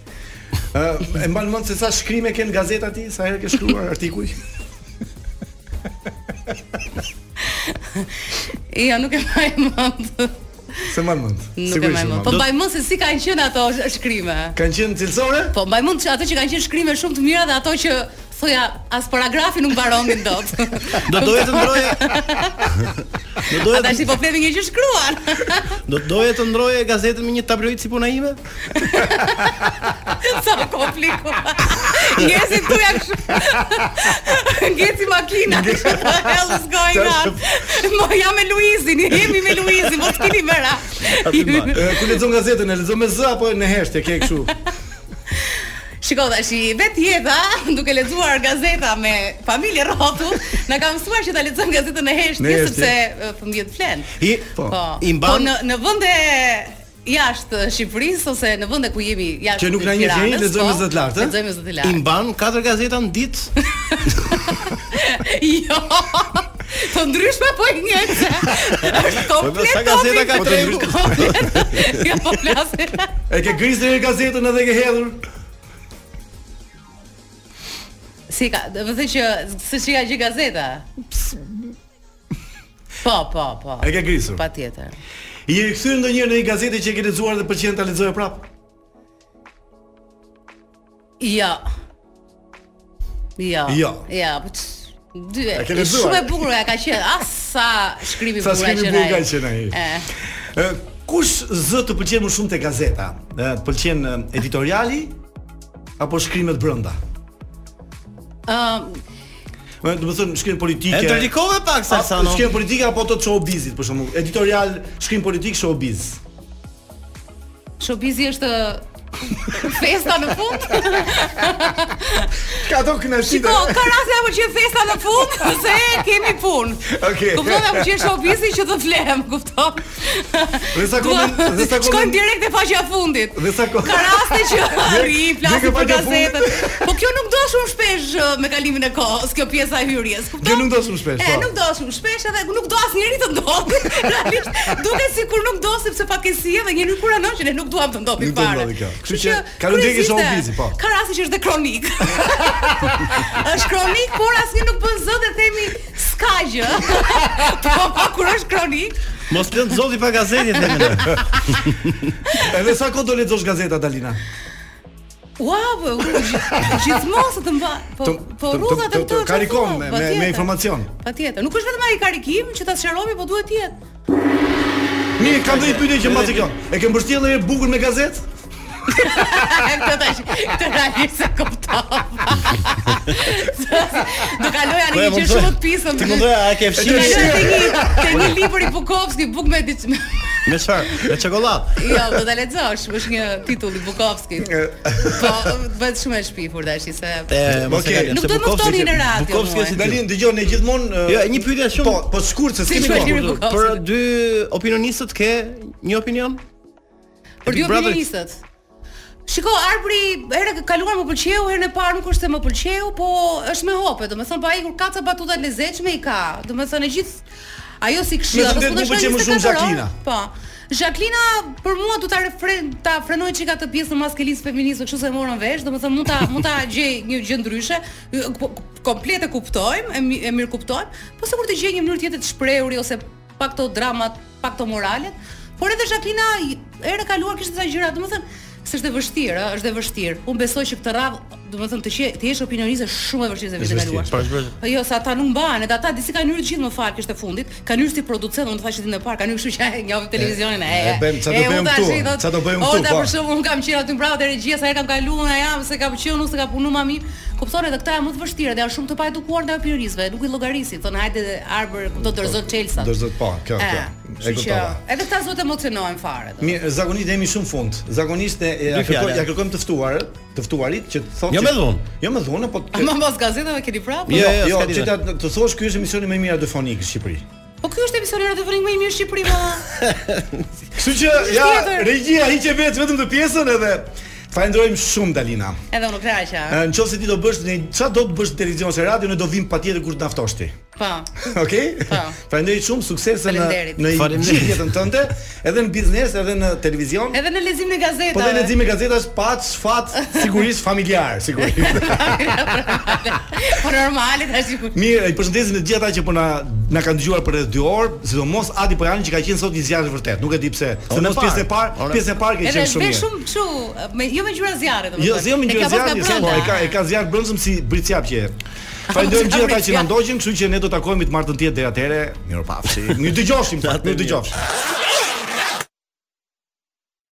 Speaker 6: Ë, e mban mend se sa shkrime ke në gazeta ti, sa herë ke shkruar artikuj?
Speaker 4: Jo, nuk e mbaj mend.
Speaker 6: Se mban mend.
Speaker 4: Nuk e
Speaker 6: sigurisht që
Speaker 4: mbaj mend. Po
Speaker 6: mban.
Speaker 4: mbaj mend se si kanë qenë ato sh- shkrime.
Speaker 6: Kanë qenë cilësore?
Speaker 4: Po mbaj mend që ato që kanë qenë shkrime shumë të mira dhe ato që thoja as paragrafi nuk mbaronin dot.
Speaker 7: Do doja të ndroje. Do doja
Speaker 4: Ata
Speaker 7: të
Speaker 4: si po flemi një që shkruan.
Speaker 7: Do doja të ndroje gazetën me një tabloid si puna ime?
Speaker 4: Sa po kompliku. Ngjesi tu ja kështu. Ngjesi makina. Hell is going on. Mo jam me Luizin, jemi me Luizin, mos keni më ra. Po.
Speaker 6: Ë, ku lexon gazetën, e lexon me z apo në heshtje ke kështu?
Speaker 4: Shiko tash, i vet jeta, duke lexuar gazeta me familje rrotu, na ka mësuar që ta lexojmë gazetën e
Speaker 6: Në
Speaker 4: heshtje
Speaker 6: heshtje.
Speaker 4: sepse e, fëmijët flen.
Speaker 7: I
Speaker 6: Po.
Speaker 4: Po.
Speaker 7: I
Speaker 4: Po
Speaker 7: mban
Speaker 4: në në vende jashtë Shqipërisë ose në vende ku jemi jashtë
Speaker 6: Që nuk na njeh njeri,
Speaker 4: Tiranës,
Speaker 6: lexojmë
Speaker 4: po,
Speaker 6: me zë të lartë, eh? ë?
Speaker 4: Lexojmë me zë
Speaker 7: i
Speaker 4: të lartë.
Speaker 7: mban katër gazeta në ditë.
Speaker 4: Jo. Të ndryshme po i njëjtë. Është
Speaker 6: Po,
Speaker 4: komplet.
Speaker 7: sa gazeta ka tregu?
Speaker 4: tregu. Ja po flasim.
Speaker 6: E ke gris deri gazetën edhe ke hedhur?
Speaker 4: Si ka, do të thënë që se si ka gjë gazeta. Po, po, po.
Speaker 6: E ke grisur.
Speaker 4: Patjetër.
Speaker 6: I je rikthyer ndonjëherë në një gazetë që e ke lexuar dhe pëlqen ta lexoje prapë?
Speaker 4: Jo. Jo.
Speaker 6: Jo.
Speaker 4: Ja, po. ç- Dy.
Speaker 6: A ke
Speaker 4: e
Speaker 6: lexuar?
Speaker 4: Shumë e bukur ja ka qenë. Ah sa shkrimi
Speaker 6: Sa
Speaker 4: bukur ka
Speaker 6: shkrimi
Speaker 4: qenë.
Speaker 6: bukur
Speaker 4: ai.
Speaker 6: ka qenë ai.
Speaker 4: E.
Speaker 6: Ë, kush z të pëlqen më shumë te gazeta? Ë, të pëlqen ë, editoriali apo shkrimet brenda?
Speaker 4: Ëm,
Speaker 6: Ë, do të thonë shkrim
Speaker 7: E
Speaker 6: politike.
Speaker 7: ndërlikove pak
Speaker 6: A,
Speaker 7: Salsano.
Speaker 6: Shkrim politike apo të showbizit për shembull, editorial, shkrim politik, showbiz.
Speaker 4: showbizi është festa në fund.
Speaker 6: Ka ato kënaqësi.
Speaker 4: Shiko, ka raste apo që e festa në fund se kemi punë.
Speaker 6: Okej.
Speaker 4: Kupton apo që e showbizi që të flem, kupton?
Speaker 6: Dhe sa
Speaker 4: Dua-
Speaker 6: komen- dhe sa komen-
Speaker 4: Shkojmë direkt te faqja e fundit.
Speaker 6: Dhe sa kohë.
Speaker 4: Ka raste që ri
Speaker 6: direkt
Speaker 4: flasim
Speaker 6: te
Speaker 4: për
Speaker 6: faqja e fundit.
Speaker 4: gazetën. Po kjo nuk do shumë shpesh ë, me kalimin e kohës, kjo pjesa e hyrjes, kupton?
Speaker 6: Kjo nuk do shumë shpesh,
Speaker 4: E,
Speaker 6: po.
Speaker 4: nuk do shumë shpesh edhe nuk do asnjëri të ndodhi. Realisht duket sikur nuk do sepse fatkeqësia dhe njëri kur anon që ne nuk duam të ndodhi
Speaker 6: Nuk do
Speaker 4: fare.
Speaker 6: ndodhi kjo. Kështu që kalendari është obizi, po.
Speaker 4: Ka raste që është dhe kronik. është kronik, por asnjë nuk bën zë dhe themi s'ka gjë. po, po kur është kronik,
Speaker 7: Mos lën zoti pa gazetin dhe mëna.
Speaker 6: Edhe sa kohë do lexosh gazeta Dalina?
Speaker 4: Ua, po, gjithmonë se të mba, po
Speaker 6: Të-
Speaker 4: po
Speaker 6: të- të-
Speaker 4: rrudha
Speaker 6: të-
Speaker 4: të
Speaker 6: të karikon me- me- me informacion.
Speaker 4: Patjetër. Nuk është vetëm ai karikim që ta sqarojmë, po duhet të jetë.
Speaker 6: Mirë, kam dhënë pyetje që mbasi kjo. E ke mbështjellë një herë bukën me gazetë?
Speaker 4: Këtë tash, këtë realisht se kuptova. Do kaloja në një
Speaker 7: Po, e
Speaker 4: që
Speaker 7: kuptoj.
Speaker 4: shumë të pisëm.
Speaker 7: Ti mundoj, a ke
Speaker 4: Do
Speaker 7: fshirë?
Speaker 4: kaloja te një te një libër i Bukovski, buk me diç.
Speaker 7: Me çfarë? Me çokoladë.
Speaker 4: Jo, do ta lexosh, është një titull i Bukovskit. Po, bëhet shumë e shpifur tash se
Speaker 7: E, mos e
Speaker 6: Okej.
Speaker 7: kalem,
Speaker 4: Nuk
Speaker 7: se
Speaker 4: do të më
Speaker 7: Bukovski
Speaker 4: ftoni
Speaker 7: ke-
Speaker 4: në radio,
Speaker 7: Bukovski
Speaker 4: mua.
Speaker 7: si
Speaker 6: Dalin dëgjon ne gjithmonë eh,
Speaker 7: Jo, një pyetje shumë.
Speaker 6: Po, po shkurt se
Speaker 4: Si
Speaker 6: s'kemi
Speaker 4: që e
Speaker 6: kohë.
Speaker 4: lirë?
Speaker 7: Për- Për dy opinionistët ke një opinion?
Speaker 4: Për dy
Speaker 7: Big Brother-
Speaker 4: opinionistët. Shiko, arbri herë e kaluar më pëlqeu, herën e parë nuk është se më pëlqeu, po është me hope, domethënë pa ikur ka ca batuta të lezetshme i ka. Domethënë e gjithë ajo si
Speaker 6: Me
Speaker 4: këshilla,
Speaker 6: të vërtetë
Speaker 4: po
Speaker 6: më
Speaker 4: s'u
Speaker 6: pëlqeu më shumë
Speaker 4: 24 orë,
Speaker 6: Jacqueline-a.
Speaker 4: Po. Jacqueline për mua do ta refren ta frenoj çika të pjesën maskulinist feminizme, kështu se e morën vesh, domethënë mund ta mund ta gjej një gjë ndryshe, po- komplet e kuptojmë, e, mi- e mirë kuptojmë, po sikur të gjej një mënyrë tjetër të shprehuri ose pak to dramat, pak to moralet, por edhe Jacqueline herë e kaluar kishte disa gjëra, domethënë se është e vështirë, ë, është e vështirë. Unë besoj që këtë radhë, domethënë të qe- të jesh opinioniste shumë e vështirë se vitin e kaluar. Po jo, se ata nuk mbahen, edhe ata disi kanë hyrë të gjithë më fal kishte fundit, kanë hyrë si producent, unë thashë ditën e parë, kanë hyrë kështu që e njohim televizionin. E,
Speaker 6: e bëjmë, ça do bëjmë
Speaker 4: unë
Speaker 6: këtu,
Speaker 4: tash i thot,
Speaker 6: ça do bëjmë këtu,
Speaker 4: Ora
Speaker 6: po."
Speaker 4: për shembull, unë kam qenë aty mbrapa te regjia, sa herë kam kaluar, unë jam se kam qenë, unë se kam punuar më mirë. Kupton edhe këta janë më të vështirë, dhe janë shumë të pa edukuar ndaj opinionistëve, nuk i llogarisin, thonë hajde arbër, do dorëzot Chelsea.
Speaker 6: Do zot po, kjo
Speaker 4: E,
Speaker 6: kjo. E
Speaker 4: Ah, kështu që
Speaker 6: kuptova.
Speaker 4: edhe këta zot emocionohen fare. do.
Speaker 6: Mirë, zakonisht jemi shumë fund. Zakonisht ne e, ja
Speaker 7: Dy
Speaker 6: kërkoj,
Speaker 7: fjala.
Speaker 6: ja kërkojmë të ftuarët, të ftuarit që të thotë.
Speaker 7: Jo
Speaker 6: që-
Speaker 7: me dhunë.
Speaker 6: Jo me dhunë, po
Speaker 4: Ama mos gazetave keni prapë?
Speaker 7: Jo,
Speaker 6: Jo,
Speaker 7: jo,
Speaker 6: jo,
Speaker 7: s'ka
Speaker 6: që
Speaker 7: lidhje.
Speaker 6: ta të thosh ky është emisioni më i mirë radiofonik në Shqipëri.
Speaker 4: Po ky është emisioni radiofonik më i mirë në Shqipëri, ma.
Speaker 6: Kështu që ja
Speaker 4: Tjetër.
Speaker 6: regjia hiqe vetë vetëm të pjesën edhe të falenderojmë shumë Dalina.
Speaker 4: Edhe unë kraqa.
Speaker 6: Ë, Në qoftë se ti do bësh një çfarë do të bësh në televizion ose radio, ne do vim patjetër kur të na ftosh ti.
Speaker 4: Po.
Speaker 6: Okej?
Speaker 4: Po.
Speaker 6: Falenderoj shumë suksese në
Speaker 4: Faleminderit.
Speaker 6: në
Speaker 7: Faleminderit.
Speaker 6: gjithë jetën tënde, edhe në biznes, edhe në televizion.
Speaker 4: Edhe në lezimin e gazetave.
Speaker 6: Po dhe leximi gazetash pa fat sigurisht familjar, sigurisht.
Speaker 4: Po normale tash.
Speaker 6: Mirë, i përshëndesim të gjithë ata që po na na kanë dëgjuar për rreth 2 orë, sidomos Adi Pojani që ka qenë sot një zjarr i vërtet. Nuk e di pse. Se
Speaker 7: Orën
Speaker 6: në
Speaker 7: e parë.
Speaker 6: pjesën e parë,
Speaker 7: Orën-
Speaker 6: pjesën e parë ke
Speaker 4: Edhe
Speaker 6: qenë shumë
Speaker 4: ve
Speaker 6: mirë.
Speaker 4: shumë kështu, me jo me gjyra zjarre domethënë.
Speaker 6: Jo, se jo më ngjyra zjarri, se po e ka e ka zjarr brëndshëm si bricjapje. Falenderoj gjithë ata që na ndoqën, kështu që ne do takojmë të martën tjetër deri atëherë. Mirupafshi. Mirë dëgjofshim, fakt, mirë dëgjofshim.